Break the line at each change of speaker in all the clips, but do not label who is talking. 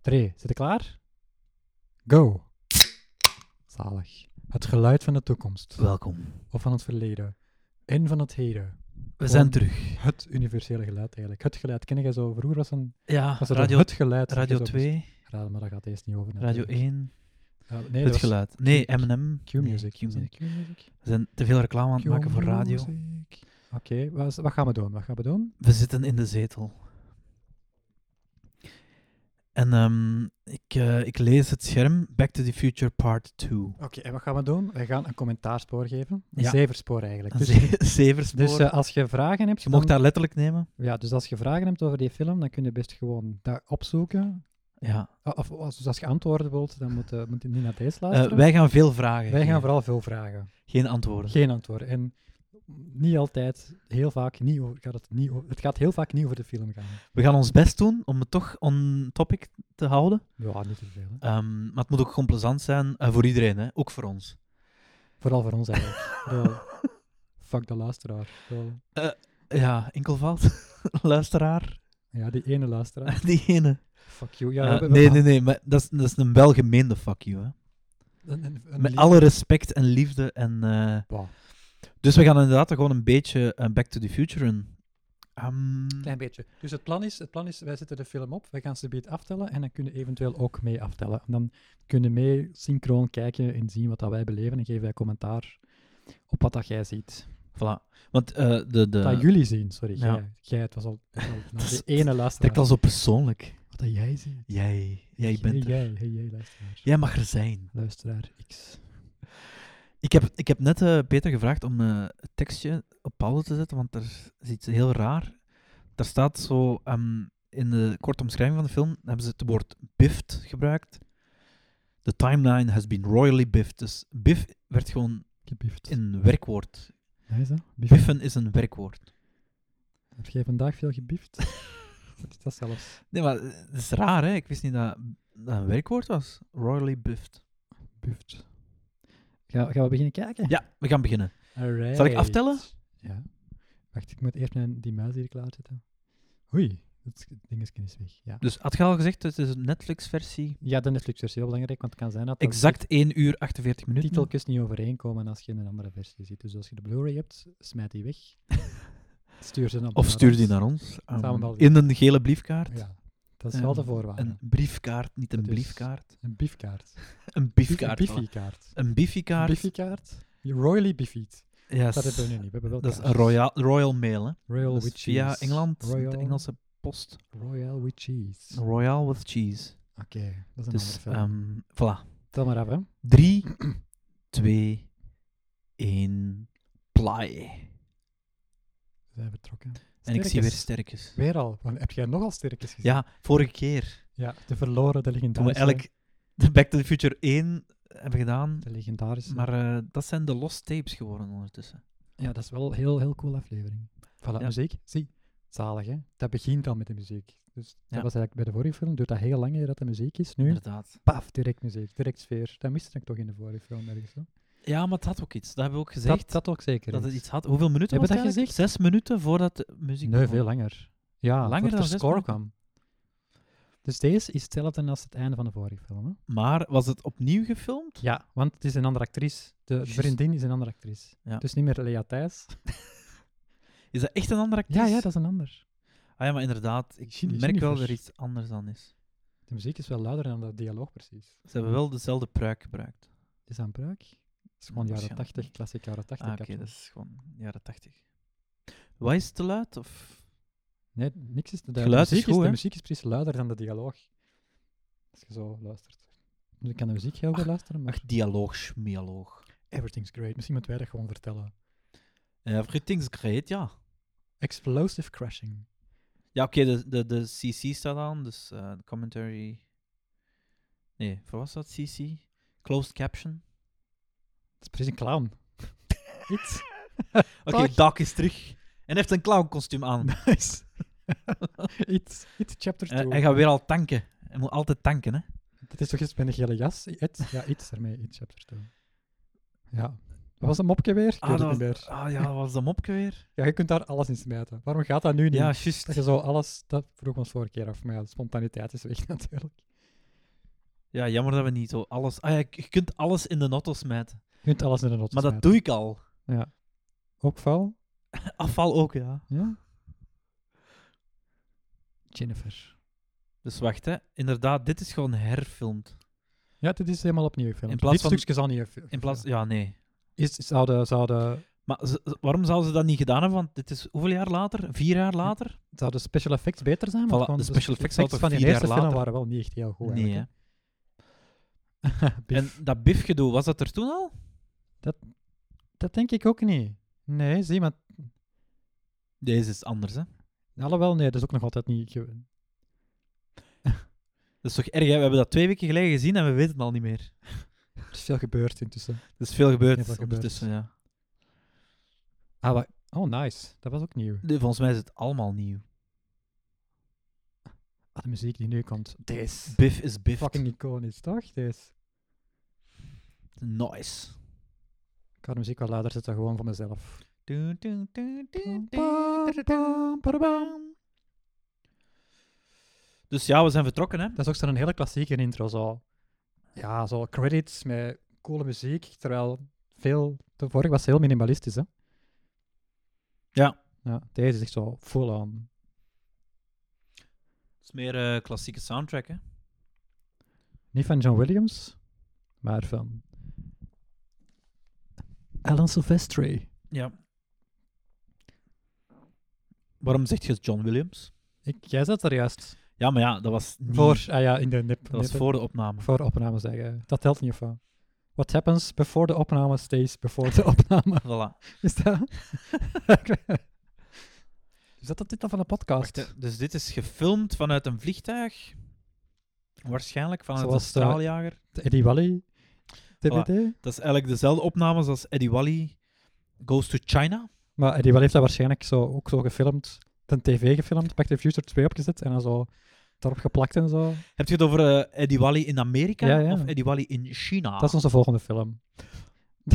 Twee, zitten klaar? Go! Zalig. Het geluid van de toekomst.
Welkom.
Of van het verleden. En van het heden.
We
Gewoon-
zijn terug.
Het universele geluid eigenlijk. Het geluid. Ken jij zo? Vroeger was, een,
Ja,
was er
radio,
het geluid.
radio
Zo-
2,
Ja, maar daar gaat deze niet over.
Radio
natuurlijk.
1,
Ja, nee, dat
het
was
geluid. Nee, M&M.
Q-music.
Nee, Q-music.
Q-music.
We zijn te veel reclame aan het maken voor radio.
Q-music. Oké, wat, is- wat gaan we doen? Wat gaan we doen?
We zitten in de zetel. En ehm, ik, eh, ik lees het scherm Back to the Future Part 2.
Oké, en wat gaan we doen? We gaan een commentaarspoor geven. Een
Ja.
zeverspoor eigenlijk. Dus,
Ze- Zeverspoor.
dus eh, als je vragen hebt...
je
dan-
mocht dat letterlijk nemen.
Ja, dus als je vragen hebt over die film, dan kun je best gewoon dat opzoeken.
Ja.
Ah, Of als, dus als je antwoorden wilt, dan moet, eh, moet je niet naar deze
Eh,
luisteren.
wij gaan veel vragen.
Wij gaan
geven.
vooral veel vragen.
Geen antwoorden.
Geen antwoorden. En niet altijd, heel vaak niet over, gaat het niet over- Het gaat heel vaak niet over de film gaan.
We gaan ons best doen om het toch on topic te houden.
Ja, niet te veel. hè.
Ehm, maar het moet ook gewoon plezant zijn eh, voor iedereen, hè? ook voor ons.
Vooral voor ons eigenlijk. Ik bedoel, fuck de luisteraar. Ik bedoel,
Ja, enkelvoud. Luisteraar,
Ja, die ene luisteraar.
die ene.
Fuck you. Ja,
Eh,
we- we-
nee,
we-
nee, nee, maar dat is, dat is een welgemeende fuck you. Hè?
een- een- een
Met
lief-
alle respect en liefde. En, eh,
Bah,
dus we gaan inderdaad gewoon een beetje eh, Back to the Future in. Mhm. Ehm,
Klein beetje. Dus het plan, is, het plan is, wij zetten de film op, wij gaan ze beet aftellen en dan kunnen eventueel ook mee aftellen. En dan kunnen mee synchroon kijken en zien wat dat wij beleven en geven wij commentaar op wat dat jij ziet.
voilà. Want eh, de... de
dat jullie zien, sorry.
ja.
Jij, jij, het was al, het was al naar
Dat is-
de ene
trekt
luisteraar.
al zo persoonlijk.
Wat dat jij ziet.
Jij, jij
Jij-
bent er.
jij, hey, jij, luisteraar.
Jij mag er zijn.
Luisteraar X.
Ik heb, ik heb net eh, Peter gevraagd om eh, het tekstje op pauze te zetten, want er is iets heel raar. Daar staat zo, ehm, in de korte omschrijving van de film, hebben ze het woord biffed gebruikt. The timeline has been royally biffed. Dus biff werd gewoon
Gebift.
een werkwoord.
Ja, is dat? Biffen.
Biffen is een werkwoord.
Heb jij vandaag veel gebift? Wat is dat zelfs?
Nee, maar eh, het is raar, hè? Ik wist niet dat dat een werkwoord was. Royally biffed.
Buft. Ga, gaan we beginnen kijken?
Ja, we gaan beginnen.
Alright.
Zal ik aftellen?
Ja. Wacht, ik moet eerst mijn, die muis hier klaarzetten. Oei, het dingetje is weg. Ja,
Dus had je al gezegd, het is een Netflix-versie.
ja de Netflix-versie heel belangrijk, want het kan zijn dat de
Exact 1 uur 48 minuten.
titeltjes niet overeenkomen als je een andere versie ziet. Dus als je de Blu-ray hebt, smijt die weg. stuur ze dan
Of
naar
stuur die
ons.
naar ons.
Samen
ehm,
met al die-
in een gele briefkaart.
Ja, dat is wel de
Ehm,
voorwaarde.
Een
Een,
briefkaart, niet een
Dat is-
briefkaart.
biefkaart.
Een biefkaart.
Een
voilà.
biffykaart.
Een
Een
biefkaart.
biffykaart. Royally biffied.
Ja,
Dat hebben we
s-
nu niet. We hebben wel
Dat is een
kaartjes.
royal, royal mail, hè.
Royal
Dat is
with cheese.
via Engeland,
Royal,
de Engelse post.
Royal with cheese. Oké,
Royal with cheese.
dat is een
Dus,
andere film.
ehm voilà.
Tel maar af, hè.
3, 2, 1, ply.
We zijn vertrokken.
En ik zie weer sterkes.
Weer al. Want heb jij nogal sterkjes gezien?
Ja, vorige keer,
Ja, de verloren, de
toen we
legendarische.
eigenlijk de Back to the Future 1 hebben gedaan,
De legendarische.
maar eh, dat zijn de lost tapes geworden ondertussen.
Ja, dat is wel een heel, heel cool aflevering. Voilà,
Ja.
muziek. Zie, zalig, hè. Dat begint al met de muziek. Dus dat
Ja.
was eigenlijk bij de vorige film, duurt dat heel lang eer dat de muziek is. Nu,
Inderdaad.
paf, direct muziek, direct sfeer. Dat miste ik toch in de vorige film ergens, hè.
Ja, maar het had ook iets. Dat hebben we ook gezegd.
Dat,
Dat,
dat ook zeker.
het iets had. Hoeveel minuten
Hebben
was
we
het
dat
eigenlijk? Zes minuten voordat de muziek
Nee,
begon.
veel langer. Ja,
Langer
voordat
dan
de
zes
score
minuten?
kwam. Dus deze is hetzelfde als het einde van de vorige film, hè.
Maar was het opnieuw gefilmd?
Ja, want het is een andere actrice. De
Juist.
vriendin is een andere actrice.
Ja.
Dus niet meer Lea Thijs.
Is dat echt een andere actrice?
Ja, ja, dat is een ander.
Ah ja, maar inderdaad. Ik
Ginny-
merk wel dat er
Jennifer.
iets anders aan is.
De muziek is wel luider dan dat dialoog precies.
Ze hebben wel dezelfde pruik gebruikt.
Is dat een pruik? Het is gewoon jaren
Waarschijnlijk
80,
niet.
klassiek jaren 80.
Ah, oké,
kapsel.
dat is gewoon jaren tachtig. Wat is het te luid? Of...
Nee, niks is... De, de
geluid is
muziek
goed,
de
hè?
muziek is precies luider dan de dialoog. Als je zo luistert. Dus ik kan de muziek heel goed luisteren, maar...
Ach, dialoog, schmialoog.
Everything's great. Misschien moeten wij dat gewoon vertellen.
Everything's great, ja.
Explosive crashing.
Ja, oké, de, de, de CC staat aan, dus eh, de commentary. Nee, voor wat staat CC? Closed caption.
Dat is precies een clown. Iets.
Oké,
Dag.
Dak is terug. En heeft een clownkostuum aan.
Nice. Iets. Iets chapter 2.
Eh, hij gaat weer al tanken. Hij moet altijd tanken, hè.
Het is toch iets met een gele jas? Iets? Ja, iets ermee. Iets hebt er toen. Ja. Wat was een mopje weer? Ik weet het
dat
niet
was,
meer.
ah ja, dat was dat mopje weer?
Ja, je kunt daar alles in smijten. Waarom gaat dat nu niet?
Ja, juist.
Dat je zo alles... Dat vroeg ons vorige keer af, maar ja, de spontaniteit is weg natuurlijk.
Ja, jammer dat we niet zo alles... Ah ja, je kunt alles in de notto smijten.
Je kunt alles in de noten
Maar dat
smijten.
doe ik al.
Opval?
Afval ook, ja.
Ja? Jennifer.
Dus wacht, hè. Inderdaad, dit is gewoon herfilmd.
Ja, dit is helemaal opnieuw gefilmd.
In plaats
Dit
van-
stukje zal niet gefilmd
In plaats... Ja, nee.
Is, zouden, zouden,
Maar ze- ze- waarom zouden ze dat niet gedaan hebben? Want dit is hoeveel jaar later? Vier jaar later?
zouden special effects beter zijn?
Voilà,
gewoon
de special effects zouden
van die
vier jaar
eerste film
later-
waren wel niet echt heel goed.
nee, hè.
eigenlijk, hè.
En
Biff.
dat bifgedoe, was dat er toen al?
Dat denk ik ook niet. Nee, zie, maar...
Deze is anders, hè.
Alhoewel, nee, dat is ook nog altijd niet... ge-
Dat is toch erg, hè? We hebben dat twee weken geleden gezien en we weten het al niet meer.
Er is veel gebeurd intussen.
Er is veel gebeurd
Heel veel gebeurd.
ondertussen, ja.
Ah, wa- Oh, nice. Dat was ook nieuw.
Nee, Volgens mij is het allemaal nieuw.
Ah, de muziek die nu komt. Deze.
Biff is biff.
Fucking iconisch, toch? Deze.
Nice.
Ik ga de muziek wel later zetten, gewoon voor mezelf.
Dun, dun, dun, dun, dun, dun, dun, dun,
Dat
dun. Dus ja, we zijn vertrokken, hè?
is ook zo'n hele klassieke intro, zo. Ja, zo credits met coole muziek, terwijl veel... De vorige was heel minimalistisch, hè?
Ja.
Ja, deze is echt zo full-on.
Het is meer eh, klassieke soundtrack, hè?
Niet van John Williams, maar van... Alan Silvestri.
Ja. Waarom zegt je John Williams?
Ik, jij zat er juist
Ja, maar ja, dat was niet-
voor... Ah ja, in de nip.
dat was
nip-
voor de opname.
voor opname zeggen. Dat telt niet van. What happens before the opname stays before the opname.
Voilà.
Is dat? Ik weet- is dat de titel van de podcast?
Wacht, hè. dus dit is gefilmd vanuit een vliegtuig. Waarschijnlijk vanuit
Zoals
een
de-
straaljager.
De eh, Eddie Wally? TBT?
Dat is eigenlijk dezelfde opnames als Eddie Wally Goes to China.
Maar Eddie Wally heeft dat waarschijnlijk zo, ook zo gefilmd. Ten tv gefilmd, Back to the Future 2 opgezet en dan zo daarop geplakt en zo.
Heb je het over eh, Eddie Wally in Amerika
Ja, ja.
of Eddie Wally in China?
Dat is onze volgende film.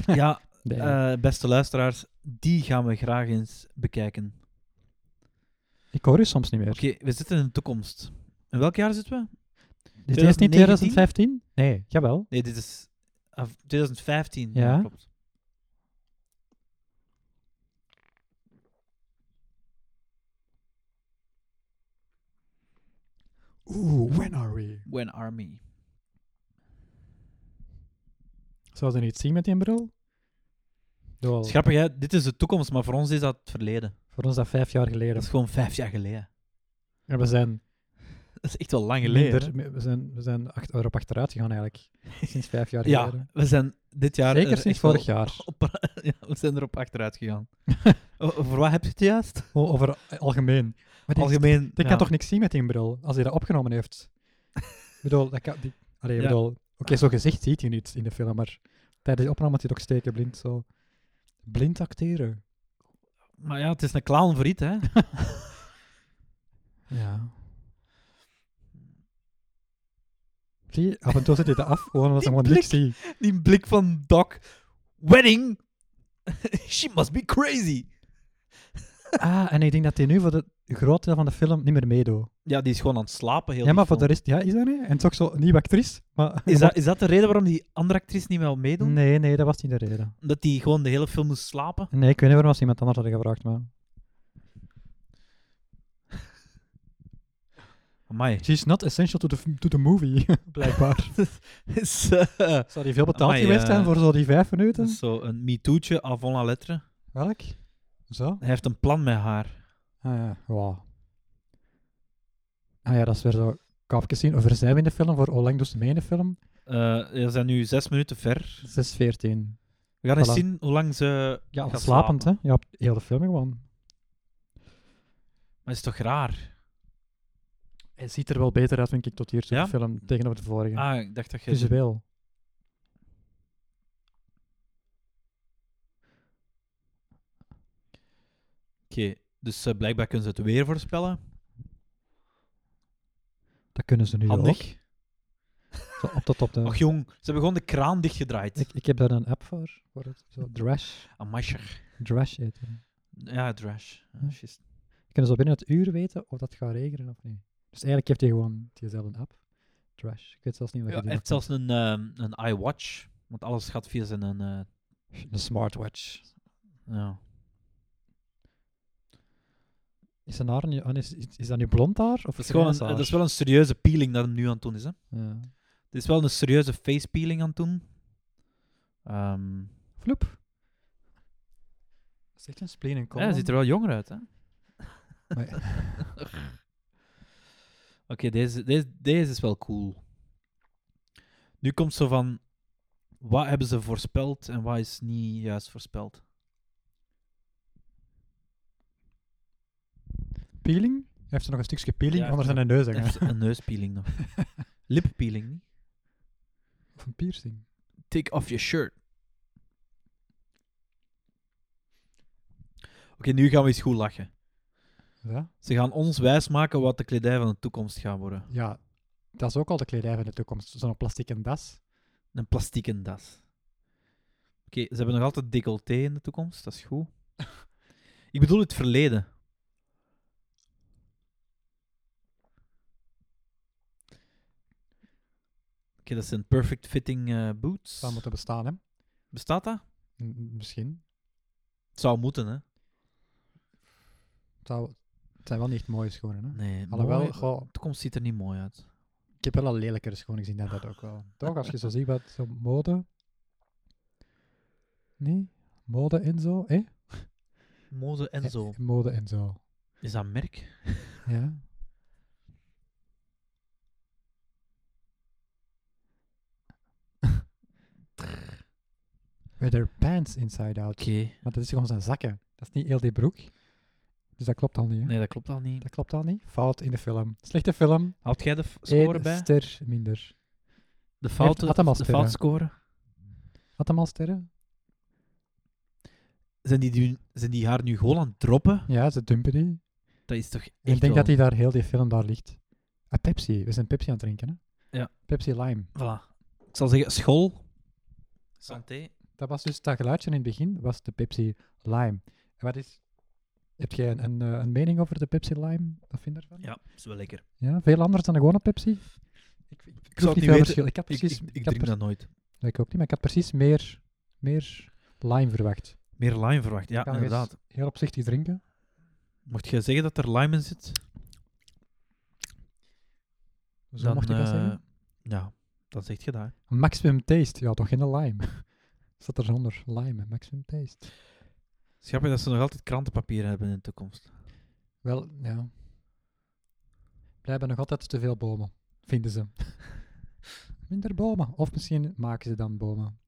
Ja,
Nee.
eh, beste luisteraars, die gaan we graag eens bekijken.
ik hoor u soms niet meer.
Oké, we zitten in de toekomst. In welk jaar zitten we?
Is dit niet
2019?
2015? Nee, jawel.
Nee, dit is ah, af- 2015.
Ja.
klopt.
Oeh, when are we?
When Army.
Zou ze niet zien met die bril? Doel.
Het is grappig, hè? dit is de toekomst, maar voor ons is dat het verleden.
Voor ons dat vijf jaar
Dat
geleden.
is gewoon vijf jaar geleden.
En we zijn,
Dat is echt wel lang geleden.
minder, mi- we zijn, we zijn acht, erop achteruit gegaan eigenlijk. Sinds vijf jaar
hè? Ja,
geleden.
we zijn dit jaar.
Zeker
er
sinds
echt wel
vorig jaar.
op- ja, we zijn erop achteruit gegaan. O- Voor wat heb je het juist?
O- Over algemeen. Maar die,
Algemeen.
die
ja.
kan toch niks zien met die bril, als hij dat opgenomen heeft? ik bedoel, dat kan... Die, allee, ik
Ja.
bedoel... Oké, zo'n gezicht ziet hij niet in de film, maar tijdens de opname had hij toch steken blind zo... Blind acteren.
Maar ja, het is een clown voor iets, hè?
Ja. Zie je, af en toe zet hij dat af, gewoon omdat hij
Die
gewoon niks ziet.
Die blik van Doc. Wedding! She must be crazy!
Ah, en ik denk dat hij nu voor de groot deel van de film niet meer meedoet.
Ja, die is gewoon aan het slapen. Heel
Ja,
die
maar voor de
film.
rest, ja, is dat niet? En toch zo nieuwe actrice. Maar
Is dat, is dat de reden waarom die andere actrice niet meer meedoet?
Nee, nee, dat was niet de reden.
Dat die gewoon de hele film moest slapen?
Nee, ik weet niet waarom ze iemand anders hadden gevraagd, maar...
Amai.
She's not essential to the, to the movie, blijkbaar.
Is, eh,
Zou die veel betaald
Amai,
geweest
eh, dus-
zijn voor zo die vijf minuten?
dat is zo een MeToo'tje avant la lettre.
Welk? Zo?
Hij heeft een plan met haar.
Ah ja, wauw. Ah ja, dat is weer zo... Kaapjes zien, over zijn we in de film, voor Olang dus mee in de film.
Eh, we zijn nu zes minuten ver.
6.14.
We gaan eens
Voilà.
zien hoe lang ze
Ja, al
Gaat
slapend, hè? Ja, op heel de film gewoon.
Maar is toch raar?
Hij ziet er wel beter uit, vind ik, tot hier toe,
Ja?
de film, tegenover de vorige.
Ah, ik dacht dat je...
Visueel.
Oké, dus eh, blijkbaar kunnen ze het weer voorspellen.
Dat kunnen ze nu ook.
Handig.
Zo op tot op de...
Ach jong, ze hebben gewoon de kraan dichtgedraaid.
Ik, ik heb daar een app voor. voor het, zo, Drash.
Amasher.
Drash eten.
Ja, trash.
Ja. Je kunt zo binnen het uur weten of dat gaat regenen of niet. Dus eigenlijk heeft hij gewoon diezelfde app. Trash. Ik weet zelfs niet wat
Ja,
je
hij heeft zelfs een, ehm, een iWatch, want alles gaat via zijn... eh,
Een smartwatch.
ja.
Is zijn haar nu... ah, Is, is is dat nu blond haar? Of
Dat is, gewoon een,
grijs haar?
dat is wel een serieuze peeling dat hem nu aan het doen is. Hè.
Ja.
Het is wel een serieuze face peeling aan het doen. Ehm,
Vloep. Dat is echt een spleen en
ja, hij ziet er wel jonger uit, hè?
Maar-
Oké, deze, deze, deze is wel cool. Nu komt zo van... Wat hebben ze voorspeld en wat is niet juist voorspeld?
Peeling? Hij heeft er nog een stukje peeling
Ja,
onder
heeft
zijn neus
Hij
hangen.
heeft een neuspeeling nog. Lippepeeling, niet?
Of een piercing.
Take off your shirt. Oké, nu gaan we eens goed lachen.
Ja?
Ze gaan ons wijsmaken wat de kledij van de toekomst gaat worden.
ja, dat is ook al de kledij van de toekomst. Zo'n plastic en das.
Een plastieke das. Oké, ze hebben nog altijd decolleté in de toekomst, dat is goed. Ik bedoel het verleden. Oké, dat zijn perfect fitting eh, boots.
Dat moet bestaan, hè?
Bestaat dat?
M- Misschien.
Het zou moeten, hè?
Het, zou- het zijn wel niet echt mooie schoenen, hè?
Nee,
Alhoewel,
mooi-
goh,
de toekomst ziet er niet mooi uit.
ik heb wel al lelijkere schoenen gezien dan dat ook wel. Toch, als je zo ziet wat zo mode... Nee? Mode en zo, hè?
Mode en zo.
Eh, Mode en zo,
Is dat een merk?
ja. Were their pants inside out?
Oké.
Maar dat is gewoon zijn zakken. Dat is niet heel die broek. Dus dat klopt al niet, hè?
Nee, dat klopt al niet.
Dat klopt al niet. Fout in de film. Slechte film.
Had jij de f- score
Eén
bij?
ster minder.
De fouten,
had hem al
de
sterren.
foutscore.
Had hem al sterren?
Zijn die, nu- zijn die haar nu gewoon aan het droppen?
Ja, ze dumpen die.
Dat is toch echt
Ik denk
wel-
dat hij daar heel die film daar ligt. Ah, Pepsi. We zijn Pepsi aan het drinken, hè?
Ja.
Pepsi Lime.
Voilà. Ik zal zeggen, school. Santé.
Dat was dus dat geluidje in het begin, was de Pepsi Lime. En wat is... Heb jij een, een, eh, een mening over de Pepsi Lime? Wat vind je ervan?
Ja, is wel lekker.
Ja, veel anders dan de gewone Pepsi? Ik, ik,
zou het
veel
niet weten.
verschil. Ik had
Ik,
precies...
ik,
ik had
drink
pre-
dat nooit.
Ja, ik ook niet, maar ik had precies meer, meer lime verwacht.
Meer lime verwacht, ja,
Kan nog eens
inderdaad.
Heel opzichtig drinken.
Mocht jij zeggen dat er lime in zit,
Zo
dan...
mocht ik dat
eh,
zeggen.
ja, dan zeg je dat. hè.
Maximum taste. Ja, toch geen lime. Zat er zonder lime, hè. maximum taste.
Schap je dat ze nog altijd krantenpapier hebben in de toekomst?
Wel, ja. Blijven nog altijd te veel bomen, vinden ze. Minder bomen. Of misschien maken ze dan bomen.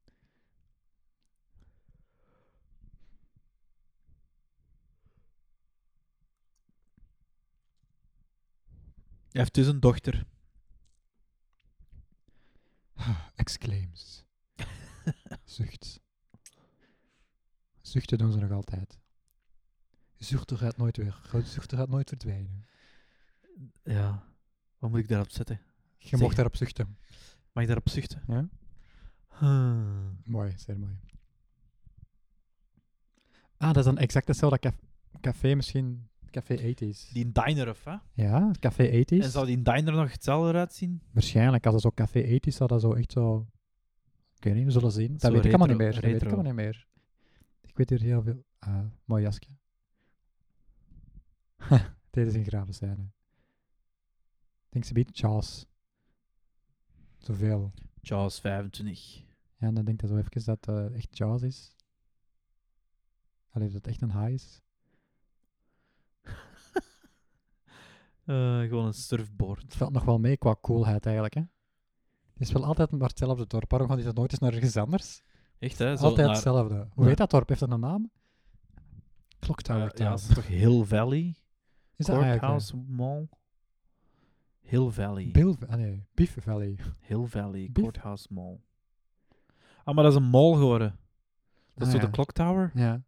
Hij heeft dus een dochter.
Exclaims. Zucht. Zuchten doen ze nog altijd. Zuchten gaat nooit weg. Zuchten gaat nooit verdwijnen.
Ja. Wat moet ik daarop zetten?
Je
Zeg.
mocht daarop zuchten.
Mag ik daarop zuchten?
Ja?
Hmm.
Mooi, zeer mooi. Ah, dat is dan exact hetzelfde caf- café misschien. Café 80s.
Die diner of, hè?
Ja, café 80s.
En zou die diner nog hetzelfde uitzien?
Waarschijnlijk, als dat zo café ethisch zou dat zo echt zo... Ik weet niet, we zullen zien. Dat
Zo
weet ik allemaal niet
retro-
meer. Dat weet ik
retro.
allemaal niet meer. Ik weet hier heel veel... Ah, mooi jasje. Dit is een grave scène. Ik denk ze biedt Charles. Zoveel.
Charles 25.
Ja, en dan denk ik zo even dat het echt Charles is. Allee, dat het echt een high is.
Eh, gewoon een surfboard.
Het valt nog wel mee qua coolheid eigenlijk, hè. Het is wel altijd maar hetzelfde dorp. Waarom gaat hij dat nooit eens naar ergens anders?
Echt, hè? Zo
Altijd
naar-
hetzelfde. Hoe
Ja.
heet dat dorp? Heeft dat een naam? Clock
eh,
Tower
ja,
Town.
is het toch Hill Valley?
is dat eigenlijk... eh,
Courthouse Mall? Hill Valley.
Bill, ah nee, Beef Valley.
Hill Valley,
Biff?
Courthouse Mall. Ah, maar dat is een mall geworden. Dat is
Ah,
zo
ja.
de Clock Tower?
Ja.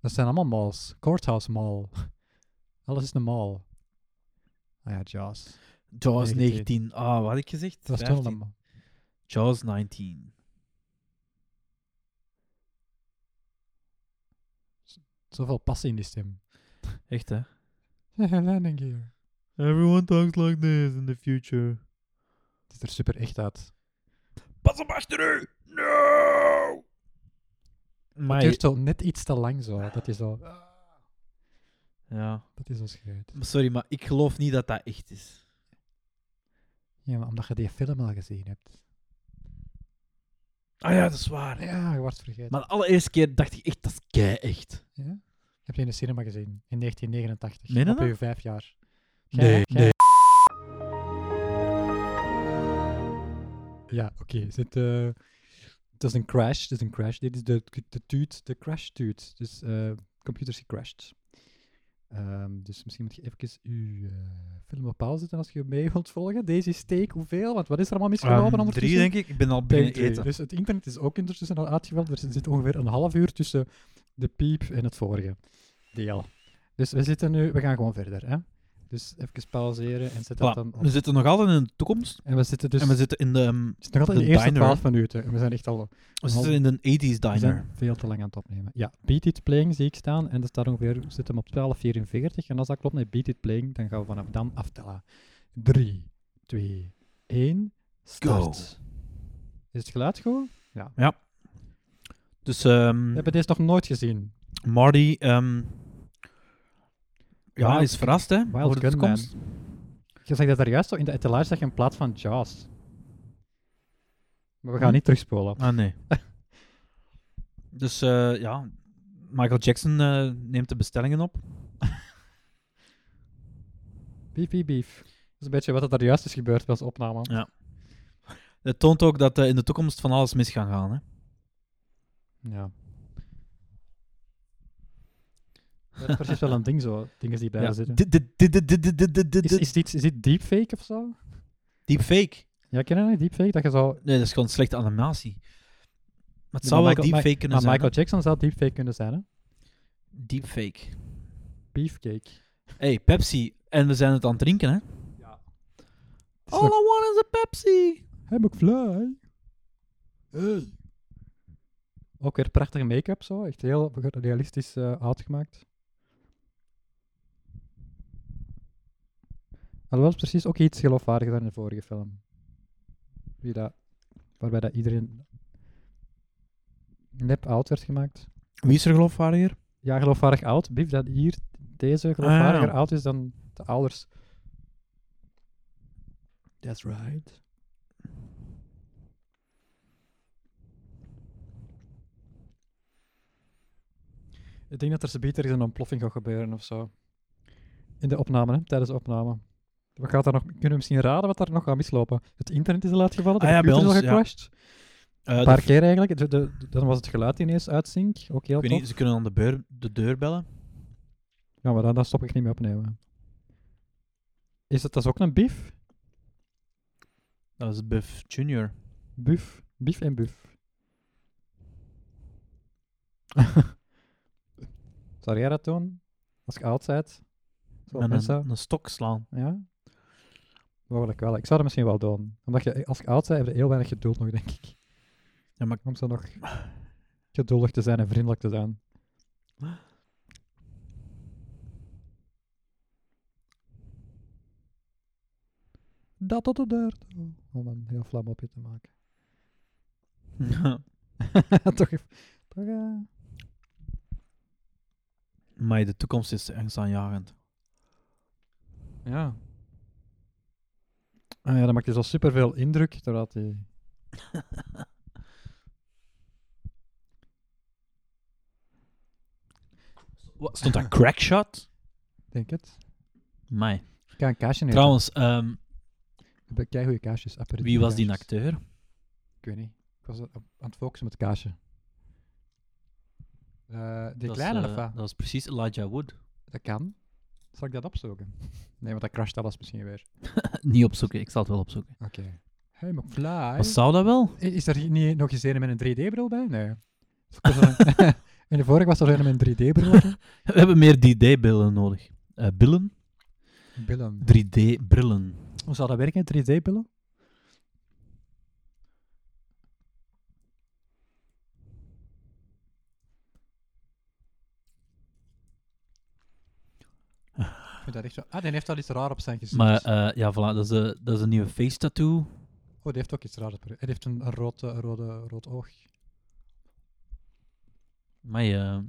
Dat zijn allemaal malls. Courthouse Mall. Alles is een mall. Ah ja, Jaws.
Jaws
19.
19. Ah, wat had ik gezegd?
Dat was toch wel
15.
een mall.
Jaws 19.
Zoveel passie in die stem.
Echt, hè?
Landing gear.
Everyone talks like this in the future.
Het ziet er super echt uit.
Pas op achter u! No!
Het
Maar Ah.
duurt zo net iets te lang zo. Dat is zo,
ja.
dat is zo scheut.
Sorry, maar ik geloof niet dat dat echt is.
Ja, maar omdat je die film al gezien hebt.
Ah ja, dat is waar.
Ja, je wordt vergeten.
Maar de allereerste keer dacht ik echt, dat is kei echt.
Ja? Heb je in de cinema gezien? In 1989.
Meen je
op
dat?
je vijf jaar.
Nee, nee.
Ja, oké. is Het eh, het is een crash. Het is een crash. Dit is de, de tuut, de crash tuut. Dus eh, computers gecrashed. Ehm, dus misschien moet je even uw eh, film op pauze zetten als je mee wilt volgen. Deze is take hoeveel? Want wat is er allemaal misgelopen ondertussen?
Ehm, drie, denk ik. Ik ben al
Take
beginnen
twee.
eten.
Dus het internet is ook ondertussen al uitgeveld. Er zit zit ongeveer een half uur tussen de piep en het vorige deel. Dus we zitten nu, we gaan gewoon verder. Hè? Dus even pauzeren en zet dat dan
Voilà. We
op.
zitten nog altijd in de toekomst.
En we zitten dus.
en we zitten in de, ehm,
het is nog altijd
de
de eerste
diner.
12 minuten. En we zijn echt al
we zitten in de 80s
we
diner.
zijn veel te lang aan het opnemen. Ja, Beat It Playing zie ik staan. En dat staat ongeveer, we zitten hem op 12.44. En als dat klopt met Beat It Playing, dan gaan we vanaf dan aftellen. 3, 2, 1, start. Is het geluid
Hm.
goed?
Dus ehm,
We hebben deze nog nooit gezien.
Marty ehm, ja,
Wild-
is verrast, hè?
Wild
over de
Gunman.
toekomst.
Je zegt dat daar juist zo in de etalage zag je een plaat van Jaws. Maar we gaan
Hm?
niet terugspoelen.
Ah, nee. dus eh, ja, Michael Jackson eh, neemt de bestellingen op.
Beef, beef, beef. Dat is een beetje wat er daar juist is gebeurd bij onze opname.
Ja. Het toont ook dat eh, in de toekomst van alles mis gaat gaan, hè?
Ja. Dat is precies wel een ding zo, dingen die blijven
Ja.
zitten.
Dit- dit- dit- dit- dit- dit- dit- dit-
Is,
dit-
is, dit, is dit deepfake of zo?
Deepfake.
Ja, ken je dat? Deepfake? Dat je zo...
Nee, dat is gewoon slechte animatie. Maar het
Ja,
zou
maar
wel
Michael-
deepfake kunnen
Maar
zijn.
Michael Jackson zou deepfake kunnen zijn, hè?
hè? Deepfake.
Beefcake.
hey, Pepsi. En we zijn het aan het drinken, hè?
Ja.
All I want is a Pepsi.
Hey McFly.
Eh.
Hey. Ook weer prachtige make-up zo. Echt heel realistisch eh uitgemaakt. Alhoewel het precies ook iets geloofwaardiger dan in de vorige film. Wie dat, waarbij dat iedereen nep oud werd gemaakt.
Wie is er geloofwaardiger?
Ja, geloofwaardig oud. Bief, dat hier deze geloofwaardiger
Ah.
oud is dan de ouders. That's right. Ik denk dat er zometeen ergens een ontploffing gaat gebeuren of zo. In de opname, hè? tijdens de opname. We gaan daar nog, kunnen we misschien raden wat daar nog gaat mislopen? Het internet is al uitgevallen, de
Ah ja, bij
computer is al
ons, ja.
gecrashed.
Eh,
Een
de-
paar keer eigenlijk. De- de- de- dan was het geluid ineens uitzink. Ook heel
Ik weet
tof.
niet, ze kunnen aan de, beur, de deur bellen.
Ja, maar dan, dan stop ik niet meer opnemen. Is dat, dat is ook een bief?
Dat is Buff Junior.
Buf. Bief en buf. Zou jij dat doen? Als ik oud bent? Zo
Met
mensen?
een, een stok slaan.
Ja? Mogelijk wel. Ik zou dat misschien wel doen. Omdat je, als ik oud ben, heb je heel weinig geduld nog, denk ik.
Ja, maar-
Om zo nog geduldig te zijn en vriendelijk te zijn. Dat tot de deur toe. Om een heel vlam op je te maken. toch even- toch, eh,
maar de toekomst is angstaanjagend.
Ja. Ah ja, dat maakt dus al superveel indruk, terwijl die...
Wat, stond dat crackshot?
Denk het.
Mij.
Ik ga een kaasje nemen.
Trouwens, ehm,
Ik heb kei goede kaasjes. aperitieve
wie was die
kaasjes.
acteur?
Ik weet niet. Ik was op- aan het focussen met het kaasje. Eh die
dat
kleine,
is,
of
eh,
wat?
Dat is precies Elijah Wood.
Dat kan. Zal ik dat opzoeken? Nee, want dat crasht alles misschien weer.
niet opzoeken, ik zal het wel opzoeken.
Oké. Hey, McFly.
Wat zou dat wel?
I- Is er hier niet nog eens een met een 3D-bril bij? Nee. Is er een- In de vorige was er een met een 3D-bril.
We hebben meer 3D-billen nodig. Eh, billen?
Billen.
3D-brillen.
Hoe zou dat werken, 3D-pillen? vind dat echt zo... Ah, die heeft al iets raar op zijn gezicht.
Maar eh, ja, voilà, dat is, de, dat is een nieuwe face tattoo.
Oh, die heeft ook iets raars op haar- Hij heeft een, een rood, eh, rode, rood oog.
Maar ja.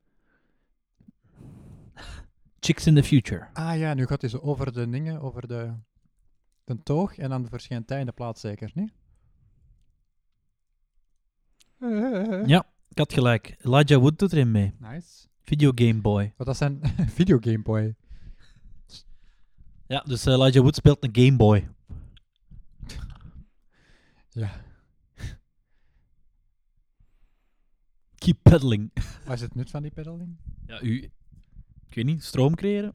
Chicks in the future.
Ah ja, nu gaat hij zo over de dingen, over de, de toog. En dan verschijnt hij in de plaats zeker, niet?
Ja. Ik had gelijk. Elijah Wood doet erin mee.
Nice.
Video Game Boy.
Want dat zijn Video Game Boy.
Ja, dus eh, Elijah Wood speelt een Game Boy.
Ja.
Keep pedaling.
Wat is het nut van die pedaling?
Ja, u... Ik weet niet, stroom creëren?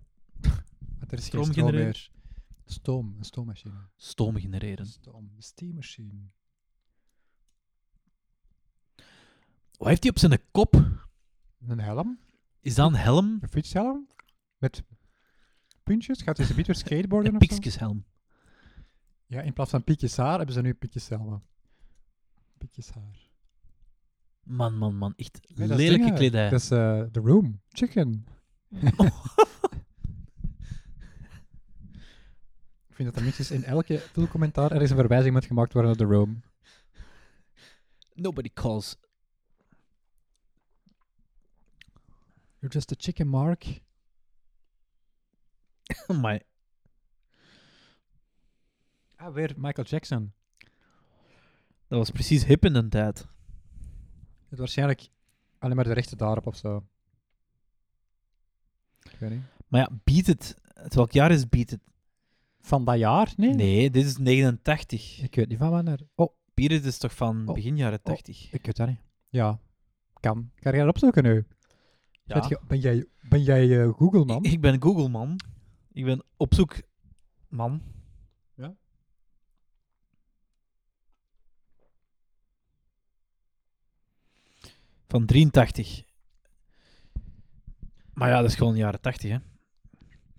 Want er is
Stroom
geen stroom
genereren.
meer. Stoom, een stoommachine.
Stoom genereren.
Stoom, steammachine.
Wat heeft hij op zijn kop?
Een helm,
Is dat een helm?
een fietshelm, met puntjes. Gaat hij ze weer skateboarden
Een
of zo?
piekjeshelm.
Ja, in plaats van piekjes haar hebben ze nu piekjes helmen. Piekjes haar.
Man, man, man. Echt
Nee, dat is
lelijke
dingen.
kledij.
Dat is eh, The Room, Chicken. Ik vind dat er minstens in elke filmcommentaar er is een verwijzing moet gemaakt worden naar The Room.
Nobody calls.
You're just a chicken, Mark.
Amai.
Ah, weer Michael Jackson.
Dat was precies hip in de tijd.
Het waarschijnlijk alleen maar de rechten daarop of zo. Ik weet niet.
Maar ja, Beat It. Uit welk jaar is Beat It?
Van dat jaar? Nee.
Nee, dit is 89.
Ik weet niet van wanneer. Oh,
Beat It is toch van
Oh.
begin jaren
Oh.
80?
ik weet dat niet. Ja, kan. Ga jij dat opzoeken nu?
Ja.
Weet je- ben jij, ben jij eh, Google, man?
Ik, ik ben Google man. Ik ben op zoek man.
Ja.
Van 83. Maar ja, dat is gewoon jaren 80 hè.
Ik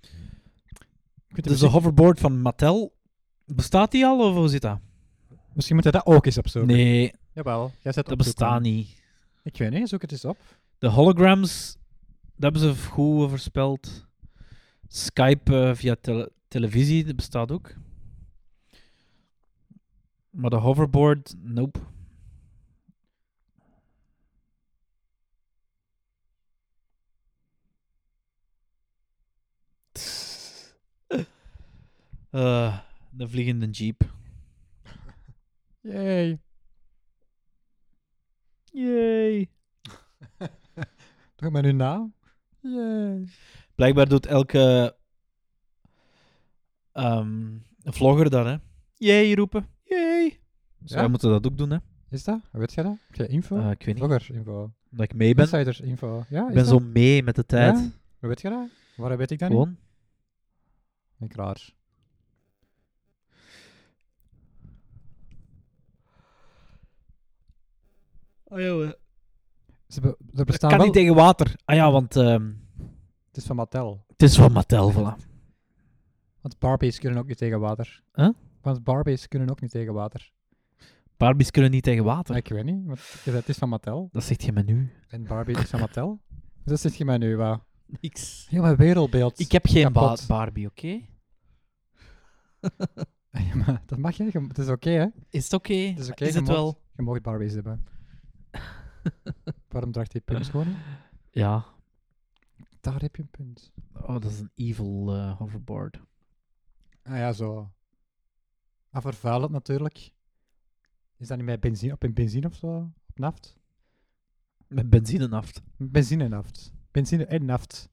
weet het
Dus de
misschien,
hoverboard van Mattel, bestaat die al of hoe zit dat?
misschien moet je dat ook eens opzoeken.
Nee,
Jawel, jij zet
dat bestaat niet.
Ik weet niet, zoek het eens op.
De holograms, dat hebben ze goed voorspeld. Skype eh, via tele- televisie, dat bestaat ook. Maar de hoverboard, nope. Eh, de vliegende jeep.
Yay.
Yay.
Doe maar nu na. Yay.
Blijkbaar doet elke ehm, vlogger dat, hè. Jee, roepen. Jee. Zij
Ja?
moeten dat ook doen, hè.
Is dat? Weet jij dat? Heb jij info?
Eh, ik weet niet.
Vlogger info.
Omdat ik mee ben. Ik
Insiders info. Ja, is
ben
dat?
zo mee met de tijd.
Ja? Hoe weet je dat? Waar weet ik dat
Gewoon.
niet? Ik raar.
Oh, ja,
Ze be- er
dat kan
bestaan wel...
niet tegen water. Ah ja, want ehm,
Het is van Mattel.
het is van Mattel, voilà.
Want Barbies kunnen ook niet tegen water.
Huh?
Want Barbies kunnen ook niet tegen water.
Barbies kunnen niet tegen water.
Ik weet niet, want ik zei, het is van Mattel.
Dat zegt je me nu.
En Barbie is van Mattel. Dus Dat zit je mij nu, wauw.
Niks.
Heel mijn wereldbeeld.
Ik heb geen
Kapot.
ba- Barbie, oké?
Ja, maar dat mag je, het is oké hè.
Is het oké?
Het is oké,
is
je
het
mocht-
wel?
Je mag Barbies hebben. Waarom draagt hij punt gewoon?
Ja.
Daar heb je een punt.
Oh, dat is een evil eh, hoverboard.
Ah ja, zo. Ah, vervuilend natuurlijk. Is dat niet met benzine, op een benzine of zo? Op naft?
Met benzine naft.
Benzine en naft. Benzine en naft.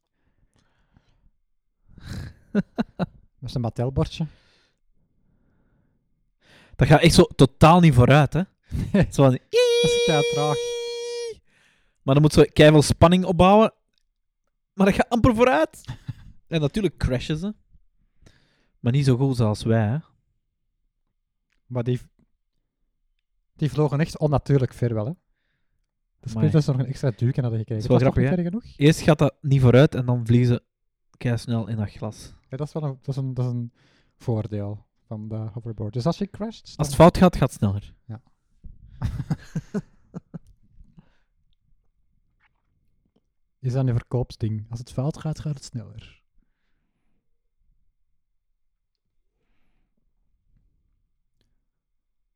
Dat is een Mattel-bordje.
Dat gaat echt zo totaal niet vooruit, hè? zo van...
Dat is kei traag.
Maar dan moet ze keihard spanning opbouwen. Maar dat gaat amper vooruit. En natuurlijk crashen ze. Maar niet zo goed als wij, hè?
Maar die, die vlogen echt onnatuurlijk ver wel, hè. Dat is
Amai.
goed dat ze nog een extra duik aan hadden gekregen.
Is wel
dat was toch
grappig,
niet ver genoeg?
Eerst gaat dat niet vooruit en dan vliegen ze keihard snel in dat glas.
Ja, dat is wel een, dat is een, dat is een voordeel van de hoverboard. Dus als je crasht...
Als het fout gaat, gaat het sneller.
Ja. is dat een verkoopsding. Als het fout gaat, gaat het sneller.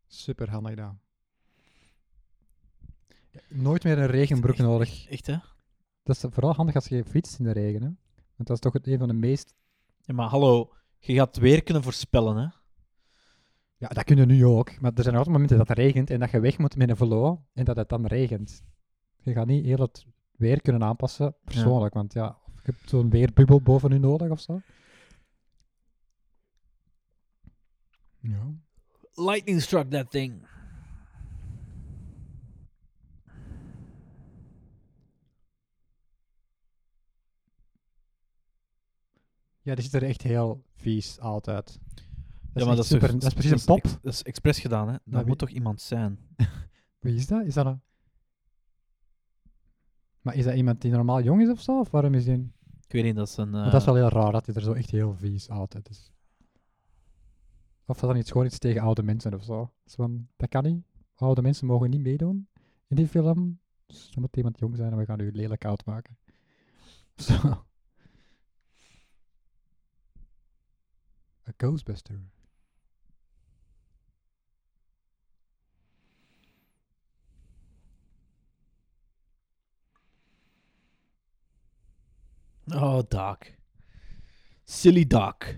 Super handig gedaan. Nooit meer een regenbroek
Echt-
nodig.
Echt, hè?
Dat is vooral handig als je fietst in de regen. Hè? Want dat is toch het- een van de meest.
Ja, maar hallo, je gaat weer kunnen voorspellen, hè?
Ja, dat kun je nu ook. Maar er zijn altijd momenten dat het regent en dat je weg moet met een velo en dat het dan regent. Je gaat niet heel het weer kunnen aanpassen, persoonlijk. Want ja, of je hebt zo'n weerbubbel boven je nodig of zo. Ja.
Lightning struck that thing.
ja, die ziet er echt heel vies uit. uit. Dat
Ja, maar
echt
dat is,
super,
toch-
dat is precies een pop.
ex- Dat is expres gedaan, hè.
Maar
Dat
wie-
moet toch iemand zijn?
Wie is dat? Is dat een... Maar is dat iemand die normaal jong is of zo? Of waarom is die... een-
Ik weet niet, dat is een...
Maar dat is wel heel raar dat hij er zo echt heel vies altijd is. Of dat dan iets gewoon iets tegen oude mensen of zo. Dus van, dat kan niet. Oude mensen mogen niet meedoen in die film. Dus dan moet iemand jong zijn en we gaan u lelijk oud maken. Zo. A Ghostbuster.
Oh, Doc. Silly Doc.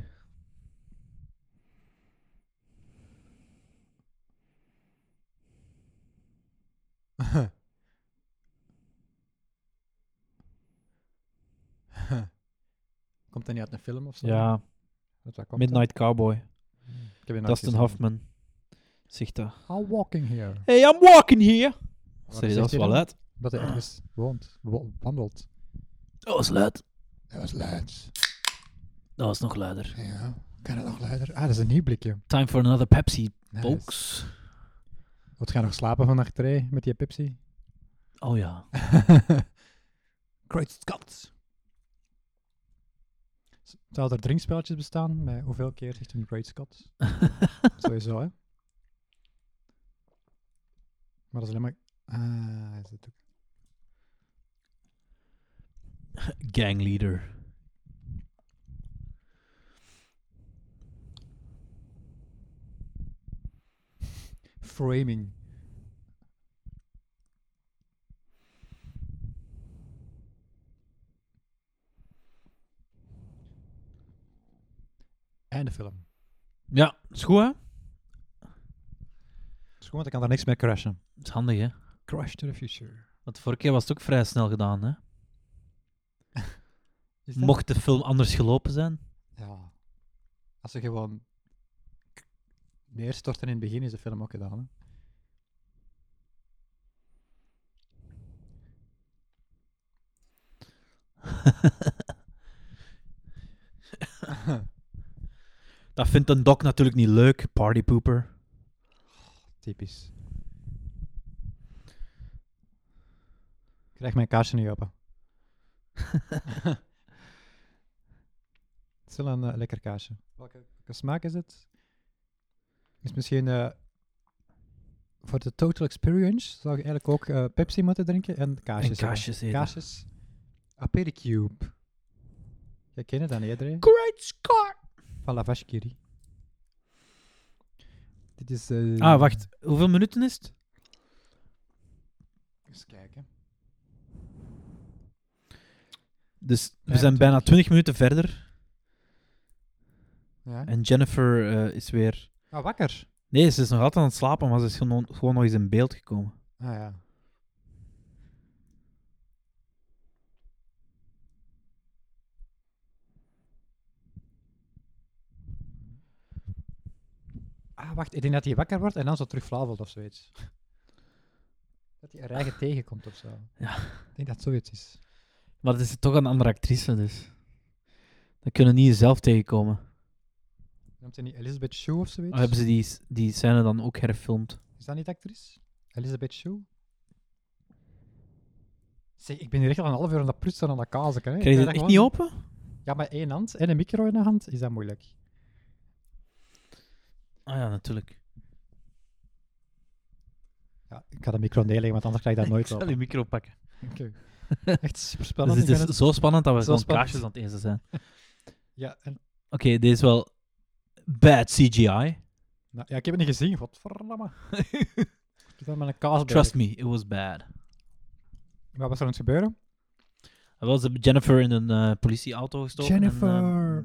Komt dat niet uit een film of zo?
Ja,
Dat dat komt, hè?
Midnight Cowboy.
Ik heb die nooit
Dustin
gezien.
Hoffman. Zegt dat.
I'm walking here.
Hey, I'm walking here.
Wat
Sorry,
zegt
dat was
hij
wel
dan?
uit.
Dat hij ergens woont, wo- wandelt.
Dat was luid.
Dat was luid.
Dat was nog luider.
Ja, kan het nog luider? Ah, dat is een nieuw blikje.
Time for another Pepsi,
Nice.
folks.
Wat gaan we nog slapen vannacht, Trey, met die Pepsi?
Oh ja.
Eh,
Great Scott! Z- Zouden er drinkspelletjes bestaan? Met hoeveel keer zegt een Great Scott? Sowieso, hè? Maar dat is alleen maar... Ah, is het ook...
Gang leader.
Framing. En de film.
Ja, is goed, hè?
Dus gewoon, ik kan daar niks mee crashen.
is handig, hè?
Crash to the future.
Want vorige keer was het ook vrij snel gedaan, hè?
Is dat-
Mocht de film anders gelopen zijn?
Ja. Als ze gewoon k- neerstorten in het begin, is de film ook gedaan. Hè?
Dat vindt een doc natuurlijk niet leuk, partypooper.
Typisch. Ik krijg mijn kaarsje niet open. Het is wel een eh, lekker kaarsje. Welke, welke smaak is het? Is misschien eh, voor de total experience zou je eigenlijk ook eh, Pepsi moeten drinken en kaasjes.
En
hebben.
kaasjes eten.
Kaasjes. Apericube. Jij kent het dan iedereen?
Great Scott!
Van Lavash Kiri. Dit is... eh,
Ah, wacht. Hoeveel minuten is het?
Eens kijken.
Dus we
25.
zijn bijna 20 minuten verder.
Ja.
En Jennifer eh, is weer...
Ah, wakker.
Nee, ze is nog altijd aan het slapen, maar ze is gewoon, gewoon nog eens in beeld gekomen.
Ah ja. Ah, wacht. Ik denk dat hij wakker wordt en dan zo terug flauwelt of zoiets. Dat hij er eigen tegenkomt of zo.
Ja.
Ik denk dat het zoiets is.
Maar het is toch een andere actrice, dus... Dat kunnen niet jezelf tegenkomen.
Noemt hij niet Elizabeth Shue of zoiets?
Of Ah, hebben ze die, s- die scène dan ook herfilmd?
Is dat niet de actrice? Elizabeth Shue? Zeg, ik ben hier echt al een half uur aan dat prutsen aan dat kazen. hè. Ik
Krijg je
kan
het
dat
echt niet
gewoon-
open?
Ja, maar één hand en een micro in de hand is dat moeilijk.
Ah ja, natuurlijk.
Ja, ik ga de micro neerleggen, want anders krijg ik dat nooit
Ik zal
open.
die micro pakken.
Oké. Echt super
Dus
spannend.
het is zo spannend dat we
Zo
gewoon
spannend.
kaasjes aan het eten zijn. Oké,
ja, en,
dit is wel bad CGI.
nou, ja, ik heb het niet gezien. Godverdamme. Ik ben met een kaasberg.
Trust me, it was bad.
Maar wat is er aan het gebeuren?
Er was Jennifer in een eh, politieauto gestoken en
Jennifer.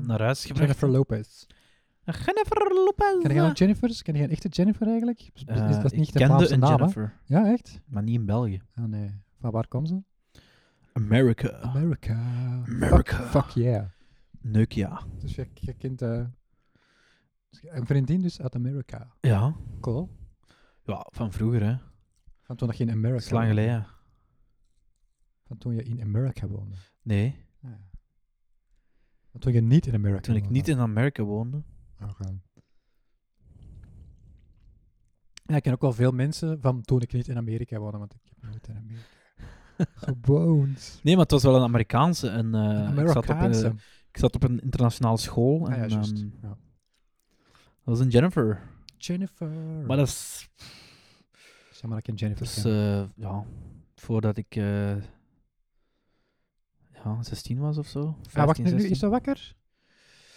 eh, naar huis gebracht.
Jennifer Lopez.
Jennifer Lopez.
Ken je geen Jennifer's? Ken je geen echte Jennifer eigenlijk? Is- Is,
Eh,
dat
ik
niet de
kende
Vlaamse
een
naam, hè?
Jennifer,
Ja, echt?
maar niet in België.
Ah nee. Van waar kwam ze?
America.
America.
America.
Fuck, fuck yeah.
Neuk, ja.
Dus je, je kind... eh, een vriendin dus uit Amerika.
Ja.
Cool.
Ja, van vroeger, hè.
Van toen dat je in Amerika
Dat is lang
woonde.
geleden.
Van toen je in Amerika woonde. Ah,
Nee,
Ja. Van toen je niet in Amerika
toen ik
woonde. Oh,
niet in Amerika woonde.
Oké. Ja, ik ken ook wel veel mensen van toen ik niet in Amerika woonde, want ik heb nooit in Amerika gewoond.
Nee, maar het was wel een Amerikaanse. En, eh, ik, zat op,
Amerikaanse.
een- ik zat op een internationale school. En,
Ah ja, juist.
ehm,
Ja.
dat was een Jennifer.
Jennifer.
Maar dat is...
Zeg maar dat ik een Jennifer
dat is,
ken.
eh, ja, voordat ik... eh, ja, 16 was of zo. 15,
ah, wacht, nu, nu
16.
is ze wakker?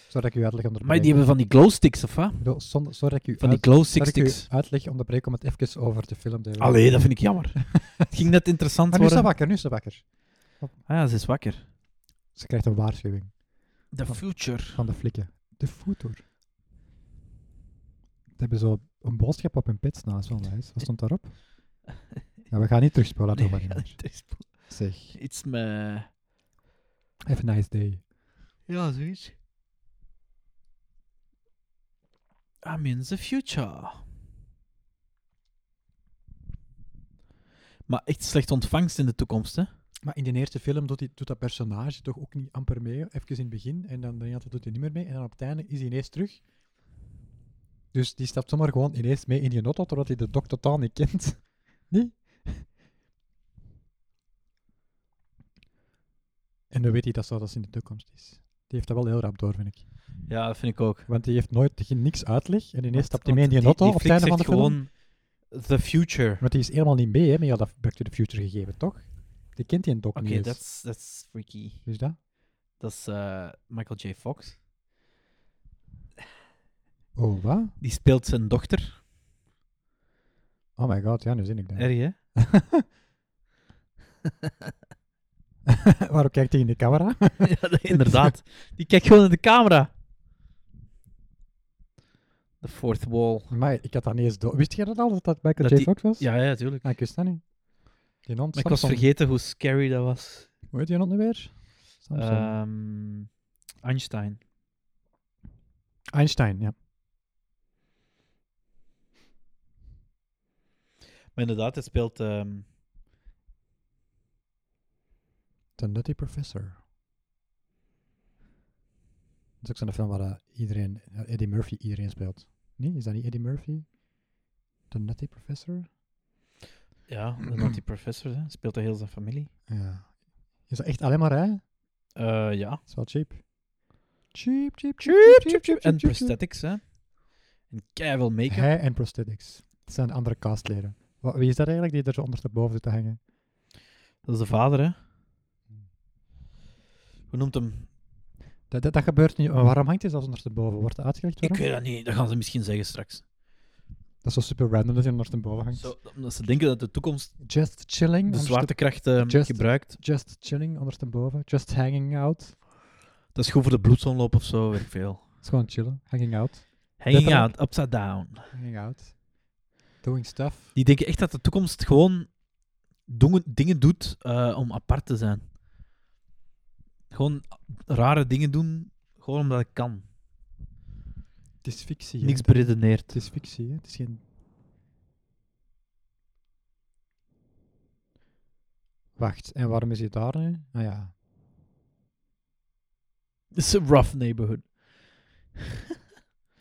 Zodat ik u uitleg onderbreek.
Maar die hebben van die glowsticks, of wat?
Zo- zonder- Zodat ik u,
Van die
uit, zodat ik u
glowsticks.
uitleg onderbreek om het even over de film te hebben.
Allee, dat vind ik jammer. het ging net interessant
Maar nu is ze
worden.
wakker, nu is ze wakker.
Ah ja, ze is wakker.
Ze krijgt een waarschuwing
The future.
van de flikken. De voeter. Ze hebben zo een boodschap op hun pits naast van lijst. Wat stond daarop? Ja, we gaan niet terugspelen, dat doen we niet meer. Zeg,
Iets met...
have a nice day.
Ja, zoiets. I'm in the future. Maar echt slecht ontvangst in de toekomst, hè?
Maar in de eerste film doet, die, doet dat personage toch ook niet amper mee. Even in het begin en dan, dan ja, doet hij niet meer mee. En dan op het einde is hij ineens terug. Dus die stapt zomaar gewoon ineens mee in die auto, terwijl hij de dok totaal niet kent. Nee? En dan weet hij dat zo dat ze in de toekomst is. Die heeft dat wel heel rap door, vind ik.
Ja, dat vind ik ook.
Want die heeft nooit geen, niks uitleg. En ineens
Want-
stapt hij
want
mee in die auto op het
flik
einde van de
zegt
film.
gewoon the future.
Want die is helemaal niet mee, hè, met jou dat Back to the Future gegeven, toch? Die kent die een dok
Oké,
niet eens.
that's, that's freaky.
Dus dat?
Dat is eh, Michael J. Fox.
Oh, wat?
Die speelt zijn dochter.
Oh my god, ja, nu zin ik dat.
Erg, hè? Eh,
Waarom kijkt hij in de camera?
ja, dat- inderdaad. Die kijkt gewoon in de camera. The fourth wall.
Maar ik had dat niet eens door. Wist jij dat al, dat dat Michael
Dat
J.
die-
Fox was?
Ja, ja, tuurlijk.
Ah, ik wist dat niet. Die hond,
Maar ik was
Samson.
vergeten hoe scary dat was.
Hoe heet die hond nu weer?
Oh,
Samson.
Ehm, Einstein.
Einstein, ja.
Maar inderdaad, hij speelt... ehm,
The Nutty Professor. Dat is ook zo'n film waar eh, iedereen, eh, Eddie Murphy iedereen speelt. Nee, is dat niet Eddie Murphy? The Nutty Professor?
ja, de naughty professor. Hè. Speelt hij heel zijn familie.
Ja. Is dat echt alleen maar hij? Dat
Eh, ja.
is wel cheap. Cheap, cheap, cheap, cheap, cheap,
En
cheap, cheap, cheap.
prosthetics, hè. En keiveel make-up.
Hij en prosthetics. Dat zijn andere castleden. Wa- Wie is dat eigenlijk die er zo ondersteboven zit te hangen?
Dat is de vader, hè. Hm. Hoe noemt hem?
Dat, dat, dat gebeurt niet. Maar waarom hangt hij zelfs ondersteboven? Wordt dat uitgelegd
Ik
waarom?
weet dat niet. Dat gaan ze misschien zeggen straks.
Dat is zo super random dat hij ondersteboven hangt.
Zo, omdat ze denken dat de toekomst
Just chilling.
de
onderste-
zwaartekracht ehm,
Just-
gebruikt.
Just chilling ondersteboven. Just hanging out.
Dat is goed voor de bloedsomloop of zo, weet ik veel.
Dat is gewoon chillen. Hanging out.
Hanging
Letterlijk.
out, upside down.
Hanging out. Doing stuff.
Die denken echt dat de toekomst gewoon doen- dingen doet eh, om apart te zijn. Gewoon rare dingen doen, gewoon omdat ik kan.
Het is fictie. hè.
Niks beredeneerd.
Het is fictie. Hè? Het is geen... Wacht, en waarom is hij daar nu? Ah ja,
It's a rough neighborhood.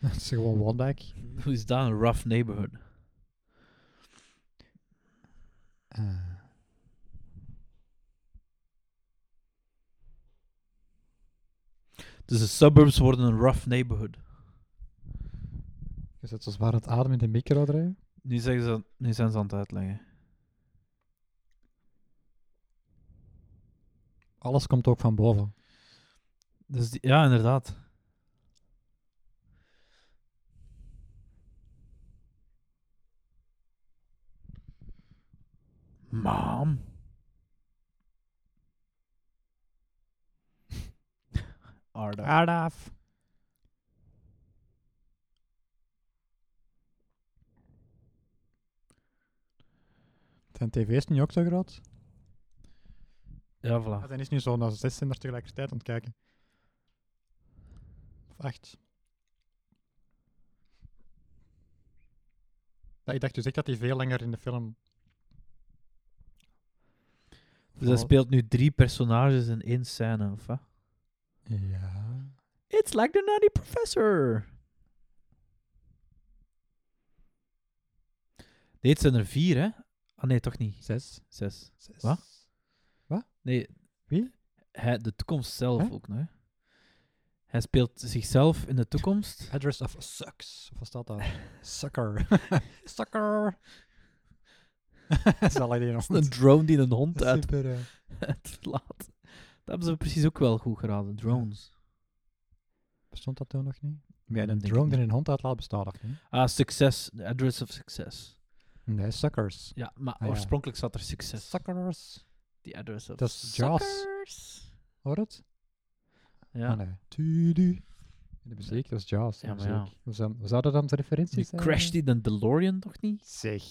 dat is gewoon Wandijk.
Hoe is dat een rough neighborhood?
Ah.
Dus de suburbs worden een rough neighborhood.
Je zit zo zwaar aan het ademen in de micro draaien.
Nu, zeggen ze, nu zijn ze aan het uitleggen.
alles komt ook van boven.
Dus die- ja, inderdaad. Mam. Arda.
Araf. Zijn tv is nu ook zo groot?
Ja, voilà.
Ah, dan is nu zo'n als zes zenders tegelijkertijd aan het kijken. Of acht. Ja, ik dacht dus echt dat hij veel langer in de film...
Dus hij speelt nu drie personages in één scène, of wat?
Ja...
It's like the Nutty Professor. Dit zijn er vier, hè? Ah nee, toch niet.
Zes.
Zes.
Zes.
Wat? Nee.
Wie?
Hij, de toekomst zelf
Hè?
ook nog. hè. Hij speelt zichzelf in de toekomst.
Address of sucks. Of was dat dan? Sucker. Sucker. dat is al idee nog
Een drone die een hond uit,
Super. eh.
uitlaat. Dat hebben ze precies ook wel goed geraden. Drones.
Bestond dat toen nog niet?
Ja,
een drone die een hond uitlaat bestaat nog niet.
Ah, succes. The address of success.
Nee, suckers.
Ja, maar
Ah, ja.
oorspronkelijk zat er succes.
Suckers.
The address of
Dat is Jaws.
suckers.
Hoor het?
Ja.
Ah, nee. Tudu. De muziek, dat is Jaws. de
Ja, maar ja.
muziek. We, zouden, we zouden dan de referentie
Nu
zijn.
crasht hij de DeLorean toch niet?
Zeg.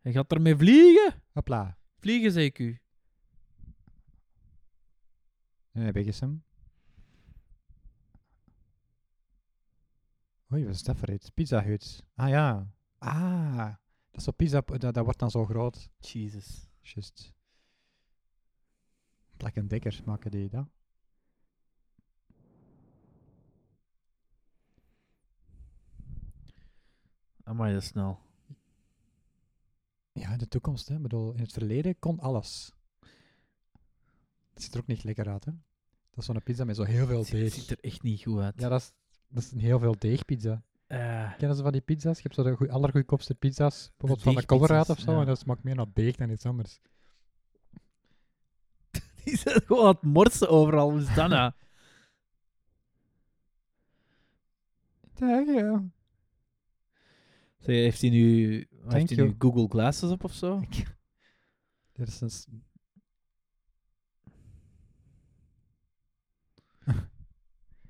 Hij gaat ermee vliegen.
Hopla.
Vliegen, zei ik u.
En heb ik eens hem. Oei, wat is dat voor iets? Pizza Hut. Ah ja. Ah. Dat is zo pizza, dat, dat wordt dan zo groot.
Jesus.
Just. Black and Decker maken die dat.
Amai, dat is snel.
Ja, in de toekomst, hè. Ik bedoel, in het verleden kon alles. Het ziet er ook niet lekker uit, hè. Dat is zo'n pizza met zo heel veel
Het ziet, het
deeg.
ziet er echt niet goed uit.
Ja, dat is, dat is een heel veel deegpizza.
Eh,
Kennen ze van die pizza's? Je hebt zo de goe- allergoedkoopste pizza's, bijvoorbeeld van de
deegpizza's,
Colorado of zo,
ja.
en dat smaakt meer naar deeg dan iets anders.
die zijn gewoon aan het morsen overal. Hoe is dat nou?
Dag, ja.
Zeg, heeft hij nu, heeft hij
you.
nu Google Glasses op of zo?
Dit is een... s-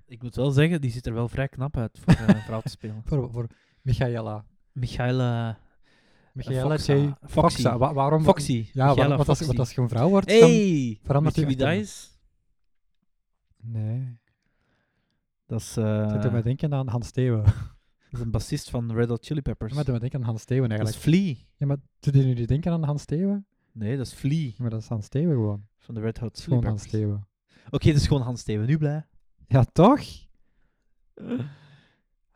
Ik moet wel zeggen, die ziet er wel vrij knap uit voor eh, een vrouw te spelen.
Voor, voor Michaela.
Michaela...
Michaela
Foxa.
J.
Foxy.
Foxa. Wa- waarom...
Foxy.
Ja,
Michaela
waarom, wat, als,
Foxy.
wat als je een vrouw wordt, dan-
Hey!
verandert
Weet je
die
wie
achternaam.
dat is?
Nee.
Dat is, eh,
Dat doet mij denken aan Hans Steeuwen.
dat is een bassist van Red Hot Chili Peppers.
Ja, maar doe me denken aan Hans Steeuwen
dat is
eigenlijk.
Flea.
Ja, maar doet je nu denken aan Hans Steeuwen?
Nee, dat is Flea.
Ja, maar dat is Hans Steeuwen gewoon.
Van de Red Hot Chili
Gewoon Hans
Peppers. Oké,
Steeuwen.
dat is gewoon Hans Steven. Nu blij.
Ja, toch?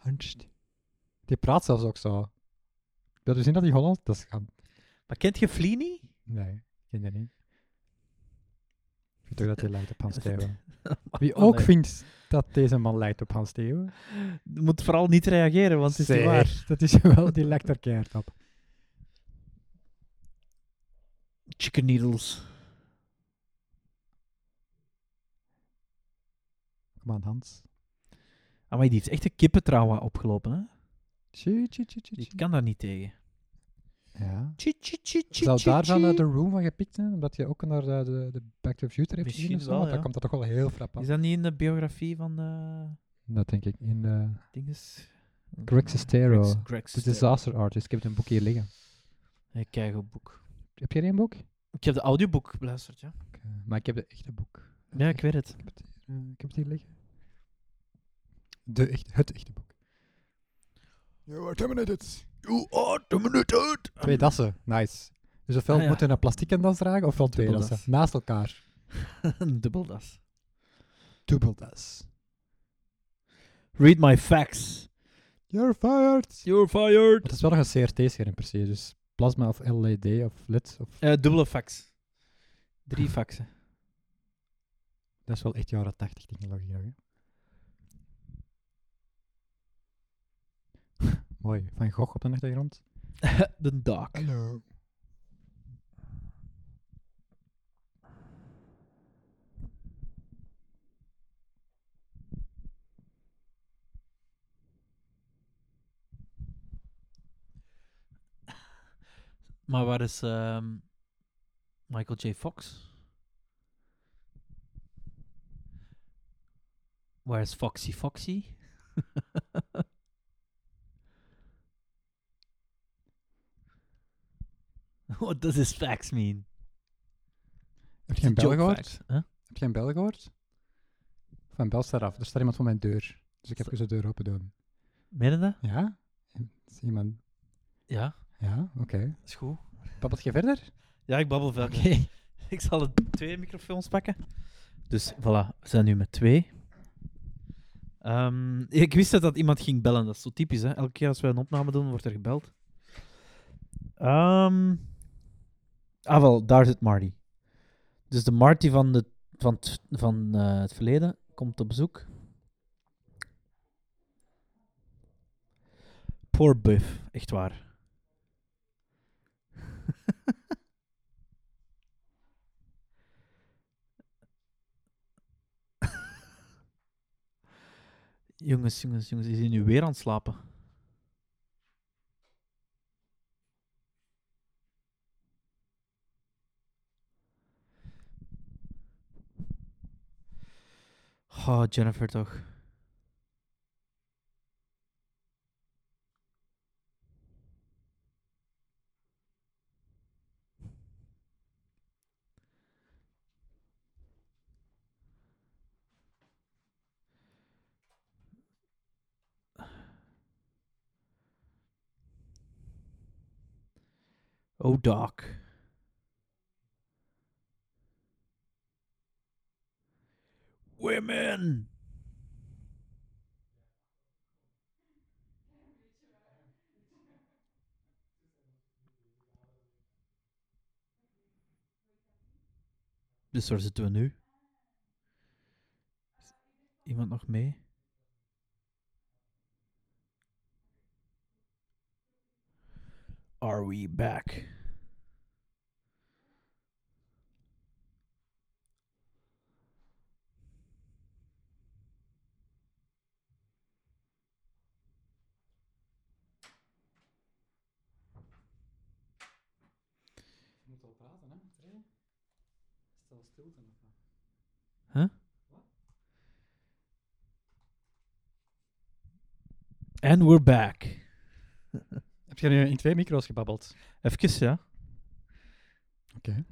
Hans Ste- Die praat zelfs ook zo. Wil je zien dat hij Hollands dat is? gaan-
Maar kent je Flea niet?
Nee, ik ken dat niet. Ik vind ook dat hij lijkt op Hans
Dat is- Oh,
Steeuwen. Wie
Allee.
ook vindt dat deze man lijkt op Hans Steeuwen.
Je moet vooral niet reageren, want het is niet
Zeg,
waar.
Dat is wel, die lijkt er keihard op.
Chicken Needles.
Kom aan, Hans.
Ah, maar die heeft echt een kippentrauma opgelopen, hè?
Tjie, tjie, tjie, tjie,
Ik
tjie.
kan daar niet tegen.
Ja.
Tjie, tjie, tjie, tjie,
Zou
tjie,
daarvan
tjie.
eh, de Room van gepikt zijn? Omdat je ook naar de, de, de Back to the Future hebt gezien
Misschien
of zo?
wel,
Want dan
ja.
komt dat toch wel heel frappant.
Is dat niet in de biografie van eh
Dat denk ik. In eh,
dinges?
Greg Sestero.
Greg- Greg
The
Sestero.
Disaster Artist. Ik heb een boek hier liggen.
Ik kijk op boek.
Heb jij een boek?
Ik heb de audioboek beluisterd, ja.
Oké, eh, Maar ik heb de echte boek.
Ja, ik weet het.
Ik heb het hier, eh, ik heb het hier liggen. De echt, het echte boek. You are terminated.
You are terminated.
Twee dassen. Nice. Dus ofwel
Ah, ja.
moet je een plastieke das dragen, ofwel twee
Dubbeldas.
dassen. Naast elkaar.
Een dubbeldas.
Dubbeldas.
Read my facts.
You're fired.
You're fired.
Het is wel nog een CRT-scherm precies, dus plasma of LED of LED. Of...
Eh, dubbele fax. Drie faxen.
Dat is wel echt jaren 80 technologie. nog, Hè? Mooi, Van Gogh op de achtergrond.
de dag.
Hallo.
Maar waar is ehm, Michael J. Fox? Waar is Foxy Foxy? What does his facts mean?
Heb je een bel
Joke
gehoord?
facts, hè?
Heb je een bel gehoord? Van bel staat af. Er staat iemand voor mijn deur. Dus ik heb
Sta-
dus de deur open doen.
Meen je dat?
Ja? Is iemand...
Ja,
Ja, oké.
dat is goed.
Babbelt je verder?
Ja, ik babbel veel.
Oké.
Ik zal de twee microfoons pakken. Dus voilà, we zijn nu met twee. Ehm, ik wist dat, dat iemand ging bellen, dat is zo typisch. Hè? Elke keer als wij een opname doen, wordt er gebeld. Ehm, ah, wel, daar zit Marty. Dus de Marty van, de, van, het, van eh, het verleden komt op bezoek. Poor Buff, echt waar. Jongens, jongens, jongens, is hij nu weer aan het slapen? Oh, Jennifer toch. Oh, Doc. Women! Dus waar zitten we nu? Is Iemand nog mee? Are we back?
Je moet al praten, hè? Stel stilte nog maar.
And we're back.
Heb je nu in twee micro's gebabbeld?
Even, ja.
Oké.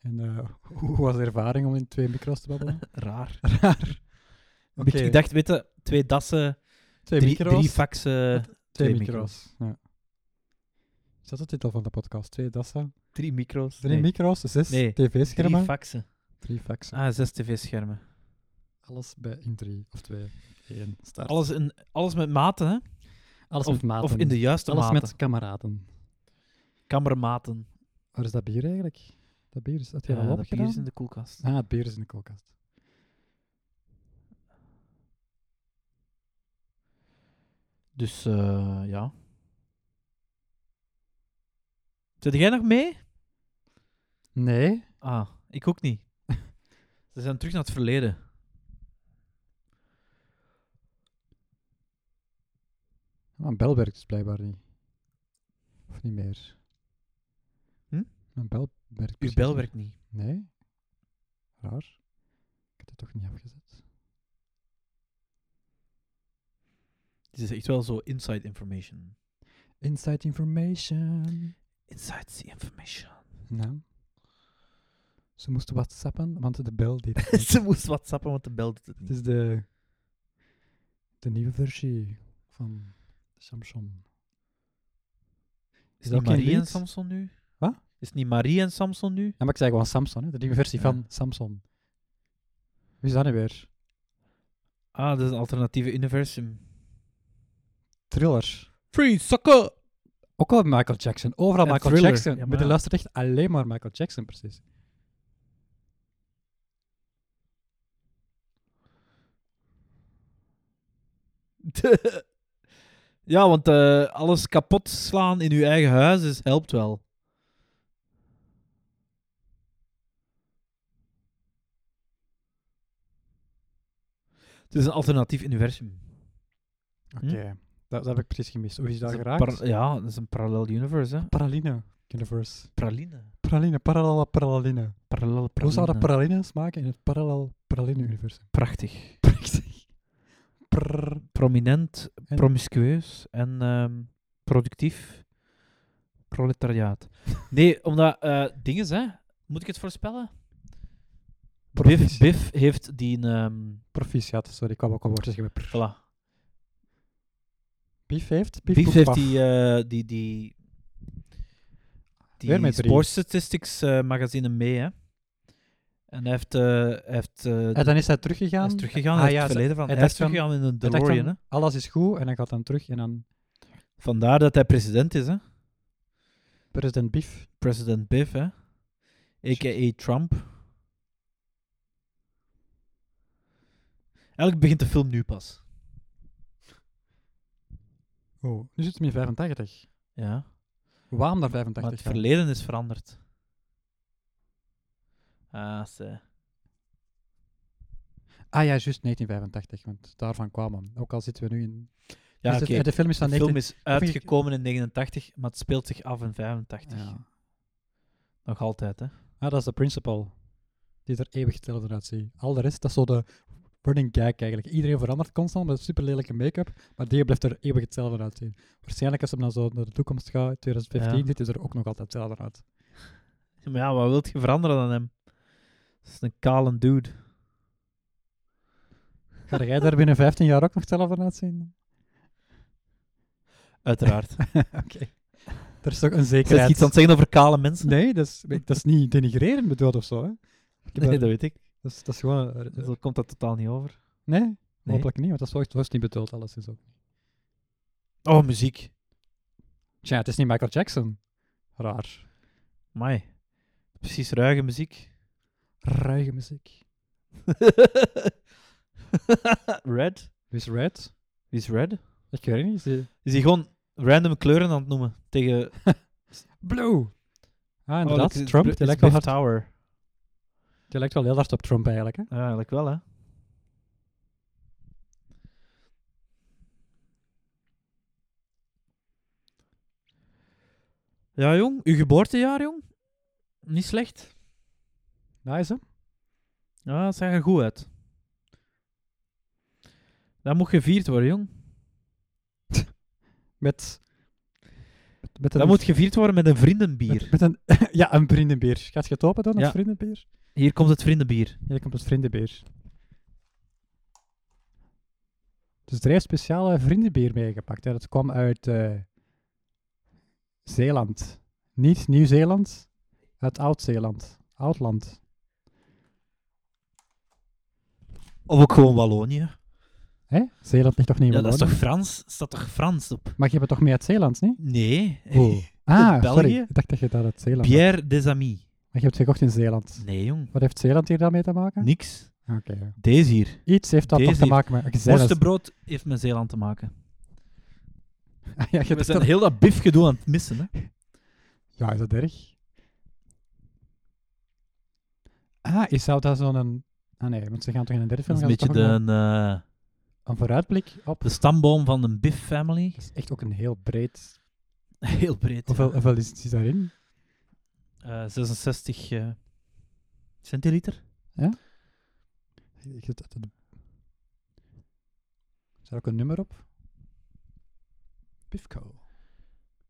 En eh, hoe was de ervaring om in twee micro's te babbelen?
Raar.
Raar.
Want
Oké.
Ik dacht, weet je, twee dassen,
Twee
drie,
micro's.
drie faxen,
twee,
twee
micro's. Ja. Is dat de titel van de podcast? Twee dassen.
drie micro's.
Drie micro's, zes
Nee,
tv-schermen.
Drie faxen.
Drie faxen.
Ah, zes tv-schermen.
Alles bij in drie of twee. Eén. Start.
Alles, in, alles met maten, hè?
Alles
of,
met maten.
Of in de juiste
Alles
maten.
met kameraden.
Kamermaten.
Waar is dat bier eigenlijk? Dat bier is... Had je
Ja,
dat al
Eh, dat bier
opgedaan?
is in de koelkast.
Ah, het bier is in de koelkast.
Dus, eh, ja. Zit jij nog mee?
Nee.
Ah, ik ook niet. Ze zijn terug naar het verleden.
Mijn bel werkt dus blijkbaar niet. Of niet meer.
Hm?
Mijn bel werkt
Uw
precies
bel
niet.
werkt niet.
Nee. Raar. Ik heb het toch niet afgezet.
Dit is echt wel zo inside information.
Inside information.
Inside the information.
Nou. Ze moesten whatsappen, want de bel deed het niet.
Ze moest whatsappen, want de bel doet het
Het
niet.
is de, de nieuwe versie van Samsung.
Is
dat
niet
ook geen
Marie en
lied?
Samson nu?
Wat?
Is niet Marie en Samson nu?
Ja, maar ik zei gewoon Samsung, hè. de nieuwe versie
Ja.
van Samsung. Wie is dat nu weer?
Ah, dat is een alternatieve universum.
Thriller.
Free sucker!
Ook al Michael Jackson. Overal
Ja,
Michael
Thriller.
Jackson.
Ja,
maar
maar
die
ja.
luistert echt alleen maar Michael Jackson, precies.
ja, want eh, alles kapot slaan in uw eigen huis is, helpt wel. Het is een alternatief universum. Hm?
Oké. Hm? Dat, dat heb ik precies gemist. Hoe is dat
Dat is een
geraakt?
par- ja, dat is een parallel universe, hè.
Paraline universe.
Praline.
Praline, parallel paraline.
Parallel praline.
Hoe zouden pralines maken in het parallel praline universum?
Prachtig.
Prachtig. Prrr.
Prominent,
En-
promiscueus en ehm, productief proletariaat. Nee, omdat... eh dingen, hè. Moet ik het voorspellen? Biff,
Profici-
Biff heeft die... ehm
Proficiat, sorry, ik kwam ook al woordjes geven. Prrr.
voilà.
Bief heeft?
Biff
doet
heeft
paf.
die, eh, die, die, die
Weer met drie.
Sports Statistics eh, magazine mee, hè. En hij heeft, eh, hij heeft eh,
En dan is hij
hij
teruggegaan.
is teruggegaan
Ah,
hij heeft
ja,
het
ze-
verleden van.
hij
Hij is
dacht van-
teruggegaan in een
Hij dacht
DeLorean,
dan,
hè.
Alles is goed en hij gaat dan terug en dan
Vandaar dat hij president is, hè.
president Bief.
President Biff, hè. A.k.a. Trump. Eigenlijk begint de film nu pas.
Oh, nu zitten we in 85.
Ja.
Waarom naar
Maar het
85 gaan?
verleden is veranderd. Ah, ze.
Ah ja, juist 1985, want daarvan kwam hem. Ook al zitten we nu in...
Ja,
Dus
oké.
het- De film is van
De
19...
film is
vind ik-
uitgekomen in 89, maar het speelt zich af in 85.
Ja.
Nog altijd, hè?
Ah, dat is de principal. Die er eeuwig hetzelfde uitziet. Al de rest, dat is zo de running gag eigenlijk. Iedereen verandert constant met super lelijke make-up, maar die blijft er eeuwig hetzelfde uitzien. Waarschijnlijk als ze dan zo naar de toekomst gaan, 2015,
Ja.
dit is er ook nog altijd hetzelfde uit.
Maar ja, wat wilt je veranderen aan hem? Dat is een kale dude.
Ga jij daar binnen 15 jaar ook nog hetzelfde uitzien?
Uiteraard.
Oké. Er is toch een
Ik zit
zekerheid.
iets aan het zeggen over kale mensen.
Nee, dat is, dat is niet denigrerend bedoeld of zo. Hè. Ik heb daar-
Nee, dat weet ik.
dat, is, dat is gewoon... eh, eh,
Zo komt dat totaal niet over.
nee, hopelijk niet, want dat is wel- dat is niet bedoeld, alles is ook.
Oh, muziek.
Tja, het is niet Michael Jackson. Raar.
Mai. Precies ruige muziek.
Ruige muziek.
red?
Wie is Red?
Wie is red?
Ik weet het niet. Is die-
Is hij gewoon random kleuren aan het noemen tegen...
Blue! Ah,
Oh,
inderdaad.
het is
Trump.
Br-
Die
het is
lijkt, wel
Biff
hard,
Tower.
die lijkt wel heel hard op Trump eigenlijk. Hè?
Ja, eigenlijk wel, hè. Ja, jong. Uw geboortejaar, jong. Niet slecht.
Nice, hè?
Ja, dat zag er goed uit. Dat moet gevierd worden, jong.
Met... met- Met
Dat moet gevierd worden met een vriendenbier.
met, met een, ja, een vriendenbeer. Gaat je het open doen, dat
Ja.
vriendenbeer?
Hier komt het vriendenbier.
Ja, hier komt het vriendenbeer. Dus er heeft speciale vriendenbeer meegepakt. Hè. Dat kwam uit eh, Zeeland. Niet Nieuw-Zeeland, uit Oud-Zeeland. Oudland.
Of ook gewoon Wallonië.
Hè? Zeeland ligt toch niet in
Ja, dat is toch
Wallonië?
Frans? Staat toch Frans op?
Maar je bent toch mee uit Zeeland, niet?
Nee.
Ah, sorry.
België?
Ik dacht dat je dat uit Zeeland had.
Pierre des Amis.
Maar je hebt het gekocht in Zeeland.
Nee, jong.
Wat heeft Zeeland hier dan mee te maken?
Niks.
Oké.
Deze hier.
Iets heeft dat toch
Deze
te
hier.
maken met gezellig.
Worstenbrood heeft met Zeeland te maken.
ja, je
We
hebt
zijn
dat-
heel dat bifgedoe aan het missen, hè.
ja, is dat erg? Ah, is zou dat zo'n... Ah nee, want ze gaan toch in een derde
Dat
film...
is
gaan
een
ze
beetje
toch ook
de, eh,
nog Een vooruitblik op...
de stamboom van de Biff-family.
Dat is echt ook een heel breed...
Heel breed.
Hoeveel,
ja.
hoeveel is, is daarin?
Eh, 66 eh, centiliter.
Ik- ik- dat- dat- Is daar ook een nummer op? Pifco.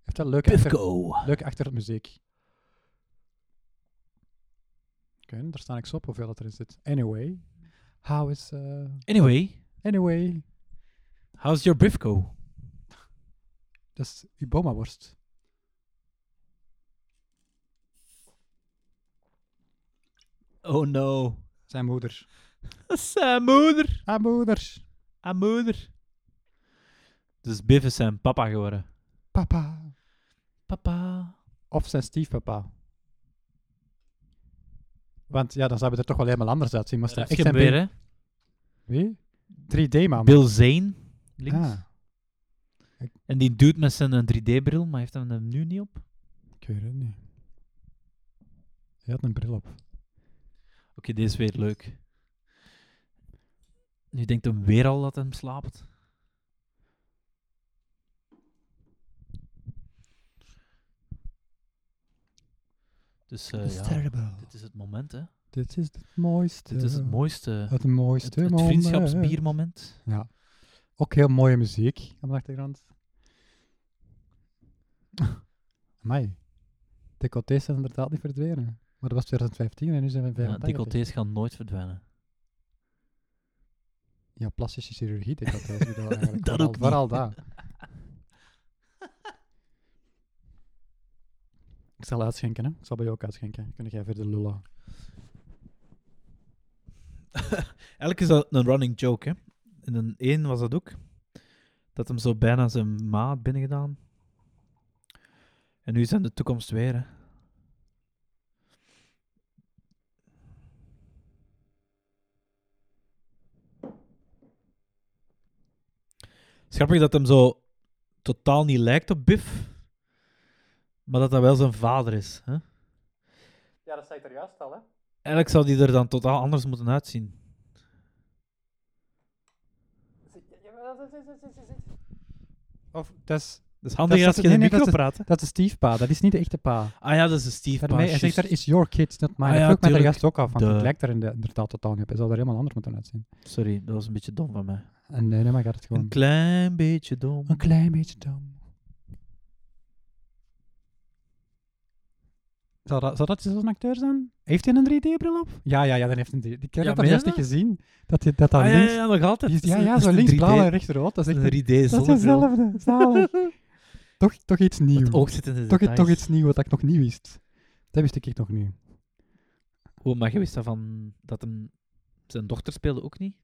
Heeft dat leuke achter-
Pifco.
Leuk achtermuziek. Oké, daar sta ik zo op hoeveel dat erin zit. Anyway. How is... eh,
Anyway,
anyway.
how's your Bifco?
Dat is Uboma-worst.
Oh no.
Zijn moeder.
Dat is zijn moeder.
Haar moeder.
Haar moeder. Dus Biff is zijn papa geworden.
Papa.
Papa.
Of zijn stiefpapa. Want ja, dan zou het er toch wel helemaal anders uitzien. Maar
Dat
ik
is
zijn
weer, hè.
Wie? 3D-man.
Bill Zane, links.
Ah,
En die doet met zijn eh, 3D-bril, maar heeft hem hem nu niet op. Oké,
ik weet het niet. Hij had een bril op.
Eh, deze is weer leuk. Nu denkt hem weer al dat hij hem slaapt. Dus eh, ja, dit is het moment, hè.
Dit is het mooiste.
Dit is het mooiste. Het, eh,
Het mooiste
het
moment.
vriendschapsbiermoment.
Ja. Ook heel mooie muziek op de achtergrond. Amai. Decolletés zijn inderdaad niet verdwenen. Maar dat was 2015 en nu zijn we
Ja,
85.
decolletés gaan nooit verdwijnen.
Ja, plastische chirurgie decolletés. doe dat eigenlijk.
Dat
vooral,
ook niet.
Vooral dat. Ik zal uitschenken, hè. Ik zal bij jou ook uitschenken. Kun jij verder lullen.
Eigenlijk is dat een running joke, hè. In een 1 was dat ook. Dat hem zo bijna zijn ma had binnengedaan. En nu is dat in de toekomst weer, hè. Het is grappig dat hem zo totaal niet lijkt op Biff. Maar dat dat wel zijn vader is, hè.
Ja, dat zei ik er juist al, hè.
Eigenlijk zou die er dan totaal anders moeten uitzien.
Of, dat is,
Dat is handig
Dat staat-
als je in de
nee, nee,
micro
dat
praat, hè.
dat is Steve pa, dat is niet de echte pa.
Ah ja, dat is een Steve
Voor mij, hij
Paas,
zegt
juist.
daar, is your kids, not mine.
Ah ja,
dat vroeg me daar
tuurlijk.
juist ook af, want
De-
het lijkt er in de- inderdaad totaal niet op. Hij zou er helemaal anders moeten uitzien.
Sorry, dat was een beetje dom van mij.
En eh, nee, nee, maar gaat het gewoon...
Een klein beetje dom.
Een klein beetje dom. Zou dat, zou dat zo'n acteur zijn? Heeft hij een 3D-bril op? Ja, ja, ja, dan heeft hij een 3D. Ik heb
Ja,
dat
meen
juist
je
niet
dat?
gezien. Dat hij dat dan
ah, ja,
links...
ja, ja, nog altijd.
die is- ja,
Dat is-
ja,
dat is
zo
een
links
3D
blauw en rechts rood. Dat is echt... een-
Een 3D
Dat is
zonnebril.
hetzelfde. Zalig. toch, toch iets nieuws.
Het oog zit in de
Toch,
details.
toch iets nieuws wat ik nog niet wist. Dat wist ik echt nog niet.
Oh, maar je wist dat van... Dat hem... Zijn dochter speelde ook niet?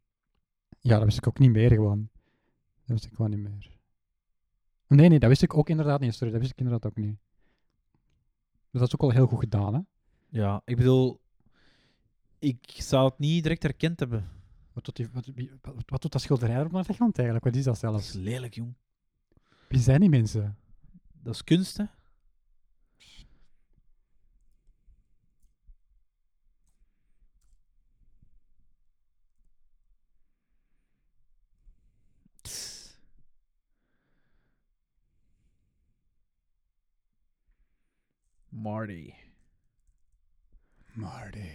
Ja, dat wist ik ook niet meer gewoon. Dat wist ik gewoon niet meer. Nee, nee, dat wist ik ook inderdaad niet. Sorry, dat wist ik inderdaad ook niet. Dus dat is ook wel heel goed gedaan, hè?
Ja, ik bedoel... Ik zou het niet direct herkend hebben.
Wat doet, die, wat, wie- wat, wat doet dat schilderij er op de achtergrond eigenlijk? Wat is dat
Dat is
zelfs?
lelijk, jong.
Wie zijn die mensen?
Dat is kunst, hè. Tss. Marty.
Marty.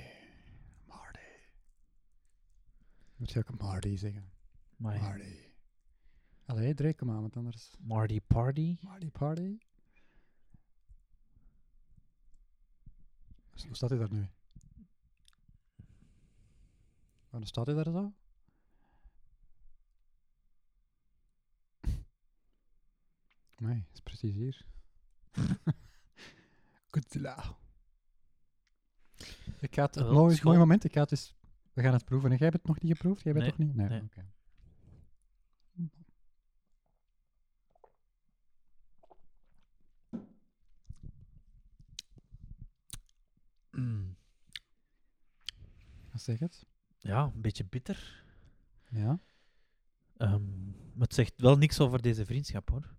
Marty. Moet je ook Marty zeggen?
My
Marty. Allee, Drake, kom aan, want anders...
Marty Party.
Marty Party. Dus Hoe staat hij daar nu? Waarom staat hij daar zo? Nee, is precies hier. Godzilla. Ik ga het,
Wel,
het mooi,
school-
mooi moment, ik ga het eens, we gaan het proeven. En jij hebt het nog niet geproefd? Jij bent
Nee,
toch niet? Nee,
nee.
oké.
Mm.
Wat zeg het?
Ja, een beetje bitter.
Ja.
Ehm, maar het zegt wel niks over deze vriendschap, hoor.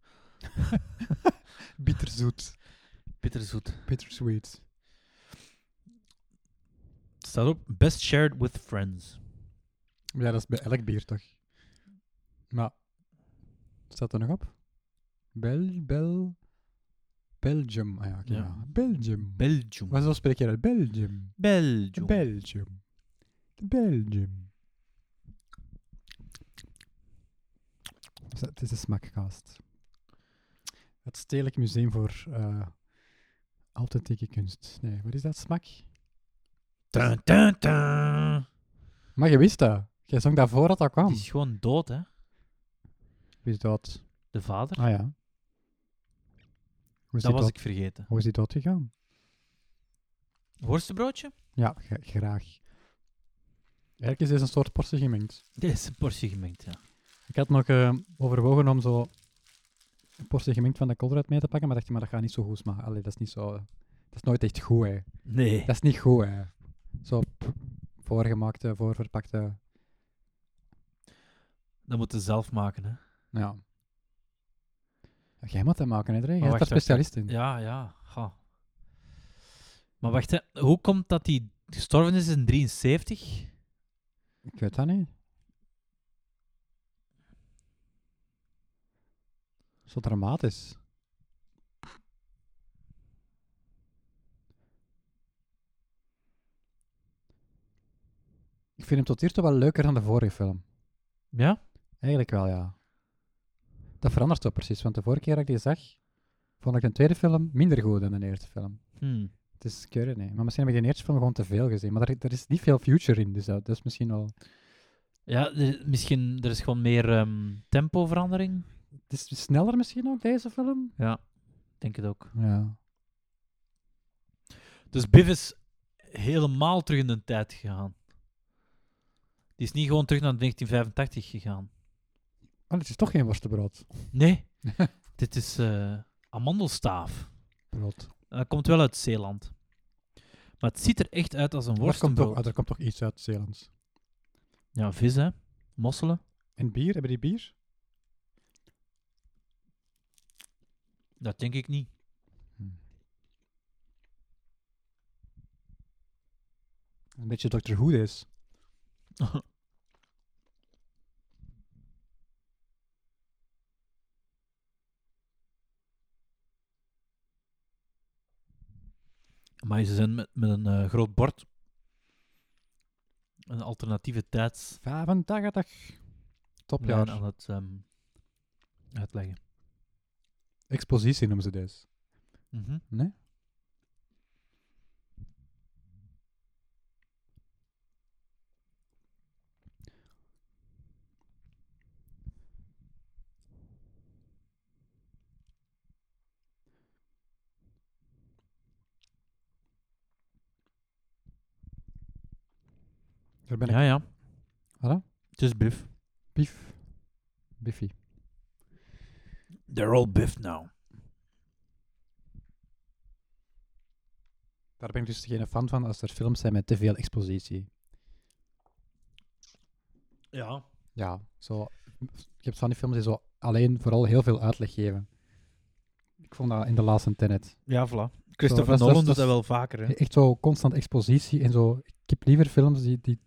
Bitterzoet.
Bitterzoet.
Bittersweet.
Het staat op Best Shared with Friends.
Ja, dat is bij elk bier toch? Maar, staat er nog op? Bel, bel, Belgium. Ah ja, oké,
Ja.
ja. Belgium.
Belgium.
Maar zo spreek je dat? Belgium.
Belgium.
Belgium. Belgium. Dus Het is een smakkast. Het Stedelijk Museum voor eh, Authentieke Kunst. Nee, wat is dat? Smak?
Dun, dun, dun.
Maar je wist dat. Jij zong dat voordat dat kwam.
Die is gewoon dood, hè?
Wie is dat?
De vader.
Ah ja. Hoe is, die
dat was
dood,
ik vergeten.
hoe is die dood gegaan?
Worstenbroodje?
Ja, gra- graag. Eigenlijk is deze een soort portie gemengd.
Dit is een portie gemengd, ja.
Ik had nog eh, overwogen om zo een portie gemengd van de Colruyt mee te pakken, maar dacht ik, maar dat gaat niet zo goed smaken. Allee, dat is niet zo... eh, Dat is nooit echt goed, hè.
Nee.
Dat is niet goed, hè. Zo p- voorgemaakte, voorverpakte...
Dat moeten ze zelf maken, hè?
nou Ja. Jij moet dat maken, hè, Dre? Jij
Maar
bent daar
wacht, wacht,
specialist in.
Ja, ja. Ga. Maar wacht, hè. hoe komt dat hij gestorven is in 73?
Ik weet dat niet. Zo dramatisch. vind hem tot hiertoe wel leuker dan de vorige film.
Ja?
Eigenlijk wel, ja. Dat verandert zo precies, want de vorige keer dat ik die zag, vond ik een tweede film minder goed dan een eerste film.
Hmm.
Het is keurig, nee. Maar misschien heb ik de eerste film gewoon te veel gezien. Maar er, er is niet veel future in, dus dat, dat is misschien wel...
Ja, er- misschien er is gewoon meer ehm, tempoverandering.
Het is sneller misschien ook, deze film?
Ja, denk het ook.
Ja.
Dus Biff is helemaal terug in de tijd gegaan. Die is niet gewoon terug naar 1985 gegaan.
Maar het is toch geen worstenbrood.
Nee, dit is eh, amandelstaaf.
Brood.
Dat komt wel uit Zeeland. Maar het ziet er echt uit als een
Er komt, toch,
worstenbrood.
ah, er komt toch iets uit Zeelands.
Ja, vis hè. Mosselen.
En bier? Hebben die bier?
Dat denk ik niet.
Een beetje Dr. Who is.
Maar ze zijn met, met een eh, groot bord. Een alternatieve tijds.
85. Topjaar.
aan het ehm, uitleggen.
Expositie noemen ze deze.
Mhm.
Nee? Daar ben ik.
Ja, ja.
Voilà.
Het is Biff.
Bief. Biffy.
They're all Biff now.
Daar ben ik dus geen fan van als er films zijn met te veel expositie.
Ja.
Ja, zo, je hebt van die films die zo alleen vooral heel veel uitleg geven. Ik vond dat in de laatste Tenet.
Ja, voilà.
Zo,
Christopher
dat is-
Nolan
dat is-
doet
dat
dat
is-
wel vaker, hè.
Echt zo constant expositie en zo. Ik heb liever films die, die,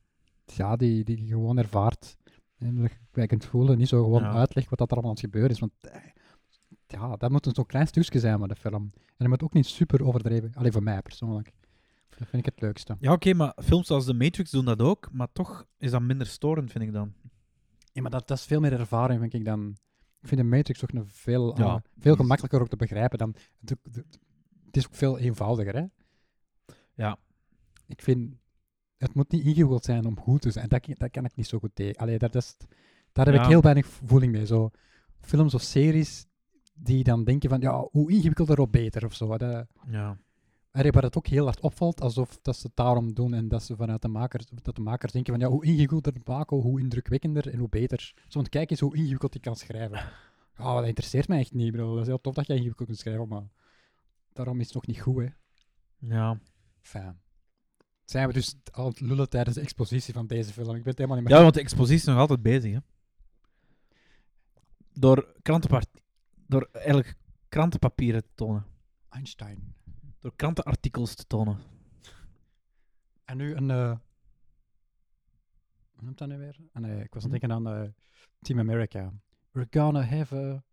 ja, die, die je gewoon ervaart. En dat je bij kunt voelen, niet zo gewoon
Ja.
uitleg wat dat er allemaal aan het gebeuren is. Want eh, ja, dat moet een zo klein stukje zijn van de film. En dat moet ook niet super overdreven. Alleen voor mij persoonlijk. Dat vind ik het leukste.
Ja, oké, maar films zoals The Matrix doen dat ook, maar toch is dat minder storend, vind ik dan.
Ja, maar dat, dat is veel meer ervaring, vind ik dan. Ik vind de Matrix toch een veel,
Ja,
ah, veel
precies.
gemakkelijker ook te begrijpen dan. Het, het- het is ook veel eenvoudiger, hè?
Ja.
Ik vind. Het moet niet ingewikkeld zijn om goed te zijn. Dat, kan- dat kan ik niet zo goed tegen. Allee, dat is, daar heb ik
Ja.
heel weinig voeling mee. Zo, films of series die dan denken van, ja, hoe ingewikkelder, hoe beter of zo. eh, Dat,
Ja.
Allee, waar het ook heel hard opvalt, alsof dat ze het daarom doen en dat ze vanuit de makers, dat de makers denken van ja, hoe ingewikkelder het maken, hoe indrukwekkender en hoe beter. Zo, want kijk eens hoe ingewikkeld ik kan schrijven. Ja, dat interesseert mij echt niet, bro. Dat is heel tof dat jij ingewikkeld kunt schrijven, maar daarom is het nog niet goed, hè.
Ja.
Fijn. Zijn we dus al aan het lullen tijdens de expositie van deze film? Ik ben het helemaal niet meer...
ja, want de expositie is nog altijd bezig, hè. Door krantenpart... Door eigenlijk krantenpapieren te tonen.
Einstein.
Door krantenartikels te tonen.
En nu een... eh, Hoe noemt dat nu weer? Ah, nee, ik was
Hm.
aan het denken aan eh, Team America. We're gonna have a...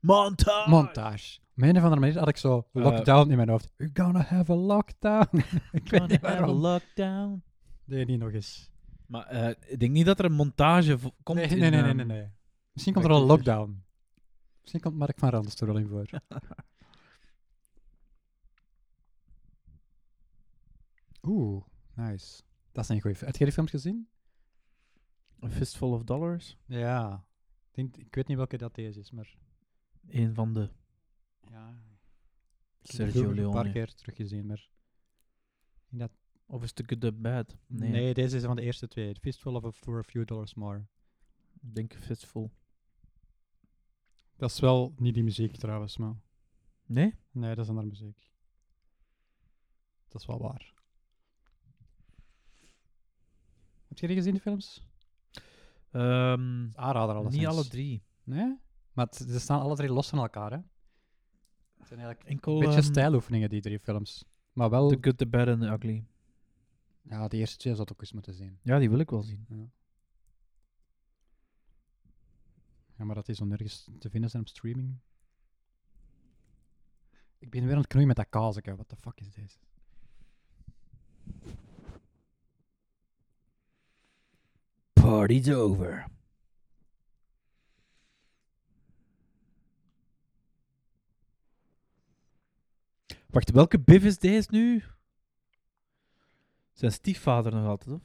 Montage!
montage. Op een of andere manier had ik zo
Eh.
lockdown in mijn hoofd. We're gonna have a lockdown. ik weet niet waarom.
lockdown.
Nee, niet nog eens.
Maar eh, ik denk niet dat er een montage vo- komt
nee,
in,
nee, nee, nee,
ehm,
nee, nee. Misschien komt er al een lockdown. Misschien komt Mark van Randers er wel in voor. Oeh, nice. Dat zijn goede films. Heb jij die films gezien?
A Fistful of Dollars.
Ja. Ik, denk, ik weet niet welke dat deze is, maar...
Een van de
Ja. Ik heb die
Sergio
vroeger een paar
Leone.
keer teruggezien, maar... ik denk dat
Of is het Good Bad?
Nee.
Nee,
deze is van de eerste twee. Fistful of a, for a few dollars more.
ik denk Fistful.
Dat is wel niet die muziek trouwens, maar...
Nee?
Nee, dat is andere muziek. Dat is wel waar. Heb je die gezien, die films?
Ehm,
Aanrader alles.
niet alle drie.
Nee? Maar het- ze staan alle drie los van elkaar, hè? Het zijn eigenlijk
Enkel
een beetje
ehm,
stijloefeningen, die drie films. Maar wel...
The Good, The Bad and The Ugly.
Ja, die eerste twee zou ik ook eens moeten zien.
Ja, die wil ik wel zien.
Ja, maar dat is zo nergens te vinden zijn op streaming. Ik ben weer aan het knoeien met dat kaasje. Wat de fuck is deze?
party's over. Wacht, welke Biff is deze nu? Zijn stiefvader nog altijd, of?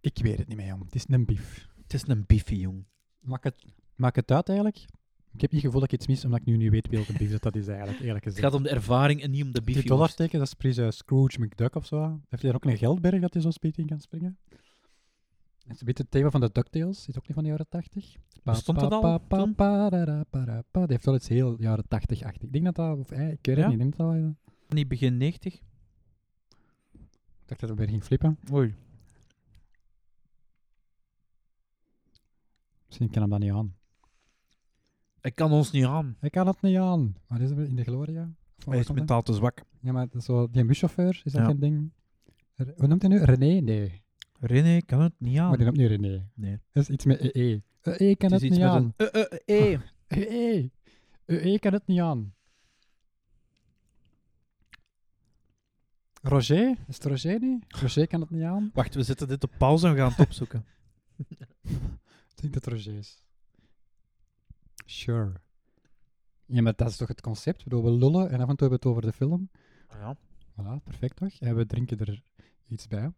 Ik weet het niet meer, jong. Het is een bief.
Het is een biffie, jong.
Maakt het, maakt het uit eigenlijk? Ik heb niet het gevoel dat ik iets mis, omdat ik nu niet weet welke bief dat, dat is eigenlijk, eerlijk
Het
gezegd.
gaat om de ervaring en niet om de
Die
biffie. worst.
dollarteken, dat is precies eh, Scrooge McDuck of zo. Heeft hij daar ook een geldberg dat hij zo speed in kan springen? Het is een beetje het thema van de DuckTales, is ook niet van de jaren 80. Pa,
Bestond
pa,
dat al
pa, pa,
toen?
pa, ra, ra, pa, ra, pa. Die heeft wel iets heel jaren 80 achtig Ik denk dat dat, of eh, ik weet het
Ja?
niet, ik denk dat dat, eh,
Niet begin 90.
ik dacht dat we weer ging flippen.
Oei.
Misschien kan hem dat niet aan.
Hij kan ons niet aan.
Hij kan het niet aan. Waar is het in de Gloria? Of waar
Hij
komt
is
dat?
mentaal te zwak.
Ja, maar dat is zo, die buschauffeur, is dat
Ja.
geen ding? Er- Hoe noemt hij nu? René? Nee.
René kan het niet aan.
Maar die noemt nu René.
Ah. Nee.
Dat is iets met E EE. EE kan
Het
het,
is iets
niet
met
aan. E
een... eh, eh, eh.
EE. EE kan E het niet aan. Roger? Is het Roger niet? Roger kan het niet aan.
Wacht, we zetten dit op pauze en we gaan het opzoeken.
Ik denk dat het Roger is. Sure. Ja, maar dat is toch het concept? Ik bedoel, we lullen en af en toe hebben we het over de film.
Ah, ja.
Voilà, perfect toch? En we drinken er iets bij.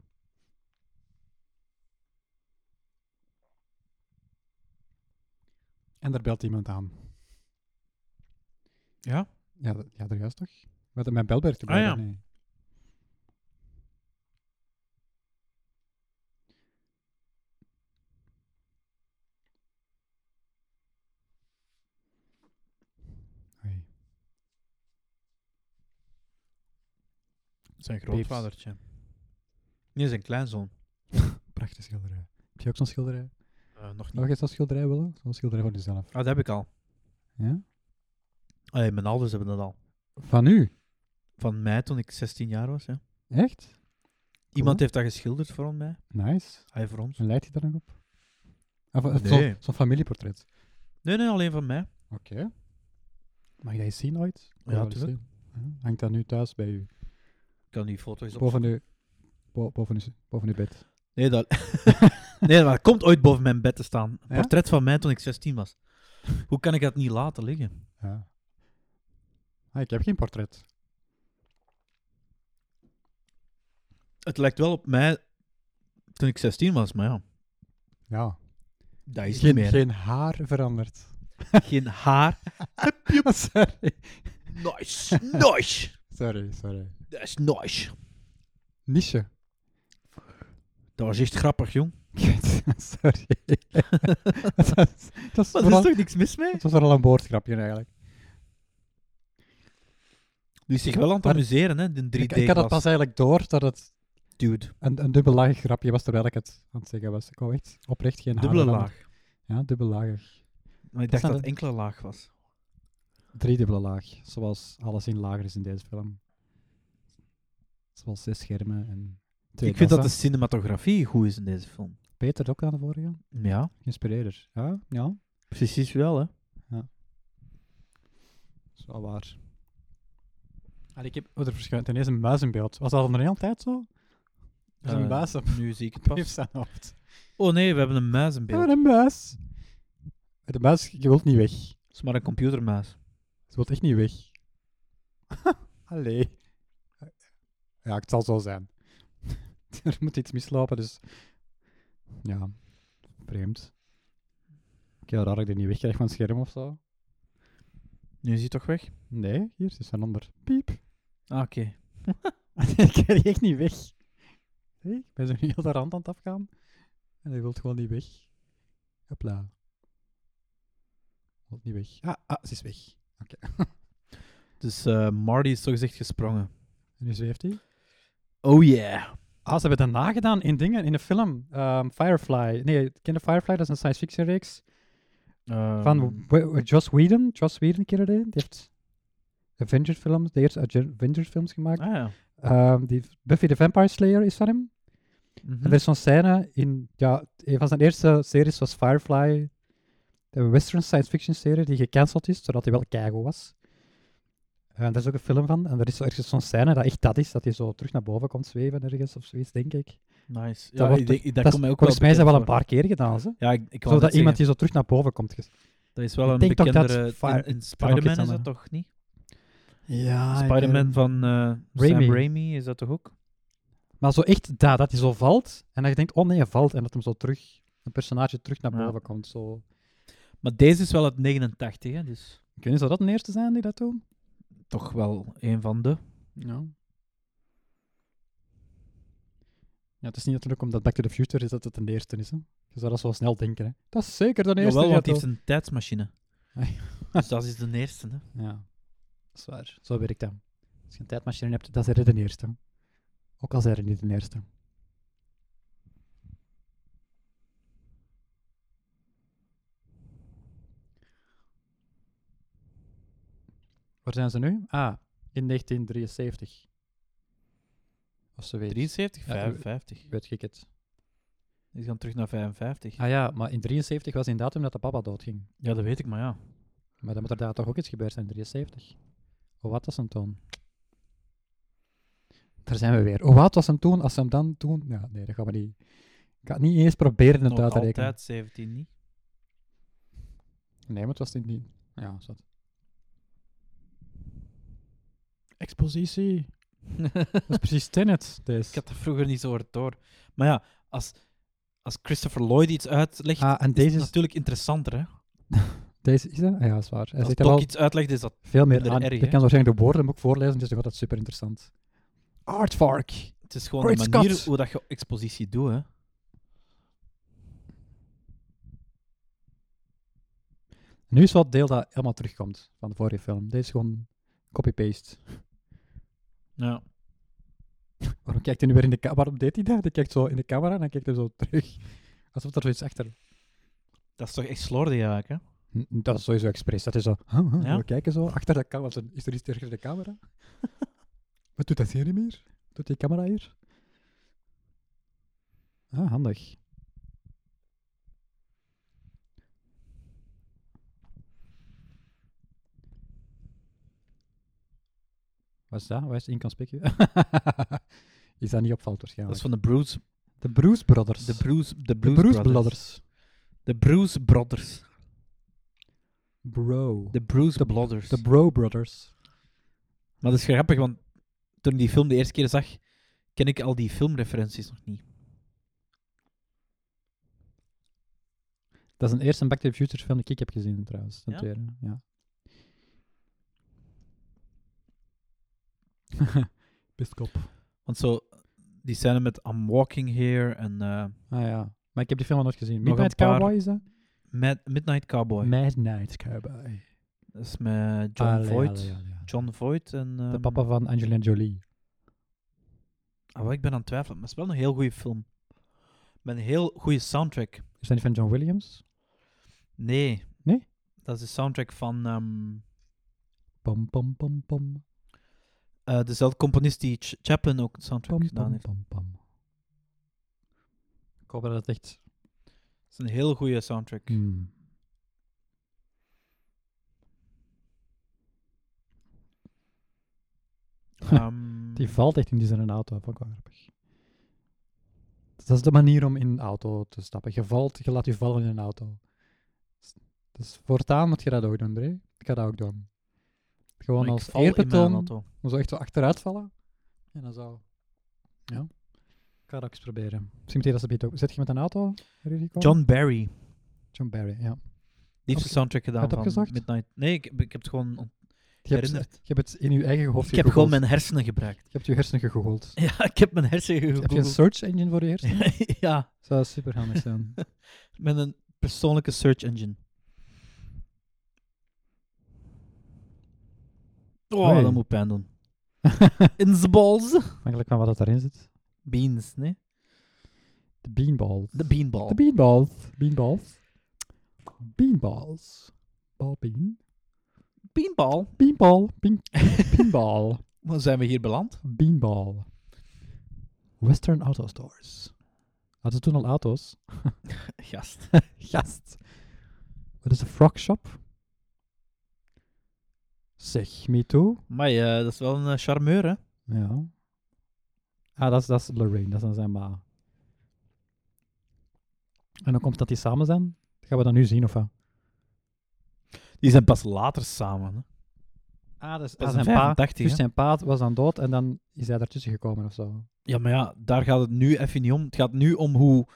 En daar belt iemand aan.
Ja?
Ja, dat- ja daar juist toch? Met mijn belberg te
Ah, ja.
blijven, nee. Oei.
Zijn grootvadertje. Nee, zijn kleinzoon.
Prachtige schilderij. Heb je ook zo'n schilderij?
Eh, nog niet.
Zou je zo'n schilderij willen? Zo'n schilderij voor jezelf.
Ah, dat heb ik al.
Ja?
Allee, mijn ouders hebben dat al.
Van u?
Van mij toen ik 16 jaar was. Ja.
Echt?
Iemand heeft dat geschilderd voor mij.
Nice.
Hij voor ons.
En leidt hij daar nog op? Ah, Of, of
Nee.
zo'n zo'n familieportret.
Nee, nee, alleen van mij.
Oké. Mag je dat eens zien ooit? Ik wil
Ja,
wel eens
tuurlijk.
zien. Ja, Hangt dat nu thuis bij u?
Ik kan die foto's op.
Boven uw, bo- boven uw, boven uw bed.
Nee, dat... nee, maar dat komt ooit boven mijn bed te staan. Een
Ja?
portret van mij toen ik 16 was. Hoe kan ik dat niet laten liggen?
Ja. Ah, ik heb geen portret.
Het lijkt wel op mij toen ik 16 was, maar ja,
Ja.
dat is
geen,
niet meer.
geen haar veranderd.
Geen haar.
sorry.
Nice, nice.
Sorry, sorry.
Dat is nice.
Niche.
Dat was echt grappig, jong.
sorry. dat is, dat is
Maar er
vooral,
is toch niks mis mee?
dat was vooral een woordgrapje eigenlijk.
Die is zich wel aan het
Maar-
amuseren, hè, die 3
Ik,
d
ik had het pas eigenlijk door dat het
Dude,
een, een dubbelagig grapje was terwijl ik het aan het zeggen was. Ik wou echt oprecht geen haar
dubbele
veranderen.
laag.
Ja, dubbellagig.
Maar ik
staat
dacht dat
er-
het enkele laag was.
Driedubbele laag, zoals alles in lager is in deze film. Zoals zes schermen en twee
ik vind dat de
dassen.
cinematografie goed is in deze film.
Beter ook dan de vorige.
Ja,
Geïnspireerder. Ja, ja.
precies wel, hè.
Dat is wel waar. En ik heb... Oh, er verschijnt ineens een muis in beeld. Was dat al een hele tijd zo? Er is een
Eh,
muis op
Nu zie ik het
heeft
pas.
zijn hoofd.
Oh nee, we hebben een muis in beeld.
Ja, Ah, een muis. De muis, je wilt niet weg.
Het is maar een computermuis.
Ze wilt echt niet weg. Allee. Ja, het zal zo zijn. er moet iets mislopen, dus... Ja, vreemd. Ik raar dat ik die niet wegkrijg van het scherm of zo.
Nu is hij toch weg?
Nee, hier is een ander. Piep.
Ah, oké.
ik krijg echt niet weg. Hé, ik ben zo heel de rand aan het afgaan. En hij wilt gewoon niet weg. Hopla. Wilt niet weg. Ah, ah, ze is weg.
Dus eh, Marty is toch gezegd gesprongen.
En nu zweeft hij.
Oh yeah.
Ah, ze hebben dat nagedaan in dingen, in een film. Ehm, Firefly. Nee, ken je Firefly? Dat is een science fiction reeks
Ehm,
van W- W- Joss Whedon. Joss Whedon kende die. Die heeft Avengers films, de eerste Avengers films gemaakt.
Ah ja.
Ehm, die Buffy the Vampire Slayer is van hem.
Mhm.
En er is zo'n scène in, ja, een van zijn eerste series was Firefly, de western science fiction serie die gecanceld is, zodat hij wel keigoed was. Eh, Eh, daar is ook een film van. En er is zo ergens zo'n scène dat echt dat is, dat hij zo terug naar boven komt zweven ergens of zoiets, denk ik.
Nice.
Dat
Ja,
wordt toch-
ik, denk- ik- dat
Dat
komt
is-
mij ook wel
volgens mij is dat wel een
bekend
paar keer gedaan, ze.
voor. Ja, ik, ik wou
Zodat
net
iemand
zeggen,
die zo terug naar boven komt. ges-
Dat is wel een
Ik denk toch dat
bekendere...
Fire-
in, in
ook iets
Spider-Man is dat
anders.
toch niet?
Ah, Ja,
Spider-Man van eh
Raimi.
Sam Raimi, is dat toch ook?
Maar zo echt dat, dat hij zo valt en dat je denkt, oh nee, hij valt. En dat hem zo terug, een personage terug naar
Ja.
boven komt. Zo.
Maar deze is wel uit 89, hè, dus
Ik weet niet, zou dat een eerste zijn die dat doen?
toch wel een van de...
Ja. Ja, het is niet natuurlijk omdat Back to the Future is dat het een eerste is. Hè? Je zou dat zo snel denken. Hè? Dat is zeker de eerste.
Jawel,
die
want die
dat
heeft een tijdsmachine.
Ah,
dus dat is de eerste, hè.
doet. Ja, dat is waar. Zo werkt dat. Als je een tijdmachine hebt, dat is er de eerste. Ook al zijn er niet de eerste. Waar zijn ze nu? Ah, in 1973. Of ze weet.
73,
Ja,
55.
Weet ik het.
Die gaan terug naar 55.
Ah ja, maar in 73 was in datum dat de papa doodging.
Ja, dat weet ik, maar ja.
Maar dan moet er daar toch ook iets gebeurd zijn in 73. Hoe wat was hem toen? Daar zijn we weer. Hoe wat was hem toen als ze hem dan toen... Ja, nee, dat gaan we niet... Ik ga het niet eens proberen het
Nog
uit te rekenen.
altijd 17 niet.
Nee, maar het was niet... niet- Ja, zat.
Expositie.
Dat is precies Tenet,
ik
deze.
had dat vroeger niet zo hard door. Maar ja, als, als Christopher Lloyd iets uitlegt,
Ah, en
is
deze
het
is,
natuurlijk interessanter, hè.
deze is dat? Ah Ja, dat is waar. Hij
Als
zegt daar
Doc
wel
iets uitlegt, is dat...
veel meer
minder
aan.
erg,
Ik
hè?
kan zo waarschijnlijk de woorden ook voorlezen, dus dat wordt super interessant. Artvark.
Het is gewoon
Great
de manier
Scott.
hoe dat je expositie doet, hè.
Nu is wel het deel dat helemaal terugkomt van de vorige film. Deze is gewoon copy-paste.
Ja.
Waarom kijkt hij nu weer in de camera? Waarom deed hij dat? Hij kijkt zo in de camera en dan kijkt hij zo terug. Alsof er zoiets achter...
Dat is toch echt slordig eigenlijk, hè.
N- Dat is sowieso expres. Dat is zo... huh, huh,
Ja?
We kijken zo. Achter de camera. Zo, Is er iets achter de camera? Wat doet dat hier niet meer? Doet die camera hier? Ah, handig. Wat is dat? Wat is inconspicuous? is dat niet opvalt
Dat
waarschijnlijk.
is van de Bruce...
De Bruce Brothers.
De Bruce... De
De
Bruce,
Bruce
Brothers.
Brothers.
De Bruce Brothers.
Bro. De,
De Bruce Brothers.
Bro Brothers.
Maar dat is grappig, want toen ik die film de eerste keer zag, ken ik al die filmreferenties nog niet.
Dat is een eerste Back to the Future film die ik heb gezien trouwens. De
Ja?
tweede, ja. Pistkop.
Want zo, die scène met I'm walking here en eh,
Ah ja. Maar ik heb die film nog nooit gezien.
Nog een
Midnight
paar-
Cowboy is dat?
Mad- Midnight Cowboy.
Midnight Cowboy.
dat is met John
Allee,
Voight.
allee, allee, allee.
John Voight en...
De
ehm,
papa van Angelina Jolie.
ah, wel, ik ben aan het twijfelen, maar het is wel een heel goede film. Met een heel goede soundtrack.
Is dat niet van John Williams?
Nee.
Nee?
Dat is de soundtrack van ehm,
Pom, pom, pom, pom.
eh, dezelfde componist die Ch- Chaplin ook de soundtrack
Pom,
gedaan
pom,
heeft.
pom, pom. Ik hoop dat het echt...
Het is een heel goede soundtrack.
Hmm.
Ehm,
Die valt echt in die zijn auto, dat vond ik wel grappig. Dat is de manier om in een auto te stappen. Je valt, je laat je vallen in een auto. Dus voortaan moet je dat ook doen, Dre. Ik ga dat ook doen. Gewoon
maar ik
als
val in mijn
eerbetoon, Oh.
auto.
om zo echt zo achteruit vallen. En dan zo... Ja. Ik ga dat ook eens proberen. Misschien moet je dat ze ook... Zit je met een auto, Risico?
John Barry.
John Barry, ja.
Die
Oké.
heeft de soundtrack gedaan
Had je
van
het opgezocht?
Midnight. Nee, ik, ik heb het gewoon.
Je hebt,
Herinnerd.
je hebt het in je eigen hoofd
ik heb gewoon
gegoogeld.
mijn hersenen gebruikt.
Je hebt je hersenen gegoogeld.
Ja, ik heb mijn hersenen
Heb je een
gegoogeld.
search engine voor je hersenen?
ja,
Zou super handig zijn.
met een persoonlijke search engine. Oh,
Oei.
dat moet pijn doen. In the balls.
Afhankelijk van wat dat daarin zit.
Beans, nee?
De beanballs.
De beanball.
De beanballs. Beanballs. Beanballs. Balbean.
beanball.
Beanball. Bean, beanball.
Waar zijn we hier beland?
Beanball. Western Auto Stores. Hadden ze toen al auto's?
Gast.
Gast. Wat is de Frog Shop? Zeg me toe.
Maar ja, dat is wel een eh, charmeur, hè?
Ja. Ah, dat is, dat is Lorraine, dat is dan zijn ma. En dan komt dat die samen zijn? Dat gaan we dan nu zien, of wat?
Die zijn pas later samen. Hè?
Ah, dat is,
Pas in
zijn pa.
85,
Dus
hè.
zijn pa was dan dood en dan is hij daartussen gekomen of zo.
Ja, maar ja, daar gaat het nu even niet om. Het gaat nu om hoe...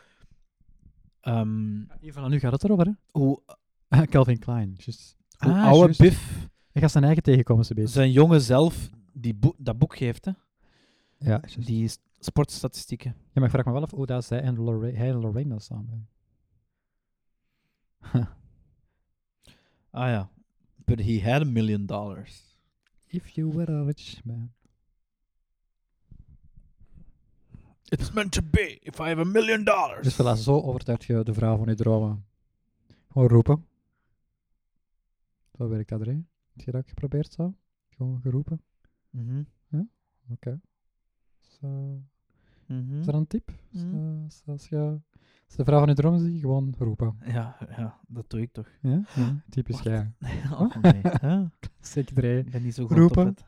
ehm,
Even nu gaat het erover, hè?
hoe
Ah, Calvin Klein. Just.
hoe
Ah,
oude
juist.
Biff
Hij gaat zijn eigen tegenkomen, ze beetje.
zijn jongen zelf die boek- dat boek geeft, hè?
Ja, juist.
Die s- sportstatistieken.
ja, maar ik vraag me wel af hoe dat zij en Lorraine, hij en Lorraine dan samen
Ah ja. But he had a million dollars.
If you were a rich man.
It's meant to be if I have a million dollars.
Dus voilà, zo overtuigt je de vrouw van je dromen. Gewoon roepen. Zo werkt dat erin. Heb je dat geprobeerd zo? Gewoon geroepen.
Mhm,
Is, eh,
mhm.
is dat een tip? Is,
Mhm.
eh, is- als, je, als de vrouw van je dromen ziet, gewoon roepen.
Ja, ja, dat doe ik toch.
Ja? Typisch
Wacht.
jij.
Oh, nee. hè?
Zeker iedereen.
Ik ben niet zo goed
Roepen.
op het.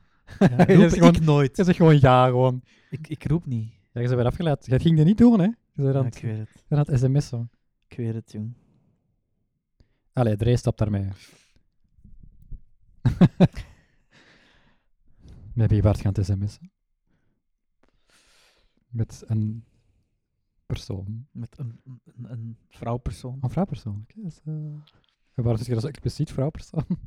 Ja,
Je
roep
zegt gewoon-
ik nooit.
Je zegt gewoon ja, gewoon.
Ik, ik roep niet.
Ja, je bent weer afgeleid. Je ging dit niet doen, hè? Je bent
Ja,
aan
ik
het, je
weet het.
bent aan het sms'en.
Ik weet het, jong.
Allee, Dre stapt daarmee. Met wie Bart gaan het sms'en? Met een persoon.
Met een, een, een vrouwpersoon.
Een vrouwpersoon, oké. dat is, eh, en Waarom zeg je dat zo expliciet, vrouwpersoon?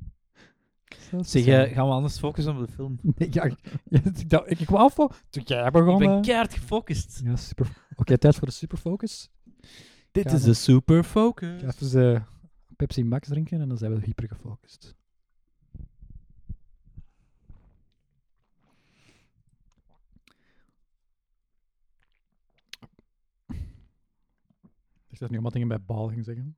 Zo
Zeg,
speciaal.
eh, gaan we anders focussen op de film?
Nee, ja, ik- ik, dacht- ik, ik wou afval. Toen jij begon...
Ik ben
eh,
keihard gefocust.
ja, super. Oké, tijd voor de superfocus.
Dit
Ja,
is
dan-
de super
Ik
focus.
ga even eh, Pepsi Max drinken en dan zijn we hyper gefocust. Ik dacht nu allemaal dingen bij bal ging zeggen.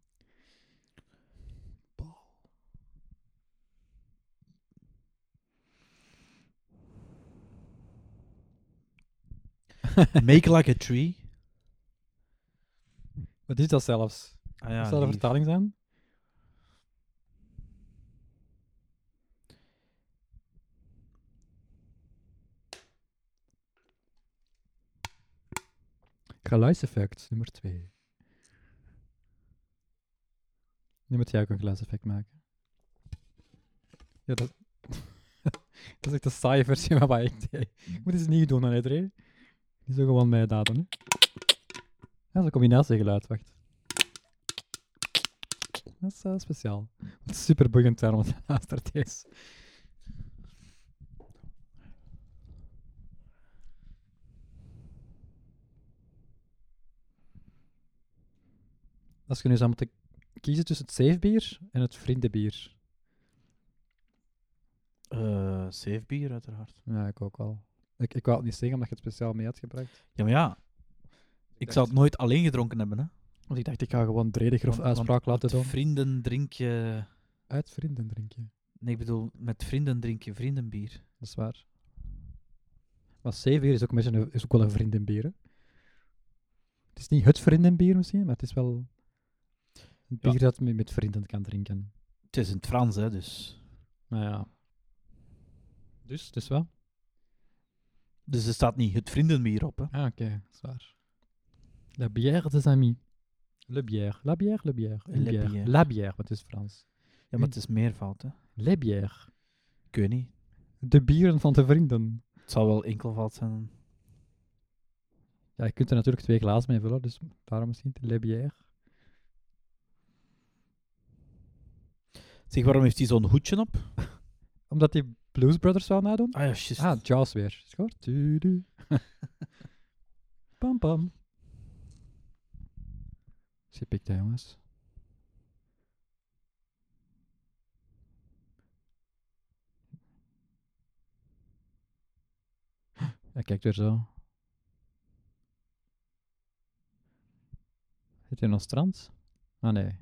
Make like a tree.
Wat is dat zelfs?
Ah ja,
Zou dat een
lief.
vertaling zijn? Geluidseffect, nummer 2. Nu moet jij ook een geluidseffect maken. Ja, dat... dat is echt de saaie versie van wat ik deed. Ik moet eens nieuw doen aan iedereen. Die zo gewoon mij daden, hè. Dat is een combinatiegeluid, wacht. Dat is eh, speciaal. Wat super boeiend daarom dat naast het is. Als je nu zou moeten kiezen tussen het zeefbier en het vriendenbier.
Eh, safe bier, uiteraard.
Ja, ik ook wel. Ik, ik wou het niet zeggen omdat je het speciaal mee had gebruikt.
Ja, maar ja. Ik
dacht-
zou het nooit alleen gedronken hebben, hè.
Want ik dacht, ik ga gewoon dredig of
Want- want-
uitspraak laten doen.
Vrienden drink je...
Uit vrienden drink je.
Nee, ik bedoel, met vrienden drink je vriendenbier.
Dat is waar. Maar zeebier is ook, een beetje een, is ook wel een vriendenbier. Hè? Het is niet het vriendenbier misschien, maar het is wel een
Ja.
bier dat je met vrienden kan drinken.
Het is in het Frans, hè, dus...
Nou ja. Dus, dus wel.
Dus er staat niet het vriendenbier op, hè.
Ah, oké, dat is waar. La bière des amis. Le bière, la bière, le bière. Une
Le
bière.
bière.
La bière, want het is Frans.
Ja, maar het is meervoud, hè.
Le bière.
Ik weet niet.
De bieren van de vrienden.
Het zal wel enkelvoud zijn.
Ja, je kunt er natuurlijk twee glazen mee vullen, dus daarom misschien de Le bière.
Zeg, waarom heeft hij zo'n hoedje op?
Omdat die Blues Brothers wel nadoen.
Ah ja, juist.
Ah, Jaws weer. Schoor. Tudu. pam pam. Zip ik daar, jongens. Hij kijkt weer zo. Zit hij nog strand? Ah nee.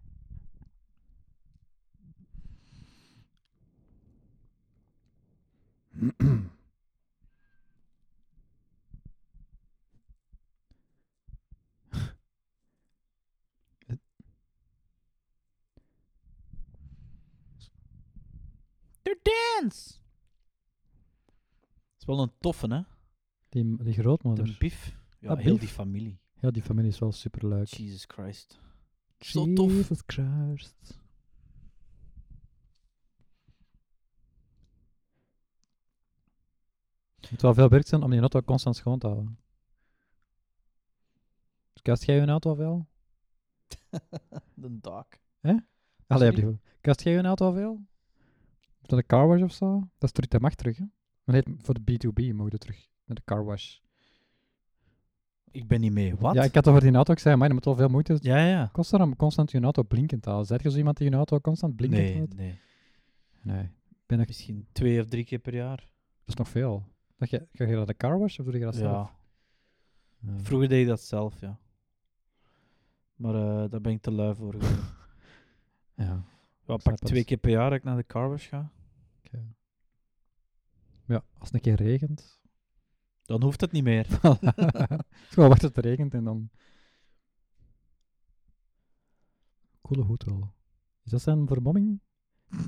To dance! wel een toffe, hè?
Die, die
De
grootmoeder.
Biff. Ja,
Ah,
heel
Biff.
die familie.
Ja, die familie is wel superleuk.
Jesus Christ. Zo tof.
Jesus Christ. Het moet wel veel werk zijn om die auto constant schoon te houden. Kast jij je auto veel?
De dak.
Allee, heb
Sorry?
je- kast jij je auto veel? Of naar de car wash of zo? Dat is terug, dat mag terug, hè? Maar nee, voor de B2B mogen we terug naar de car wash.
Ik ben niet mee. Wat?
Ja, ik had over die auto ook gezegd, maar dat moet wel veel moeite
ja, ja.
kosten om constant je auto blinkend te houden. Zet je zo iemand die je auto constant blinkend
Nee,
houdt?
nee.
Nee. Ik Ben er-
Misschien twee of drie keer per jaar.
Dat is nog veel. Dat je, ga je naar de car wash of doe je dat zelf?
Ja.
Ja.
Vroeger deed ik dat zelf, ja. Maar eh, daar ben ik te lui voor. geworden.
Ja.
Ja,
Snap
pak
het.
twee keer per jaar dat ik naar de car wash ga.
oké. ja, als het een keer regent.
Dan hoeft het niet meer.
Dus Gewoon wacht tot het regent en dan... Coole hoed wel. Is dat zijn vermomming?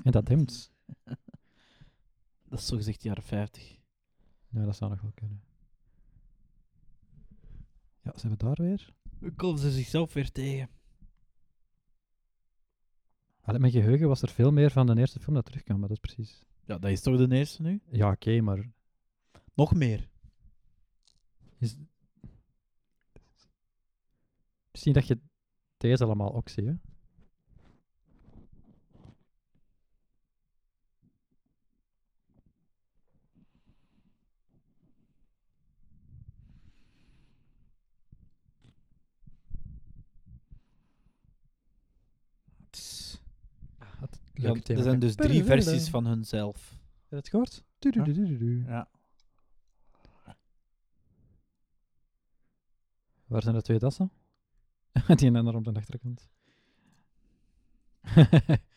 En dat hemd?
Dat is zogezegd jaren 50.
Ja, dat zou nog wel kunnen. Ja, zijn we daar weer?
Hoe komen ze zichzelf weer tegen?
Allee, mijn geheugen was er veel meer van de eerste film dat terugkwam, maar dat is precies...
Ja, dat is toch de eerste nu?
Ja, oké, maar...
Nog meer.
Is... Misschien dat je deze allemaal ook ziet, hè? Had
Ja,
leuke
er
thema.
zijn dus drie versies van hunzelf.
Heb je dat gehoord? Du -du -du -du -du -du.
Ja.
Waar zijn de twee tassen? Die en ander op de achterkant.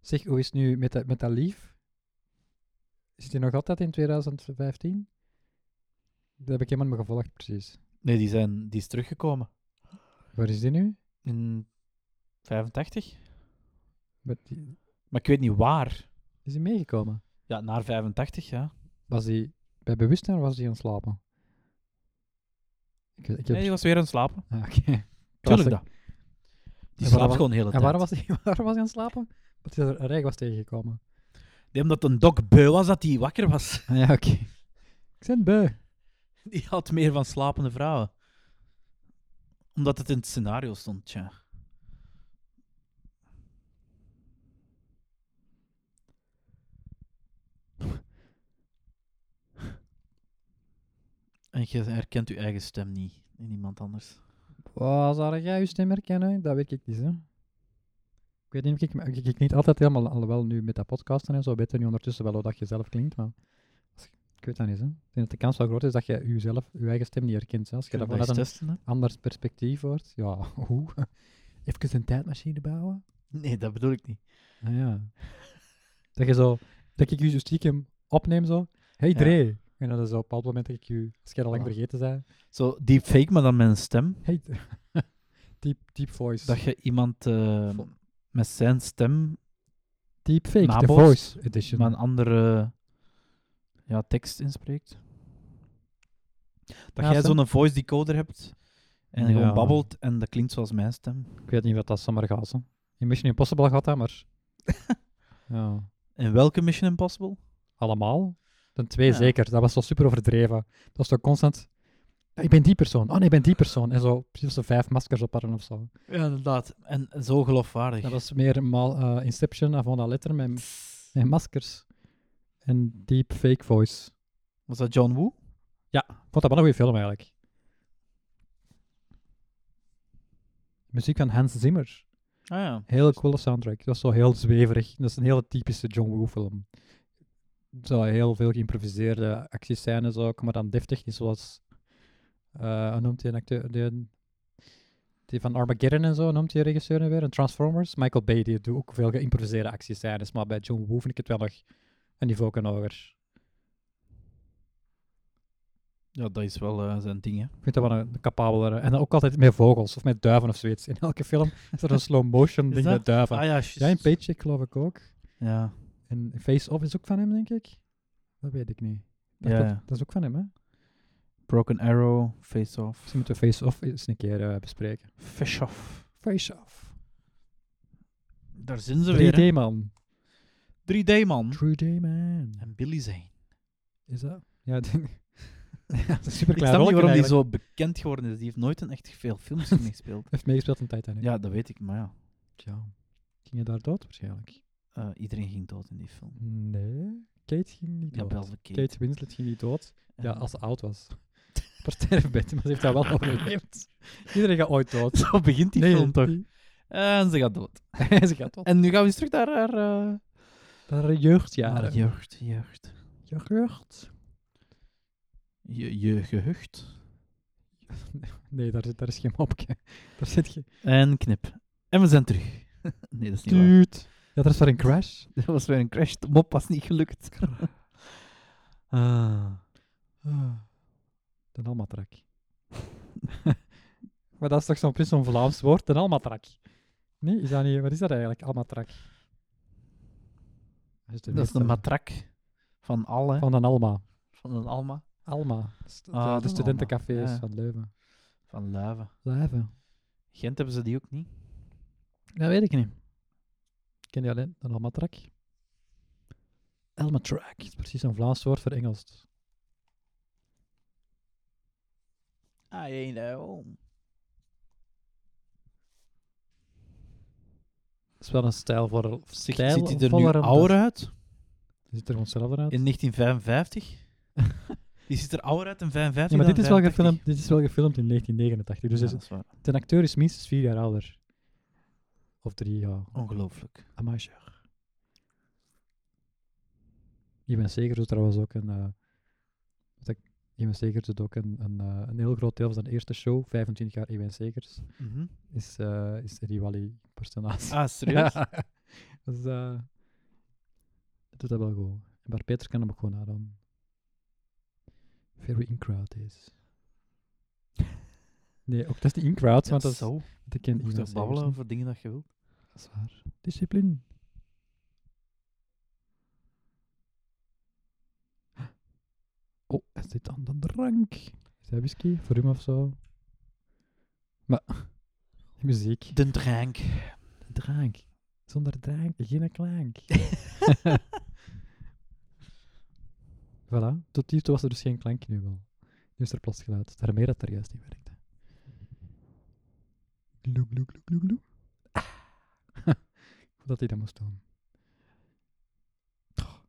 zeg, hoe is het nu met dat, met dat lief? Zit hij nog altijd in 2015? Dat heb ik helemaal niet meer gevolgd, precies.
Nee, die, zijn, die is teruggekomen.
Waar is die nu?
In 85?
Met die-
Maar ik weet niet waar.
Is hij meegekomen?
Ja, naar 85, ja.
Was hij bij bewustzijn of was hij aan het slapen? Ik, ik heb...
Nee, die was weer aan het slapen.
Ah, oké.
Tuurlijk dat. Die
En waarom
slaapt
was-
gewoon de hele
En
tijd.
waarom was hij, waarom was hij aan het slapen? Omdat hij er een rijk was tegengekomen.
Nee, omdat een dok beu was dat hij wakker was.
Ah, ja, oké. Ik ben beu.
Die had meer van slapende vrouwen. Omdat het in het scenario stond, tja. En je herkent je eigen stem niet in iemand anders.
Waar zou jij je stem herkennen? Dat weet ik niet, hè. Ik weet niet, of ik, maar ik, ik niet altijd helemaal, alhoewel nu met dat podcasten en zo, weet je nu ondertussen wel hoe dat je zelf klinkt, maar als- ik weet dat niet, hè. Ik denk dat de kans wel groot is dat je jezelf, je eigen stem niet herkent, hè. Als je
Kun je
dat
dat
vanuit
eens
een
testen? hè?
anders perspectief hoort, ja, hoe? Even een tijdmachine bouwen?
Nee, dat bedoel ik niet.
Ah, ja. dat je zo, dat ik je zo stiekem opneem, zo. Hey,
Ja.
Dre. En dan is zo op een bepaald moment dat ik je, als jij al lang
Voilà.
vergeten bent,
Zo deepfake, maar dan met een stem.
hey, deep, deep voice.
Dat je iemand eh, met zijn stem,
Deepfake, de
Nabootst,
voice edition.
maar een andere ja, tekst inspreekt. Dat
Ja,
jij
stem.
zo'n voice decoder hebt en
Ja.
gewoon babbelt en dat klinkt zoals mijn stem.
Ik weet niet wat dat zomaar gaat. hè. In Mission Impossible gaat dat, maar... ja.
In welke Mission Impossible?
Allemaal? Ten twee
Ja.
zeker. Dat was zo super overdreven. Dat was zo constant... "Ja, Ik ben die persoon. Oh nee, ik ben die persoon. En zo, precies zo vijf maskers op hadden of zo.
Ja, inderdaad. En zo geloofwaardig.
Dat was meer mal, eh, Inception, Avon Letter, met, met maskers. En deep fake voice.
Was dat John Woo?
Ik vond dat wel een goede film, eigenlijk. Muziek van Hans Zimmer.
Ah ja.
Hele coole soundtrack. Dat is zo heel zweverig. Dat is een hele typische John Woo film. Zo heel veel geïmproviseerde actiescènes ook, maar dan deftig, niet zoals... eh hoe noemt hij een acteur? Die, die van Armageddon en zo noemt hij regisseur nu weer. En Transformers. Michael Bay, die doet ook veel geïmproviseerde actiescènes, maar bij John Woo vind ik het wel nog een niveau hoger.
Ja, dat is wel eh, zijn ding, hè.
Ik vind dat wel een capabelere. En dan ook altijd met vogels of met duiven of zoiets. In elke film is er een slow motion
Is
ding
dat? Ah,
met duiven.
ja,
Ja, in Paycheck geloof ik ook.
Ja.
En Face Off is ook van hem, denk ik. Dat weet ik niet. Dat,
Ja,
dat,
ja.
dat is ook van hem, hè?
Broken Arrow, Face Off.
Misschien moeten we Face Off eens een keer eh, bespreken.
Fish Off.
Face Off.
Daar zijn ze weer.
3D man.
hè. 3D,
Hm?
man.
3D man.
En Billy Zane.
Is dat? Ja, ik denk... ja, dat is super
Ik
klein
snap
rolletje
niet waarom die
eigenlijk.
zo bekend geworden is. Die heeft nooit een echt veel films meegespeeld.
heeft meegespeeld in Titanic.
Ja, dat weet ik, maar ja.
Tja. Ging je daar dood waarschijnlijk?
Eh, iedereen ging dood in die film.
Nee. Kate ging niet
Ja,
dood.
wel Kate.
Kate Winslet ging niet dood. Ja,
Eh,
als ze oud was. Per sterfbed, maar ze heeft dat wel overleefd. Iedereen gaat ooit dood.
Zo begint die film toch. En ze gaat dood.
ze gaat dood.
En nu gaan we eens terug naar haar... eh,
Haar jeugdjaren.
haar jeugd, jeugd.
Jeugd?
Je, je gehucht.
Nee, daar, zit, daar is geen mopje. Daar zit geen...
En knip. En we zijn terug. nee, dat is niet waar.
Tuut. Ja, dat is voor een crash.
Dat was weer een crash. De mop was niet gelukt. Ah.
Ah. De almatrak. maar dat is toch zo'n zo'n Vlaams woord, de almatrak. Nee, is dat niet... Wat is dat eigenlijk, almatrak? Dat is, de
Dat is een
meester.
matrak van alle, van,
Van een Alma.
een Alma,
Alma. St-
Ah,
de, de
van
studentencafés
Alma, ja.
van Leuven.
van Luiven.
Leuven?
Gent hebben ze die ook niet.
Dat weet ik niet. Ik ken die alleen, een Almatrak. Almatrak is precies een Vlaams woord voor Engels.
I ain't at home.
Dat is wel een stijl voor...
Ziet
Stijl
hij er nu
vollerende-
ouder uit?
Die ziet er gewoon zelf uit.
In 1955? die ziet er ouder uit in 55
Ja, maar dit
dan
is, wel
85.
gefilmd, dit is wel gefilmd in 1989. Dus
Ja,
is-
dat is waar.
de acteur is minstens vier jaar ouder. Of drie jaar.
Ongelooflijk.
Amager. Je bent zeker doet trouwens ook een. eh wat ik, Ewan Segers doet ook een, een, eh, een heel groot deel van zijn eerste show, 25 jaar Ewan Segers,
Mhm.
is, eh is Eddie Wally personage.
Ah, serieus?
Ja. dus eh dat doet dat wel goed. Maar Peter kan hem ook gewoon nadoen. Very in crowd is. Nee, ook dat is niet in crowd, want dat dus is
zo.
want Ik ken
Je moet
Ewan
toch babbelen
Segers
over dingen dat je wilt?
niet. Dat is waar. Discipline. Oh, hij zit aan de drank. Is dat whisky? Voor hem of zo? Maar, die muziek.
De drank.
drank. Zonder drank, geen klank. voilà, tot hiertoe was er dus geen klank nu wel. Nu is er plots geluid. Daarmee dat er juist niet werkte. Gloe, gloe, gloe, gloe, gloe. Ah. Goed dat hij dat moest doen. Toch.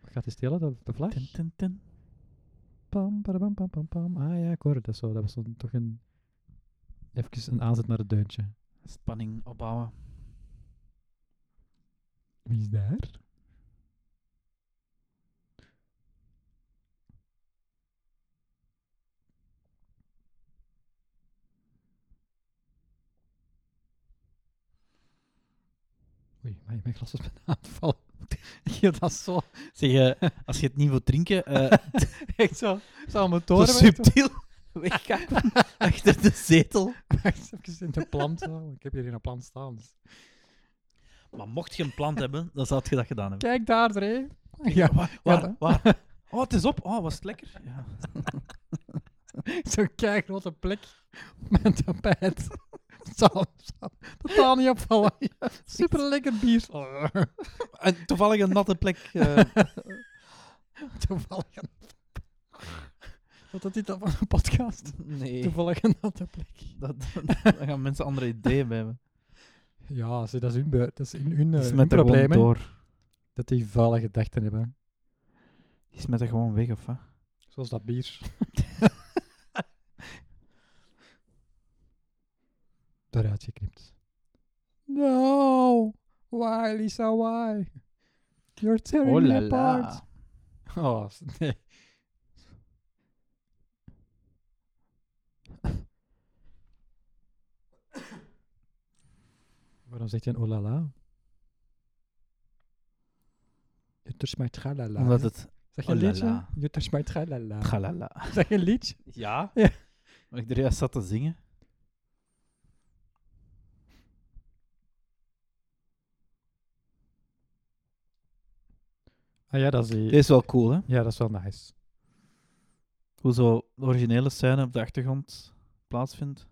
Wat Gaat hij stelen, de, de vlag?
Tin, tin, tin.
Pam, parabam, pam, pam, pam. Ah ja, ik hoorde dat zo. Dat was zo toch een... Even een aanzet naar het deuntje.
Spanning opbouwen.
Wie is daar? Oei, maar mijn glas was bijna aan het vallen. Ja, dat is zo.
Zeg, eh, als je het niet wilt drinken, eh
Echt zo. Zo aan mijn
zo
toren.
subtiel wegkakken achter de zetel.
Even in de plant. Zo. Ik heb hier in een plant staan. dus-
Maar mocht je een plant hebben, dan zou je dat gedaan hebben.
Kijk daar, Dre. Ja,
waar,
ja,
waar,
dat-
waar? Oh, het is op. Oh, was het lekker? Ja.
Zo'n kei grote plek met een tapijt. Zal, zal totaal niet opvallen. Super lekker bier.
En toevallig een natte plek. eh,
Toevallig een. Wat had dit dan van een podcast?
nee,
Toevallig een natte plek.
dat, daar gaan mensen andere ideeën bij hebben.
Ja, ze, dat is hun, beu- dat is in hun,
Die
eh, hun
smet er gewoon
probleem. hè,
door.
Dat die vuile gedachten hebben.
Die smet er gewoon weg, of wat?
Zoals dat bier. Daaruit geknipt. No! Why, Lisa, why? You're tearing
Oh
me
la
apart.
la.
Oh, s- nee. Waarom zegt hij een olala? Je touch my tralala.
Omdat het...
Zeg je een liedje?
olala.
Je touch my tralala.
Galala.
Zeg je een liedje?
Ja?
Ja.
Maar ik er juist zat te zingen.
Ah ja, dat is die...
Dit is wel cool, hè?
Ja, dat is wel nice.
Hoe zo de originele scène op de achtergrond plaatsvindt.
Ah,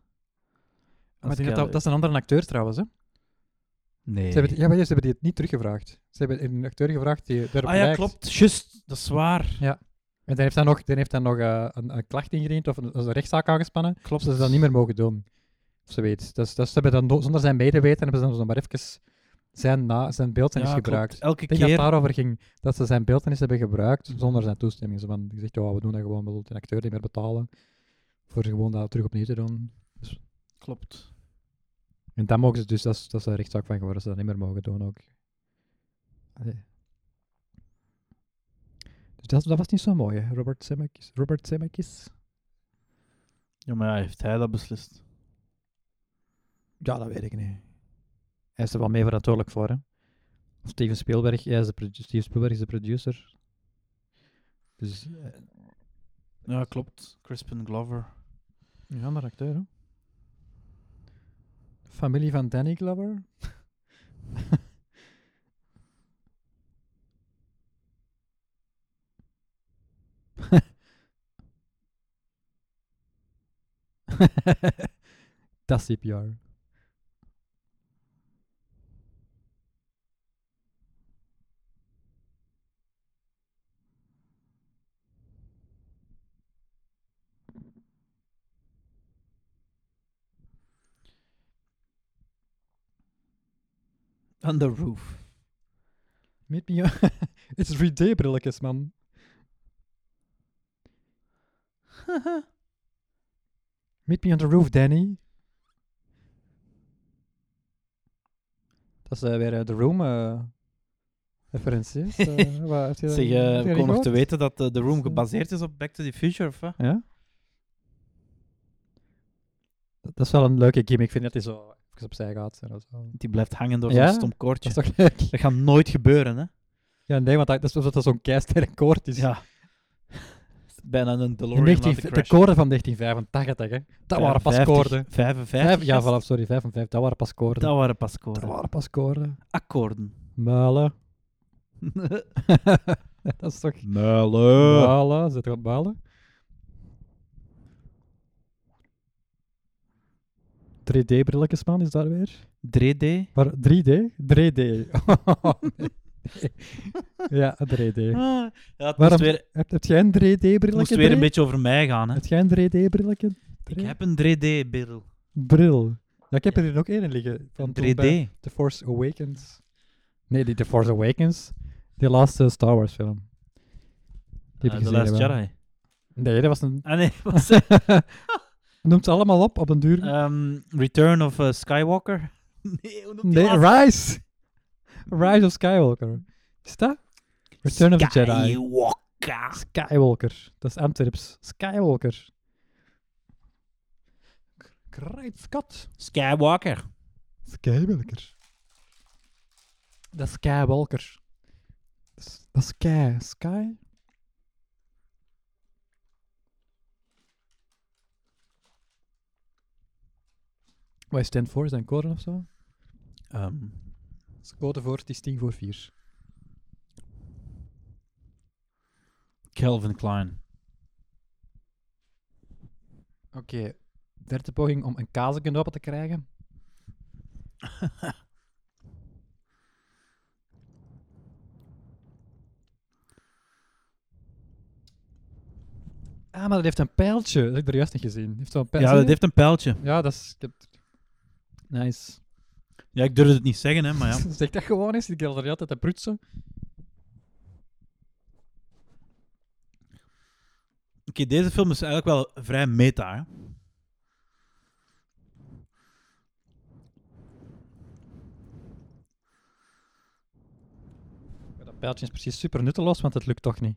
Maar ik denk dat, dat, dat is een andere acteur trouwens, hè?
Nee.
Ze hebben, die- ja, maar ja, ze hebben die het niet teruggevraagd. Ze hebben een acteur gevraagd die daarop
ah ja,
lijkt.
klopt. Just, dat is waar.
En dan heeft hij nog, dan heeft hij nog eh, een, een klacht ingediend of een, een rechtszaak aangespannen.
Klopt.
Ze ze dat niet meer mogen doen. Of zoiets. Dus, dus ze hebben dan, do- zonder zijn medeweten, hebben ze dan zo maar even zijn, na, zijn beeldtenis
Ja,
gebruikt.
klopt. Elke
Ik denk dat
keer.
het daarover ging, dat ze zijn beeldtenis hebben gebruikt zonder zijn toestemming. Ze hebben gezegd, ja, we doen dat gewoon, we willen de acteur niet meer betalen voor gewoon dat terug opnieuw te doen.
Klopt.
En dat mogen ze dus, dat is, dat is een rechtszaak van geworden, dat ze dat niet meer mogen doen ook. Allee. Dus dat, dat was niet zo mooi, hè? Robert Zemeckis. Robert Zemeckis?
Ja, maar ja, heeft hij dat beslist?
Ja, dat weet ik niet. Hij is er wel mee verantwoordelijk voor, hè? Of Steven Spielberg, hij is de, produ- Steven Spielberg is de producer. Dus, eh,
Ja, klopt. Crispin Glover.
Ja, maar acteur, hè? Familie van Danny Glover? Dat is CPR.
On the roof.
Meet me. on- It's 3D-brilletjes, man. Meet me on the roof, Danny. Dat is eh, weer eh, de Room eh, referentie. is, eh, wat, heb je dat-
Zeg, eh,
heb je dat
we
niet
komen nog te
gehoord?
weten dat eh, The Room
eh,
gebaseerd is op Back to the Future, of wat?
Ja? Dat, dat is wel een leuke gimmick, vind ik, dat hij zo even opzij gaat. En dat, zo.
Die blijft hangen door
Ja?
zo'n stom koordje.
dat is
Dat,
toch leuk?
gaat nooit gebeuren, hè?
Ja, nee, want dat, dat is alsof dat zo'n keisterre koord is.
Ja. Bijna een
In
DeLorean
19,
laten
Dus- de
crashen.
koorden van 1985, hè. Dat waren pas
50,
koorden.
55.
Vijf, ja,
gast.
vanaf, sorry, 5 en 5, dat waren pas koorden.
Dat waren pas koorden.
waren pas koorden.
Akkoorden.
Muilen. dat is toch...
Muilen.
Muilen, zit er wat muilen? 3D-brilletjes, man, is daar weer?
3D.
Maar 3D? 3D. Oh, nee. ja, 3D.
Ah, ja,
Waarom-
het moest weer,
Heb, heb jij een
het
3D-brilletje?
moest weer een beetje over mij gaan, hè?
Heb jij een 3D-brilletje?
Ik heb een 3D-bril.
Bril. Ja, ik heb er hier ook één in liggen. Van toen bij
3D.
The Force Awakens. Nee, die The Force Awakens. Die laatste Star Wars film. Die heb
Ah,
ik
The
gezien,
Last
jawel.
Jedi.
Nee, dat was een...
Ah nee, wat zeg-
Noemt ze allemaal op, op een duur.
Ehm, Return of eh, Skywalker? Nee, hoe noemt die
nee,
laatste?
Rise! Rise of Skywalker. Is dat? Return of the Jedi.
Skywalker.
Skywalker. Dat is Amtrips. Skywalker. Krijtskat.
Skywalker.
Skywalker. Dat is Skywalker. Dat is- Dat is Sky. Sky? Wat is 10 voor? Is dat een code of zo?
Ehm,
Dat is code voor, het is 10 voor 4.
Calvin Klein.
Oké. Derde poging om een kaasje open te krijgen. Ah, maar dat heeft een pijltje. Dat heb ik er juist niet gezien. Dat Heeft zo'n pijl-
Ja,
zie je?
dat heeft een pijltje.
Ja, dat is... ik heb- Nice.
Ja, ik durf het niet zeggen, hè, maar Ah, ja.
zeg dat gewoon eens. Ik er altijd te prutsen.
Oké, deze film is eigenlijk wel vrij meta, hè.
Ja, dat pijltje is precies super nutteloos, want het lukt toch niet.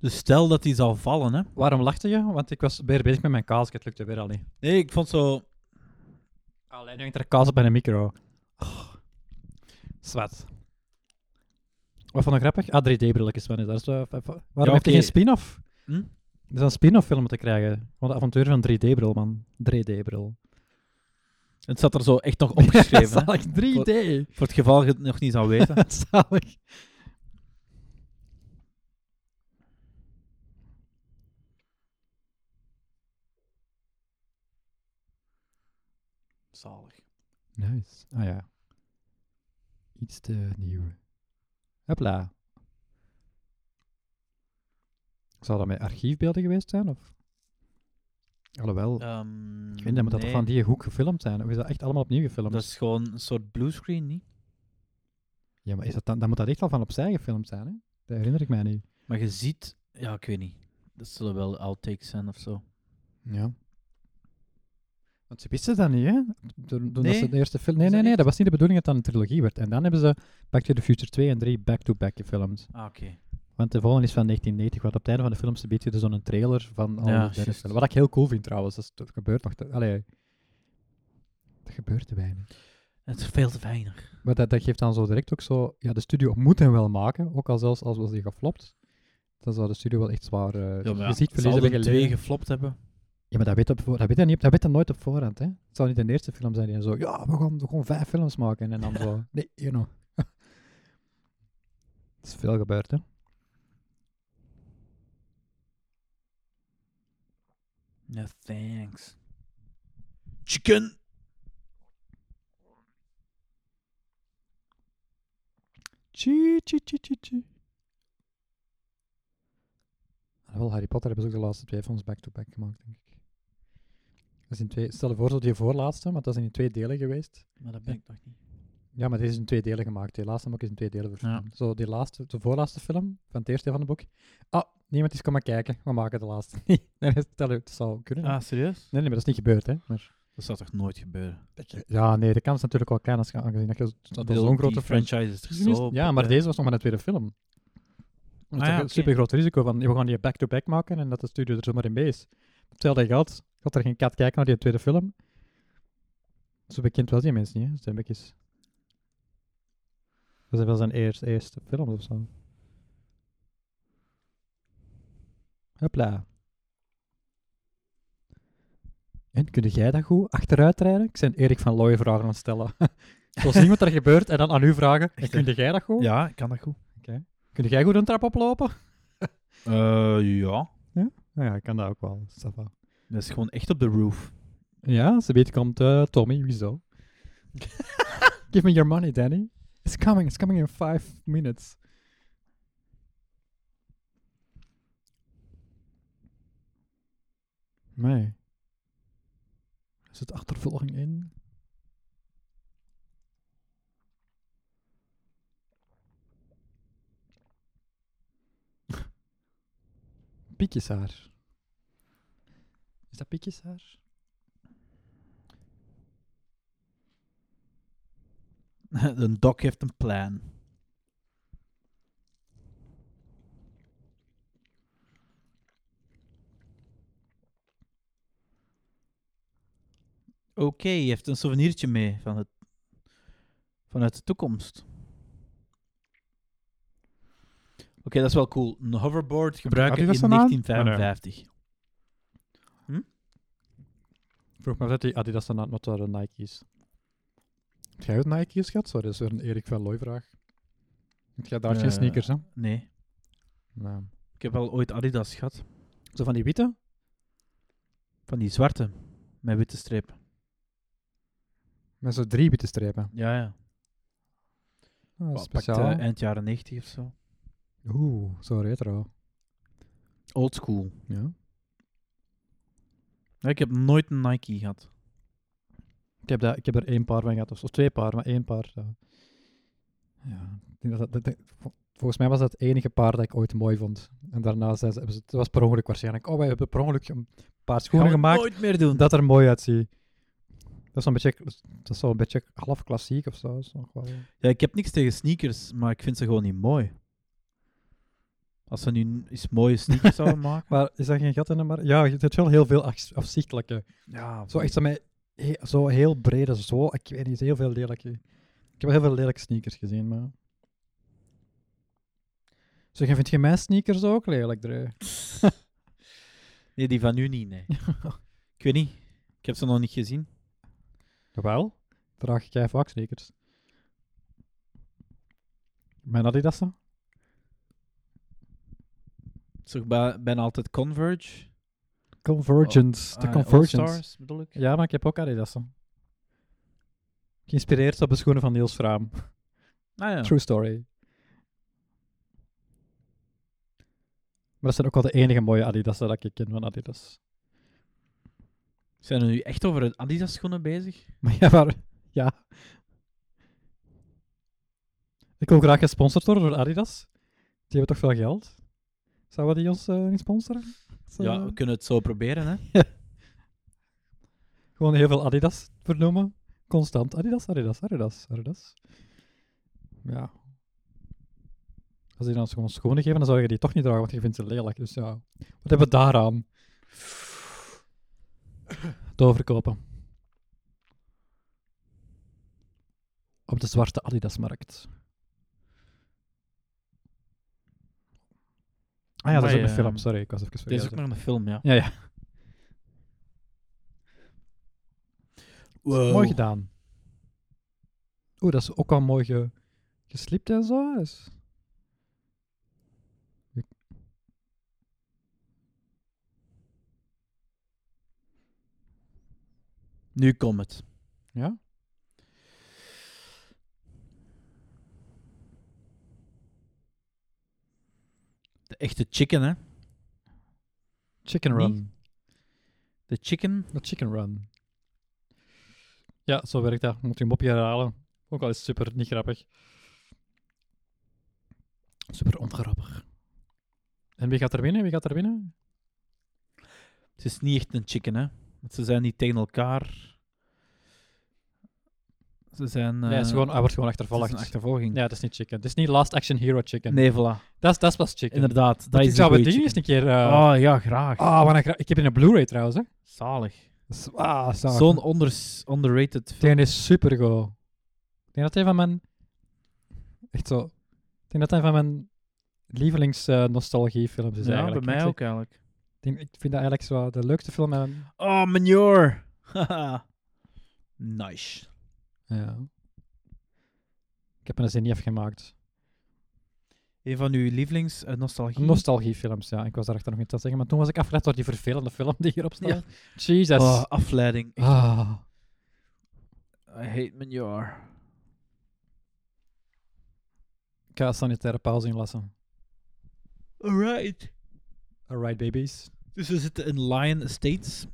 Dus stel dat die zou vallen, hè.
Waarom lachte je? Want ik was weer bezig met mijn kaas. Het lukte weer al niet.
Nee, ik vond zo...
Alleen hangt er kaas op mijn micro. Oh. Zwat. Wat vond ik grappig? Ah, 3D-brilletjes. Waarom heeft
oké.
hij geen spin-off?
Hm?
Er zou een spin-off film moeten krijgen. Van de avontuur van 3D-bril, man. 3D-bril.
Het zat er zo echt nog opgeschreven, hè.
Zalig, 3D.
Voor het geval je het nog niet zou weten.
Zalig.
Zalig.
Nice. Ah ja. Iets te nieuw. Hopla. Zou dat met archiefbeelden geweest zijn? Of? Alhoewel,
Ehm,
ik weet niet, moet dat toch
nee,
van die hoek gefilmd zijn? Of is dat echt allemaal opnieuw gefilmd?
Dat is gewoon een soort bluescreen, niet?
Ja, maar is dat dan, dan moet dat echt al van opzij gefilmd zijn, hè? Dat herinner ik mij niet.
Maar je ziet... Ja, ik weet niet. Dat zullen wel outtakes zijn of zo.
Ja. Want ze wisten dat niet, hè? Toen, toen dat
Nee.
ze de eerste film...
Is
Nee,
dat
nee, nee,
echt?
dat was niet de bedoeling dat dat een trilogie werd. En dan hebben ze Back to the Future 2 en 3 back-to-back gefilmd.
Ah, oké.
Want de volgende is van 1990, wat op het einde van de film ze beetje zo'n trailer van al
Ja,
die derde
juist.
film. Wat ik heel cool vind trouwens, dat, is- dat gebeurt nog... Te, allee, dat gebeurt te weinig.
Het is veel te weinig.
Maar dat, dat geeft dan zo direct ook zo... Ja, de studio moet hem wel maken, ook al zelfs als was die geflopt. Dan zou de studio wel echt zwaar... eh
Ja, maar
gezichtverlies
zal
hebben
er twee
geleden.
geflopt hebben.
Ja, maar dat weet, op, voor- dat weet, hij, niet, op- dat weet hij nooit op voorhand. Hè? Het zou niet de eerste film zijn die zo... Ja, we gaan, we gaan vijf films maken. En dan zo... Nee, you know. Het is veel gebeurd, hè.
No thanks. Chicken!
Tjie, tjie, tjie, tjie, tjie. Ah, Wel, Harry Potter hebben ze ook de laatste twee films back-to-back gemaakt, denk ik. Dat zijn twee, stel je voor, zo die voorlaatste, want dat zijn in twee delen geweest.
Maar dat ben ik nog niet.
Ja, maar deze is in twee delen gemaakt. Die laatste boek is in twee delen verfilmd. Zo, die laatste, de voorlaatste film van het eerste deel van het boek. Ah, niemand is komen kijken. We maken de laatste niet. Nee, nee, stel u, het zou kunnen. hè.
Ah, serieus?
Nee, nee, maar dat is niet gebeurd, hè. Maar,
Dat zou toch nooit gebeuren?
ja, nee, de kans is natuurlijk wel klein als je aangezien dat je dat
Bedoel,
zo'n
die
grote franchise...
franchise is er
Gezien is-
zo...
Ja, maar deze was nog maar een tweede film. Dat
Ah,
is
ja,
een
oké.
super groot risico van, we gaan die back-to-back maken en dat de studio er zomaar in mee is. Op Hetzelfde geld, gaat er geen kat kijken naar die tweede film. Zo bekend was die mensen niet, hè? Zijn bekjes. Dat is wel zijn eerste, eerste film of zo. Hopla. En, kun jij dat goed achteruit rijden? Ik zijn Erik van Looy vragen aan het stellen. Zo zien wat er gebeurt en dan aan u vragen. En
Echt,
kun jij dat goed?
Ja, ik kan dat goed.
Kun jij goed een trap oplopen?
Eh, ja.
Nou ja, ik kan dat ook wel. ça va.
Dat is gewoon echt op de roof.
Ja, ze weet komt eh, Tommy, wieso? Give me your money, Danny. It's coming, it's coming in five minutes. Nee. Er zit achtervolging in. Piekjeshaar. Is dat piekjeshaar?
de doc heeft een plan. Oké, je heeft een souvenirtje mee van het, vanuit de toekomst. Oké, dat is wel cool. Een hoverboard gebruiken in
die dat zo aan? Ah,
1955.
Vroeg me dat die Adidas dan had waren Nike's. Heb jij ook Nike's gehad? Sorry, dat is weer een Erik van Looy vraag. Heb jij daar geen
Eh,
sneakers, hè?
Nee,
Nee.
ik heb wel ooit Adidas gehad.
Zo van die witte?
Van die zwarte, met witte streep.
Met zo drie witte strepen.
Ja, ja.
Ah,
Pak
Oh, speciaal.
eind jaren 90 of zo.
Oeh, zo retro.
Old school.
Ja.
Ja, ik heb nooit een Nike gehad.
Ik heb, dat, ik heb er één paar van gehad, of, zo. of twee paar, maar één paar. zo. Ja. ik denk dat dat- dat- dat- vol- volgens mij was dat het enige paar dat ik ooit mooi vond. En daarna zei ze, hebben ze- het was per ongeluk waarschijnlijk. Oh, wij hebben per ongeluk een paar schoenen
Gaan we
gemaakt.
nooit meer doen.
dat er mooi uitziet. Dat is zo'n beetje, dat is zo'n beetje half klassiek of zo. is nog wel-
Ja, ik heb niks tegen sneakers, maar ik vind ze gewoon niet mooi. Als ze nu eens mooie sneakers zouden maken.
Maar is dat geen gat in de markt? Ja, je hebt wel heel veel afs- afzichtelijke.
Ja,
Zo echt zo, met, he- zo heel brede, zo, ik weet niet, heel veel lelijke. Ik heb heel veel lelijke sneakers gezien, maar... Zeg, vind je mijn sneakers ook lelijk, Dre?
Nee, die van u niet, nee. ik weet niet. Ik heb ze nog niet gezien.
Jawel. Draag ik jij vaak sneakers? Mijn Adidas dan?
Zo bij, bijna altijd Converge.
Convergence. de
Ah,
Convergence.
All-Stars, bedoel ik.
Ja, maar ik heb ook Adidas dan. Geïnspireerd op de schoenen van Niels Fraam.
Ah, ja.
True story. Maar dat zijn ook wel de enige mooie Adidas dat ik ken van Adidas.
Zijn we nu echt over het Adidas schoenen bezig?
Maar ja, maar... Ja. Ik wil graag gesponsord worden door Adidas. Die hebben toch veel geld? Zouden die ons eh, niet sponsoren? Zo-
Ja, we kunnen het zo proberen,
Ah,
hè.
Gewoon heel veel Adidas vernoemen. Constant Adidas, Adidas, Adidas, Adidas. Ja. Als die dan gewoon schone geven, dan zou je die toch niet dragen, want je vindt ze lelijk. Dus ja, wat hebben we daaraan? Doorverkopen. Op de zwarte Adidas-markt. Ah ja, dat is ook
Amai,
een film.
eh,
Sorry, ik was even
Deze is
vergeten.
ook nog een film, ja.
Ja, ja.
Oh.
Mooi gedaan. Oeh, dat is ook al mooi ge- geslipt en zo. hè. Dus...
Nu komt het.
Ja?
De echte chicken, hè.
Chicken
Niet?
Run.
De chicken.
De Chicken Run. Ja, zo werkt dat. Moet je een mopje herhalen. Ook al is het super niet grappig. Super ongrappig. En wie gaat er winnen? Wie gaat er winnen?
Het is niet echt een chicken, hè. Want ze zijn niet tegen elkaar. Ze zijn...
nee, hij, is
eh,
gewoon, hij wordt gewoon
het is
achtervolgd.
een achtervolging.
Ja, dat is niet chicken. Het is niet Last Action Hero chicken.
Nee, voilà.
Dat, is, dat is pas chicken.
Inderdaad, dat
Ik
is
zou
een
we
goeie
die eens een
chicken.
keer... eh,
Oh, ja, graag.
Ah, wat een gra- ik heb in een Blu-ray trouwens. Hè.
Zalig.
Z- Ah, zalig.
Zo'n onders- underrated film.
Die is super goed. Ik denk dat hij van mijn. Echt zo. Ik denk dat hij van mijn lievelings eh, nostalgiefilms is.
Ja, bij
eigenlijk. Ik
mij
zeg-
ook eigenlijk.
Ik, denk- ik vind dat eigenlijk zo de leukste film. En,
Oh, manure. Haha. nice.
ja. Ik heb me dat zin niet afgemaakt.
Een van uw lievelings eh, nostalgie.
Nostalgiefilms, ja. Ik was daar echt nog niet aan zeggen. Maar toen was ik afgeleid door die vervelende film die hierop staat.
Ja.
Jesus.
Oh, afleiding.
Ah.
I hate manure.
Ik ga sanitaire pauze inlassen.
Alright.
Alright, babies.
Dus we zitten in Lion Estates.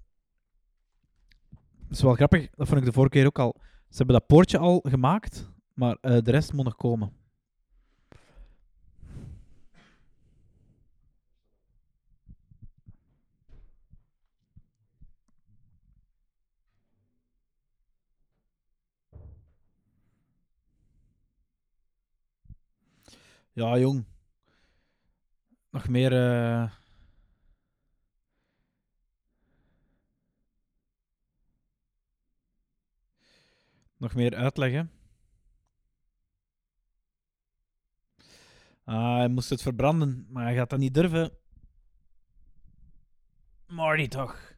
Dat is wel grappig. Dat vond ik de vorige keer ook al. Ze hebben dat poortje al gemaakt, maar eh, de rest moet nog komen. Ja, jong. Nog meer... eh, Nog meer uitleggen? Ah, hij moest het verbranden, maar hij gaat dat niet durven. Marty toch?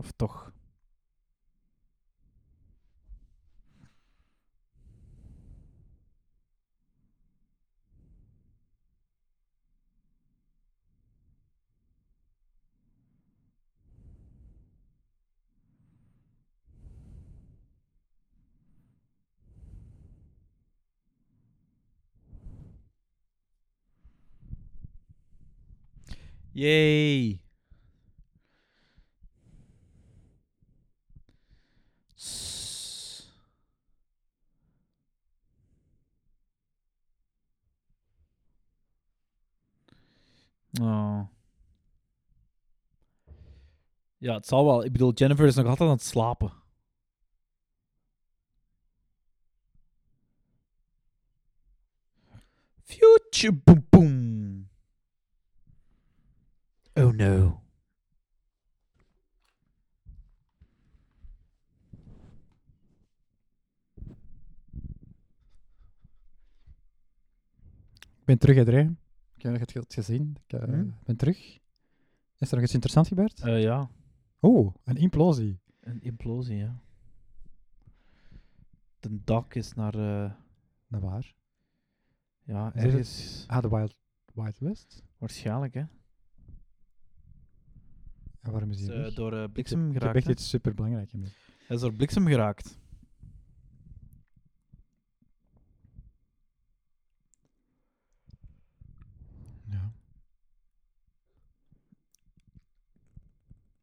Of toch? Yay! S- Oh.
Ja, het zal wel. Ik bedoel, Jennifer is nog altijd aan het slapen.
Future boom boom. Oh no.
Ik ben terug uit Rijn. Ik heb nog het- het gezien. Ik eh,
Hmm.
ben terug. Is er nog iets interessants gebeurd?
Eh, ja,
Oh, een implosie.
Een implosie, ja. De dak is naar... eh,
Dat waar.
ja,
Is het-
ergens...
Ah, de Wild, Wild West.
Waarschijnlijk, hè.
En waarom is
Is,
die
eh,
weg?
door eh, bliksem
Ik heb
geraakt.
echt
hè.
iets superbelangrijks mee.
Hij is door bliksem geraakt.
Ja.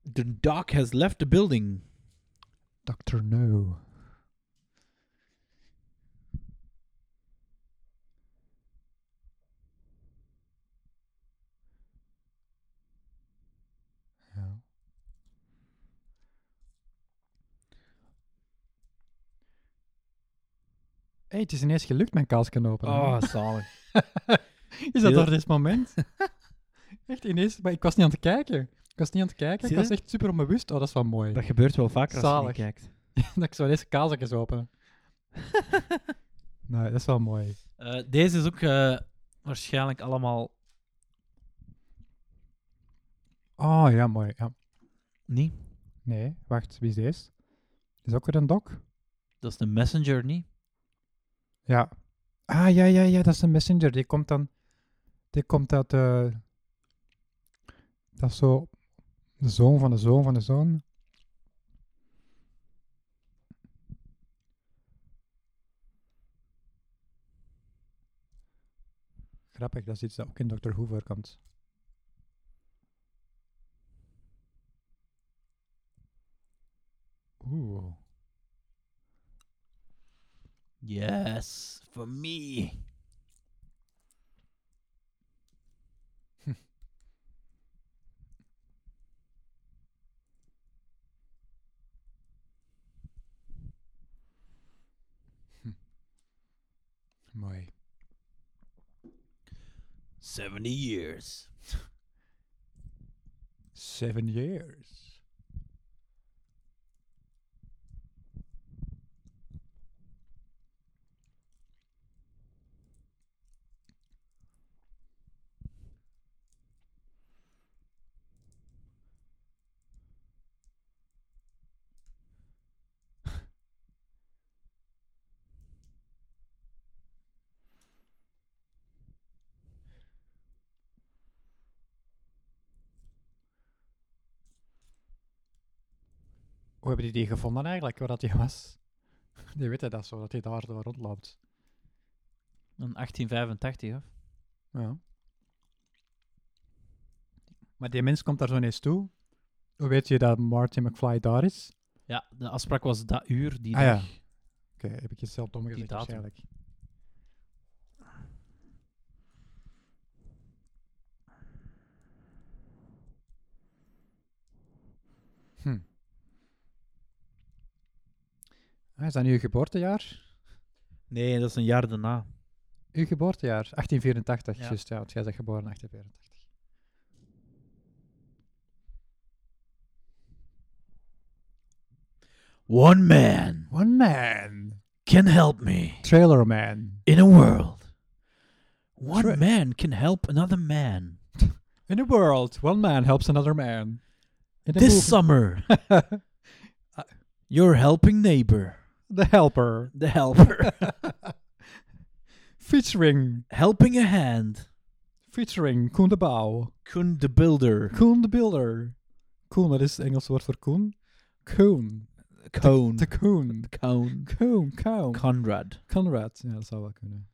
The dog has left the building.
Dr. No. Ja. Hey, het is ineens gelukt mijn kaas kan openen.
Oh, zalig.
is dat
heel-
door dit moment? echt ineens, maar ik was niet aan het kijken. Ik was niet aan het kijken,
Zie
ik
je?
was echt super onbewust. Oh, dat is wel mooi.
Dat gebeurt wel vaker als je
Zalig.
niet kijkt.
dat ik zo deze kaasjes openen. nee, dat is wel mooi.
Eh, deze is ook eh, waarschijnlijk allemaal.
Oh ja, mooi. Ja.
Niet?
Nee, wacht, wie is deze? Is ook weer een dok?
Dat is de messenger, niet?
Ja. Ah ja, ja, ja, dat is een messenger. Die komt dan. Die komt uit. eh dat is zo. De zoon van de zoon van de zoon. Grappig, dat is iets dat ook in Doctor Who voorkomt. Oeh.
Yes, for me.
Mooi.
70 years.
Seven years. Hoe hebben die die gevonden eigenlijk, waar dat die was? Die weten dat zo, dat hij daar door rondloopt.
Een 1885, hè?
Ja. Maar die mens komt daar zo ineens toe. Hoe weet je dat Marty McFly daar is?
Ja, de afspraak was dat uur. Die
Ah, ja.
dag.
Oké, heb ik jezelf dom gezegd
datum.
waarschijnlijk. Hm. Ah, is dat nu uw geboortejaar?
Nee, dat is een jaar daarna.
Uw geboortejaar, 1884,
Ja.
juist, ja, want jij bent geboren in 1884.
One man
One man,
can help me
trailer man,
in a world. One
Tra-
man can help another man.
in the world, one man helps another man. In the
This summer,
movie-
your helping neighbor.
the helper,
The helper.
featuring,
helping a hand.
featuring Koen de Bouw,
Kun the builder.
Koen de Builder. Koen, dat is het Engelse woord voor Koen. Koen,
Cone.
de Koen,
Cone.
Koen, Koen.
Conrad.
Conrad, ja, dat zou wel kunnen.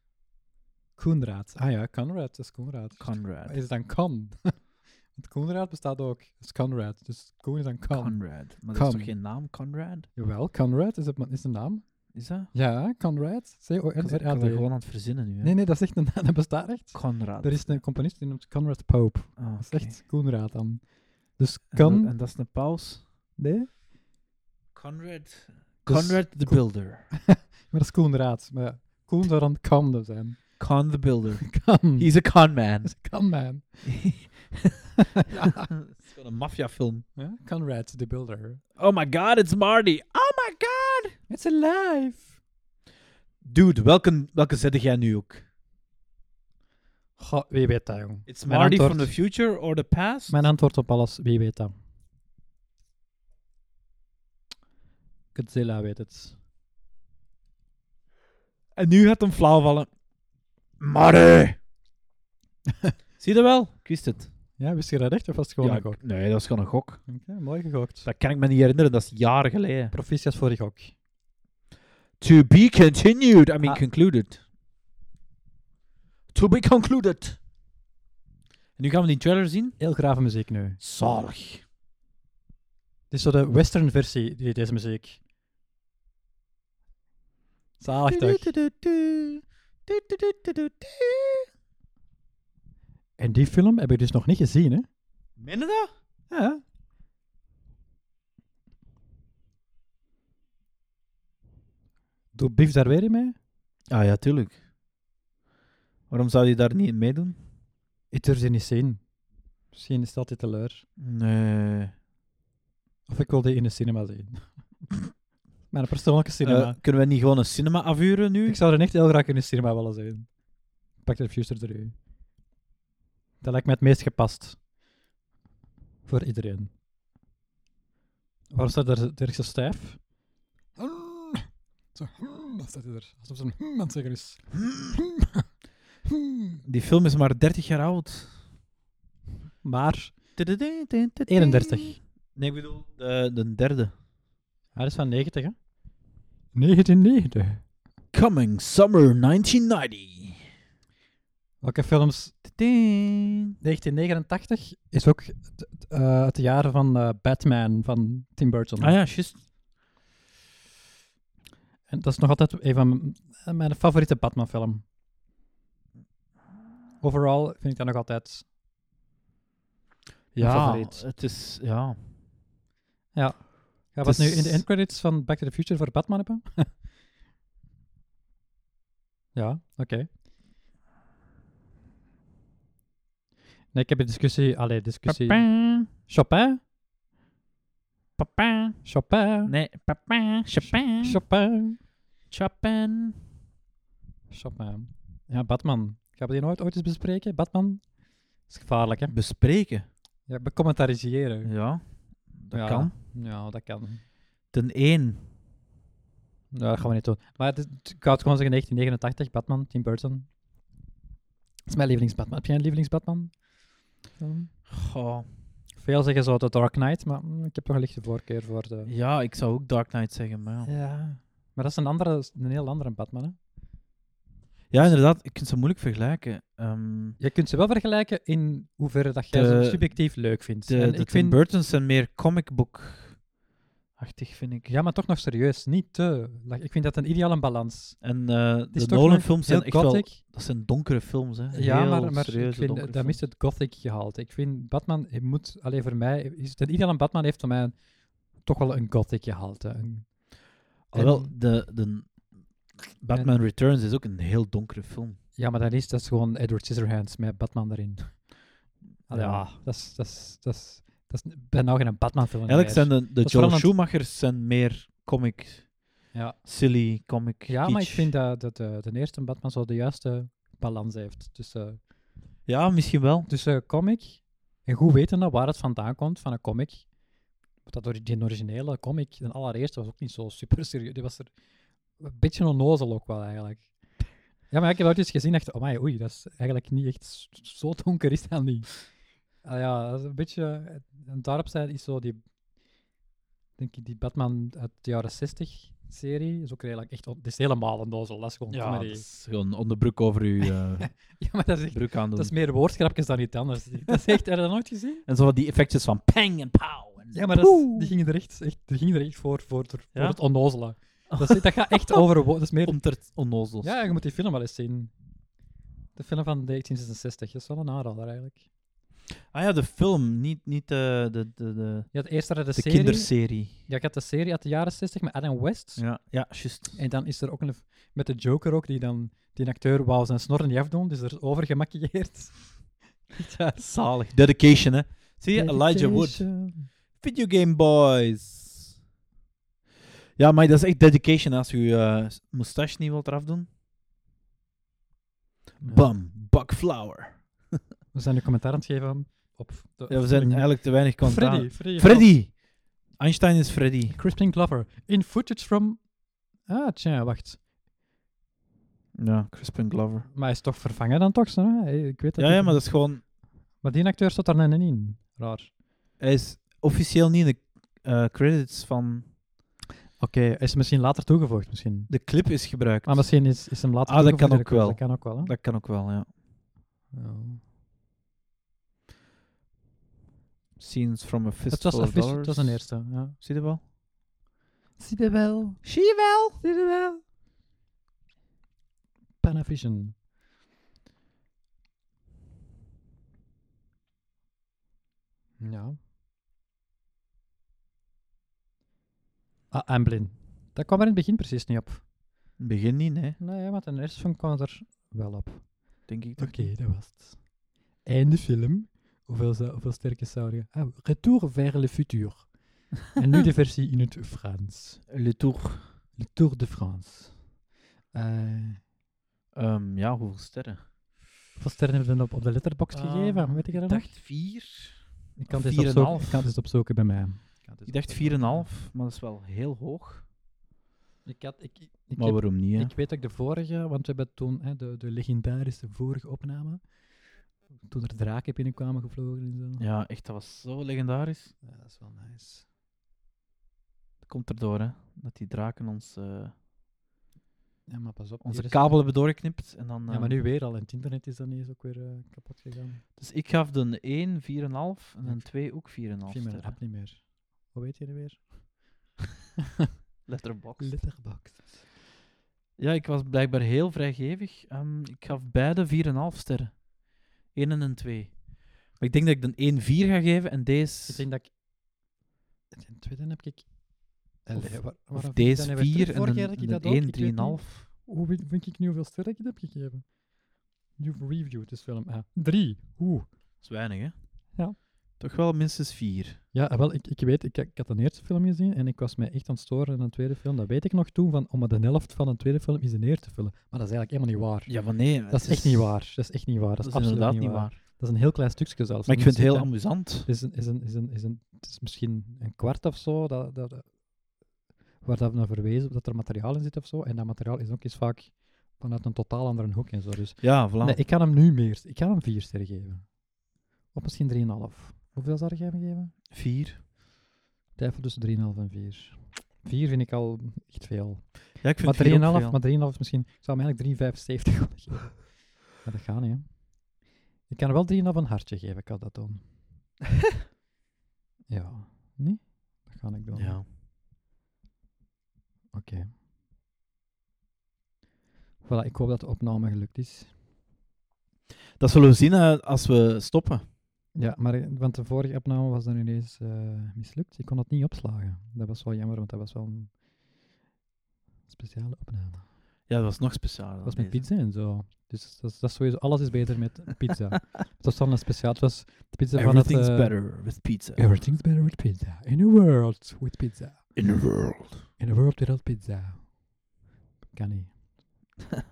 Koenraad, ah ja, Conrad, dat is Koenraad.
Conrad.
Is het dan Con? Want Koenraad bestaat ook. Het is Conrad. Dus Koen is dan Con.
Conrad. Maar dat
Con.
is toch geen naam, Conrad?
Jawel, Conrad is, het, ma- is de naam.
Is dat?
Ja, Conrad. oh,
Ik ben
C-O-N-R-A-D.
gewoon aan het verzinnen nu. Hè?
Nee, nee, dat is echt een naam. Dat bestaat echt.
Conrad.
Er is een componist die noemt Conrad Pope.
Ah,
Dat is
oké.
echt Koenraad dan. Dus
En dat-
kan...
En dat is een paus.
Nee?
Conrad.
Dus-
Conrad the Builder.
Maar dat is Koen Raad. Maar ja, Koen zou dan kan zijn.
Con the Builder.
Kan.
He's a con man.
Dus kan man.
Het is gewoon een maffiafilm.
Ja? Conrad, the builder.
Oh my god, it's Marty. Oh my god.
It's alive!
Dude, welke, welke zette jij nu ook?
Goh, wie weet dat, jong.
It's
Mijn
Marty from
antwoord-
the future or the past?
Mijn antwoord op alles, wie weet dat? Godzilla weet het.
En nu gaat hem flauw vallen. Marty! Zie je wel? Ik wist het.
Ja, wist je dat echt of was het gewoon
Ja,
een gok?
ik- Nee, dat is gewoon een gok.
Oké, mooi gegokt.
Dat kan ik me niet herinneren, dat is jaren geleden.
Proficiat voor de gok.
To be continued. I mean
Ah.
concluded. To be concluded. En nu gaan we die trailer zien.
Heel grave muziek nu. Het
Zalig.
is zo de western versie, die, deze muziek. Zalig toch? En die film heb ik dus nog niet gezien, hè?
Meen je dat?
Ja. Doet Biff daar weer in mee?
Ah ja, tuurlijk. Waarom zou je daar niet in meedoen?
Ik durf ze niet zien. Misschien is dat dit te leur.
Nee.
Of ik wil die in de cinema zien. Mijn persoonlijke cinema.
Eh, kunnen we niet gewoon een cinema afhuren nu?
ik zou er echt heel graag in de cinema willen zien. Pak de Future 3. Dat lijkt me het meest gepast. Voor iedereen. Waarom staat er Dirk zo stijf? Hmm. Zo, wat staat hij er? Alsof zo'n aan het zeggen is. Hmm.
Die film is maar 30 jaar oud.
Maar, 31.
Nee, ik bedoel de, de derde.
hij is van 90, hè? 1990.
Coming Summer 1990.
Welke films 1989 is ook het- het, eh, het jaar van eh, Batman van Tim Burton.
Ah ja, juist.
En dat is nog altijd een van mijn- eh, mijn favoriete Batman-film. Overal vind ik dat nog altijd. mijn favoriet.
het is... Ja.
Gaan we het
het
nu in de
is-
endcredits van Back to the Future voor Batman hebben? ja, oké. Nee, ik heb een discussie. Allee, discussie.
Papa.
Chopin?
Papa.
Chopin?
Nee, papa. Chopin.
Chopin?
Chopin.
Chopin. Ja, Batman. Gaan we die nooit ooit eens bespreken? Batman? is gevaarlijk, hè?
Bespreken.
Ja, becommentariseren.
Ja. Dat
Ja.
kan.
Ja, dat kan.
Ten één.
Ja, dat gaan we niet doen. Maar het, is- ik wou het gewoon zeggen 1989, Batman, Tim Burton. Dat is mijn lievelingsbatman. Heb jij een lievelingsbatman? Film?
Goh.
Veel zeggen zo The Dark Knight, maar mm, ik heb toch een lichte voorkeur voor de...
Ja, ik zou ook Dark Knight zeggen, maar ja.
Ja. Maar dat is een, andere, een heel andere Batman, hè?
Ja, inderdaad. Je kunt ze moeilijk vergelijken. Ehm,
Je kunt ze wel vergelijken in hoeverre dat jij
De-
ze subjectief leuk vindt.
de
En ik
de Tim
vind...
Burton's zijn meer comic book-achtig, vind ik.
Ja, maar toch nog serieus. Niet te... Ik vind dat een ideale balans.
En eh,
Het is
de
toch nog
Nolan-films zijn
heel
echt wel...
gothic.
Dat zijn donkere films, hè.
Ja,
Heel
maar, maar ik
serieuze
vind,
donkere
eh, dat
films.
mist het gothic gehaald. Ik vind Batman, het moet, alleen voor mij, is het, iedereen Batman heeft voor mij een- toch wel een gothic gehaald.
Alhoewel, de, de Batman Returns is ook een heel donkere film.
Ja, maar dat is, dat is gewoon Edward Scissorhands met Batman erin. Ah, ja,
Ja.
dat is, dat is, dat is, dat is bijna geen Batman-film.
Eigenlijk zijn de, de
is vooral
Joel
een-
Schumachers zijn meer comic,
Ja,
silly comic,
ja maar ik
kitsch.
vind dat, dat eh, de eerste Batman zo de juiste balans heeft tussen,
Ja, misschien wel.
tussen Dus, eh, comic en goed weten dat waar het vandaan komt van een comic. Want Dat ori- die originele comic, de allereerste, was ook niet zo super serieus. Die was er een beetje onnozel ook wel eigenlijk. Ja, maar ik heb ooit eens gezien en dacht, amai, oei, dat is eigenlijk niet echt s- zo donker is dat niet. Ah ja, dat is een beetje... En daarop zijn is zo die... Denk ik, die Batman uit de jaren 60 serie is ook redelijk echt... on- Dit is helemaal onnozel, dat is gewoon
Ja,
comedy.
dat is gewoon onderbroek over uw eh,
Ja, maar dat is echt...
broek aan doen.
Dat is meer woordgrapjes dan iets anders. Dat is echt... Heb je dat nooit gezien?
En zo wat die effectjes van pang en pow. En
Ja, maar dat is,
poeh.
die, gingen er echt, echt, die gingen er echt voor, voor, voor
Ja?
het onnozele. Dat, is, dat gaat echt over... wo- Dat is meer,
Om ter onnozels.
ja, je moet die film wel eens zien. De film van 1966. Dat is wel een aanrader, eigenlijk.
Ah ja, de film, niet, niet eh, de, de, de, de,
Je had eerst had je de,
de
serie.
kinderserie.
Ja, ik had de serie uit de jaren 60 met Adam West.
Ja, ja juist.
En dan is er ook een... Met de Joker ook, die dan... Die acteur wou zijn snor niet afdoen, dus er is over gemaquilleerd. ja,
Zalig. Dedication, hè. Zie je, Elijah
Dedication.
Wood. Video Game Boys. Ja, maar dat is echt dedication als je je moustache niet wilt eraf doen.
Ja.
Bam, Buckflower.
We zijn nu commentaar aan het geven op... De,
Ja, we zijn eigenlijk te weinig contact.
Freddy, Freddy.
Freddy! Einstein is Freddy.
Crispin Glover. In footage from... Ah, tja, wacht.
Ja, Crispin Glover.
Maar hij is toch vervangen dan toch? Zo? hè? Ik weet dat
Ja,
niet.
ja, maar dat is gewoon...
Maar die acteur staat daar net niet in. Raar.
Hij is officieel niet in de eh, credits van...
Oké, hij is misschien later toegevoegd, misschien.
De clip is gebruikt.
Maar misschien is, is hem later
Ah, dat
toegevoegd
kan
in de
ook
club.
wel.
Dat kan ook wel, hè?
Dat kan ook wel, ja.
Ja.
Scenes from a
Het,
Fistful
was
of
een vis-
Dollars.
het was een eerste, ja.
Zie je wel?
Zie je wel,
Zie je wel?
zie je wel. Panavision. Ja. Ah, Amblin. Dat kwam er in het begin precies niet op.
Begin niet, nee.
Nee, Nou maar ten eerste van kwam er wel op.
Denk ik toch.
Oké, dat was het. Einde film. Hoeveel, zou- hoeveel sterke zou je... Ah, retour vers le futur. en nu de versie in het Frans.
Le Tour.
Le Tour de France. Eh,
Ehm, ja, hoeveel sterren?
hoeveel sterren hebben we dan op, op de letterbox gegeven? Weet ik dat nog?
dacht 4.
Ik kan dit
vier en
opzoeken,
half.
ik kan dit opzoeken bij mij.
Ik dacht 4,5, maar dat is wel heel hoog.
Ik, had, ik, ik, ik
maar
heb-
waarom niet, hè?
Ik weet ook de vorige, want we hebben toen hè, de, de legendarische vorige opname. Toen er draken binnenkwamen gevlogen en zo.
Ja, echt, dat was zo legendarisch.
Ja, dat is wel nice.
Dat komt erdoor, hè? Dat die draken ons, eh,
Ja, maar pas op. hier
onze
is- eh,
kabel hebben doorgeknipt. En dan,
Ja, maar
ehm,
nu weer al. En het internet is dan eens ook weer eh, kapot gegaan.
Dus ik gaf de 1 4,5 en
Ja,
de
ik-
2 ook 4,5
Ik vind mijn
sterren.
app niet meer. Hoe weet je dat weer?
Letterboxd.
Letterboxd.
Ja, ik was blijkbaar heel vrijgevig. Ehm, ik gaf beide 4,5 sterren. 1 en een 2. Maar ik denk dat ik de 1 4 ga geven en
Ik
deze...
denk dat ik... In tweede heb ik... Allee, waar-
Of
waarom- dan
deze
hebben we terug-
4 en
vorige keer had ik
een,
dat
en
ook, ik weet niet.
een 1 3,5.
Hoe weet- vind ik nu hoeveel sterren ik het heb gegeven? You've reviewed this film. Ah, drie. Oeh.
Dat is weinig, hè?
Ja.
Toch wel minstens vier.
Ja, ah, wel, ik, ik weet, ik, ik had de eerste film gezien en ik was mij echt aan het storen aan de tweede film. Dat weet ik nog toen, van, oh, maar de helft van de tweede film is de eerste film. Maar dat is eigenlijk helemaal niet waar.
Ja, maar nee.
Dat is echt niet waar. Dat is echt niet waar. Dat is, absoluut
inderdaad
niet waar. Dat is een heel klein stukje zelfs.
Maar ik vind het heel
Het
amusant.
is, een, is, een, is, een, is, een, het is misschien een kwart of zo dat, dat, waar dat we naar verwezen, dat er materiaal in zit of zo. En dat materiaal is ook eens vaak vanuit een totaal andere hoek en zo. Dus
Ja, voilà.
nee, ik kan hem nu meer. Ik kan hem vier sterren geven. Of misschien 3,5. Hoeveel zou jij hem geven?
Vier.
Ik Twijfel tussen 3,5 en 4. 4 vind ik al echt veel.
Ja, ik vind
Maar 3,5
vier ook veel.
maar 3,5 is misschien... Ik zou hem eigenlijk 3,75 willen geven. Maar dat gaat niet, hè. Ik kan wel 3,5 een hartje geven, ik had dat doen. ja. Nee? Dat ga ik doen.
Ja.
Oké. Voilà, ik hoop dat de opname gelukt is.
Dat zullen we zien eh, als we stoppen.
Ja, maar eh, want de vorige opname was dan ineens eh, mislukt. Ik kon dat niet opslagen. Dat was wel jammer, want dat was wel een speciale opname.
Ja, dat was nog speciaal.
Dat was met pizza en zo. Dus dat is, dat is sowieso, alles is beter met pizza. het was dan een speciaal, het was de pizza van het...
Everything's
eh,
better with pizza.
Everything's better with pizza. In a world with pizza.
In the world.
In a world without pizza. Kan niet.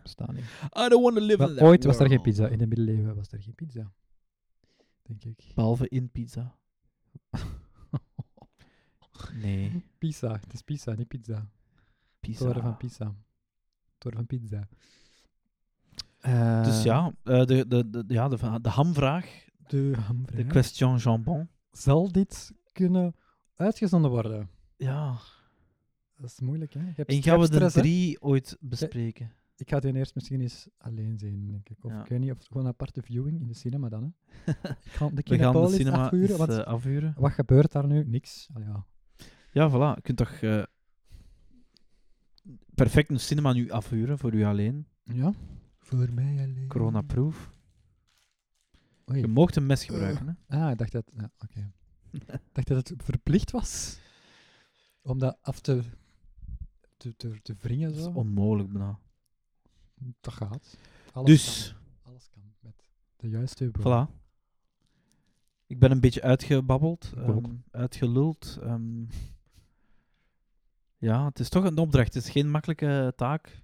Bestaan niet.
I don't want to live
Wel,
in
ooit
that
was er geen
world.
pizza. In de middeleeuwen was er geen pizza. Denk ik.
Behalve in pizza. Nee,
Pizza. Het is pizza, niet pizza.
pizza.
Toren van pizza. Toren van pizza.
Dus
Eh,
ja, eh, de, de, de, ja de, va- de hamvraag,
De hamvraag.
de question jambon.
Zal dit kunnen uitgezonden worden?
Ja,
Dat is moeilijk, hè? Je hebt-
en
je
gaan we
hebt
de
stress, hè?
drie ooit bespreken?
Ik ga die eerst misschien eens alleen zien, denk ik. Of
Ja.
ik weet niet, of gewoon een aparte viewing in de cinema dan, hè? Ik ga de
We gaan de
Kinopolis
cinema
afhuren,
eens,
want
eh, afhuren.
wat gebeurt daar nu? Niks. Ah, ja.
Ja, voilà. Je kunt toch eh, perfect een cinema nu afhuren voor u alleen.
ja? Voor mij alleen.
Corona-proof.
Oei.
Je mocht een mes gebruiken. Hè?
Ah, ik dacht dat... Ja, oké. Ik dacht dat het verplicht was om dat af te, te, te, te wringen.
Dat is
Zo.
onmogelijk bijna.
Dat gaat. Alles
Dus,
Kan. Alles kan met de juiste woorden.
voilà. Ik ben een beetje uitgebabbeld,
Ik ook.
ehm, uitgeluld. ehm. Ja, het is toch een opdracht. Het is geen makkelijke taak.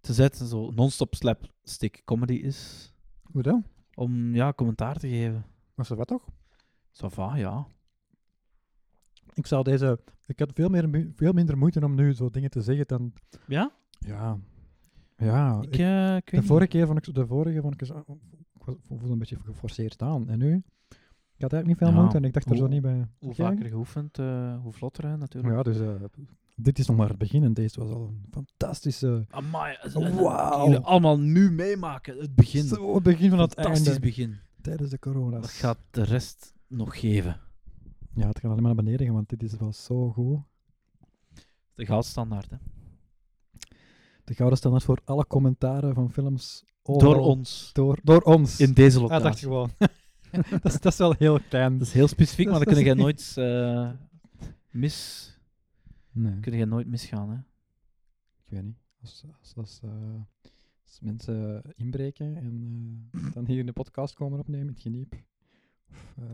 Te zetten zo non-stop slapstick comedy is.
Hoe dan?
Om ja, commentaar te geven.
Was er wat toch?
Ça va, ja.
Ik zou deze... Ik had veel, meer, mu- veel minder moeite om nu zo dingen te zeggen dan...
Ja?
Ja. Ja.
Ik, eh, ik weet
de
niet.
vorige keer vond ik... De vorige vond ik... eens- Ik was- voelde een beetje geforceerd aan. En nu... Ik had eigenlijk niet veel
Ja.
moeite en ik dacht er zo
Hoe-
niet bij.
Hoe
Jij?
vaker geoefend, eh, hoe vlotter hè, natuurlijk.
Ja, dus eh, dit is nog maar het begin en deze was al een fantastische...
Amai, eh, eh,
Wauw.
jullie allemaal nu meemaken. Het begin.
Zo, het begin van het
Fantastisch
einde.
begin.
Tijdens de corona.
Wat gaat de rest nog geven?
Ja, het gaat alleen maar naar beneden gaan, want dit is wel zo goed.
De goudstandaard, hè.
De gouden standaard voor alle commentaren van films. overal.
Door ons.
Door, door ons.
In deze
ah, dacht
locatie.
gewoon. dat, is, dat is wel heel klein.
dat is heel specifiek, maar
Dat
dan
is-
kun jij nooit, eh, mis,
Nee,
kun jij nooit misgaan, hè.
ik weet niet. Als, als, als, eh, als mensen inbreken en eh, dan hier in de podcast komen opnemen, het geniep. Of eh,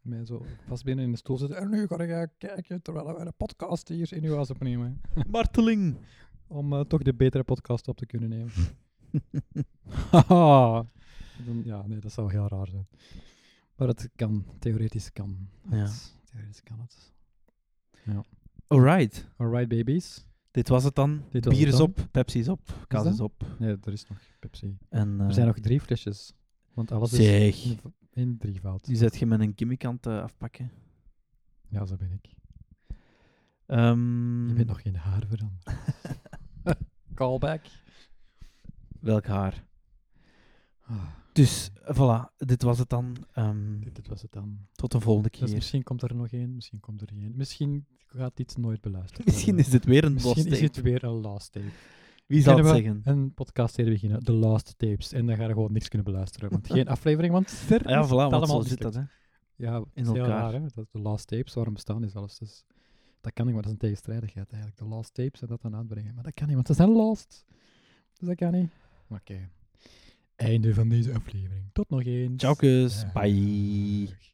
mij zo vast binnen in de stoel zitten. En nu ga ik kijken terwijl wij de podcast hier in uw huis opnemen.
Marteling!
Om eh, toch de betere podcast op te kunnen nemen. Haha. Dan- ja, nee, dat zou heel raar zijn. Maar het kan, theoretisch kan.
Ja.
Het, theoretisch kan het.
Alright.
Alright, babies.
Dit was het dan.
Dit was
Bier
het
is
dan.
op, Pepsi is op, kaas
dat?
is op.
Nee, er is nog Pepsi.
En,
Er
eh,
zijn nog drie flesjes. Want alles is
Zeg.
in, in drievoud.
Die zet je met een gimmick aan het eh, afpakken.
Ja, zo ben ik.
Ehm,
Je bent nog geen haar veranderd. Callback.
Welk haar?
Ah,
Dus, eh, voilà. Dit was het dan. Ehm,
dit, dit was het dan.
tot de volgende
Dus
keer.
misschien komt er nog één, misschien komt er geen. Misschien gaat dit nooit beluisterd
Misschien
worden.
is dit weer een
Misschien
lost
is
tape.
het weer een last tape.
Wie zal het
Kunnen we
zeggen?
Een podcast serie beginnen, The Last Tapes. En dan ga je gewoon niks kunnen beluisteren. Want geen aflevering, want er
Ah ja,
is het
voilà, want
allemaal
zo zit dat,
mislukt.
hè.
Ja, het is heel
elkaar.
raar, hè. Dat de Last Tapes, waarom bestaan die zelfs? Dus, dat kan niet, want dat is een tegenstrijdigheid eigenlijk. De Last Tapes en dat dan aanbrengen. Maar dat kan niet, want ze zijn lost. Dus dat kan niet. Oké. Einde van deze aflevering. Tot nog eens. Eh,
Ciao, kus.
Dag.
Bye.
Dag.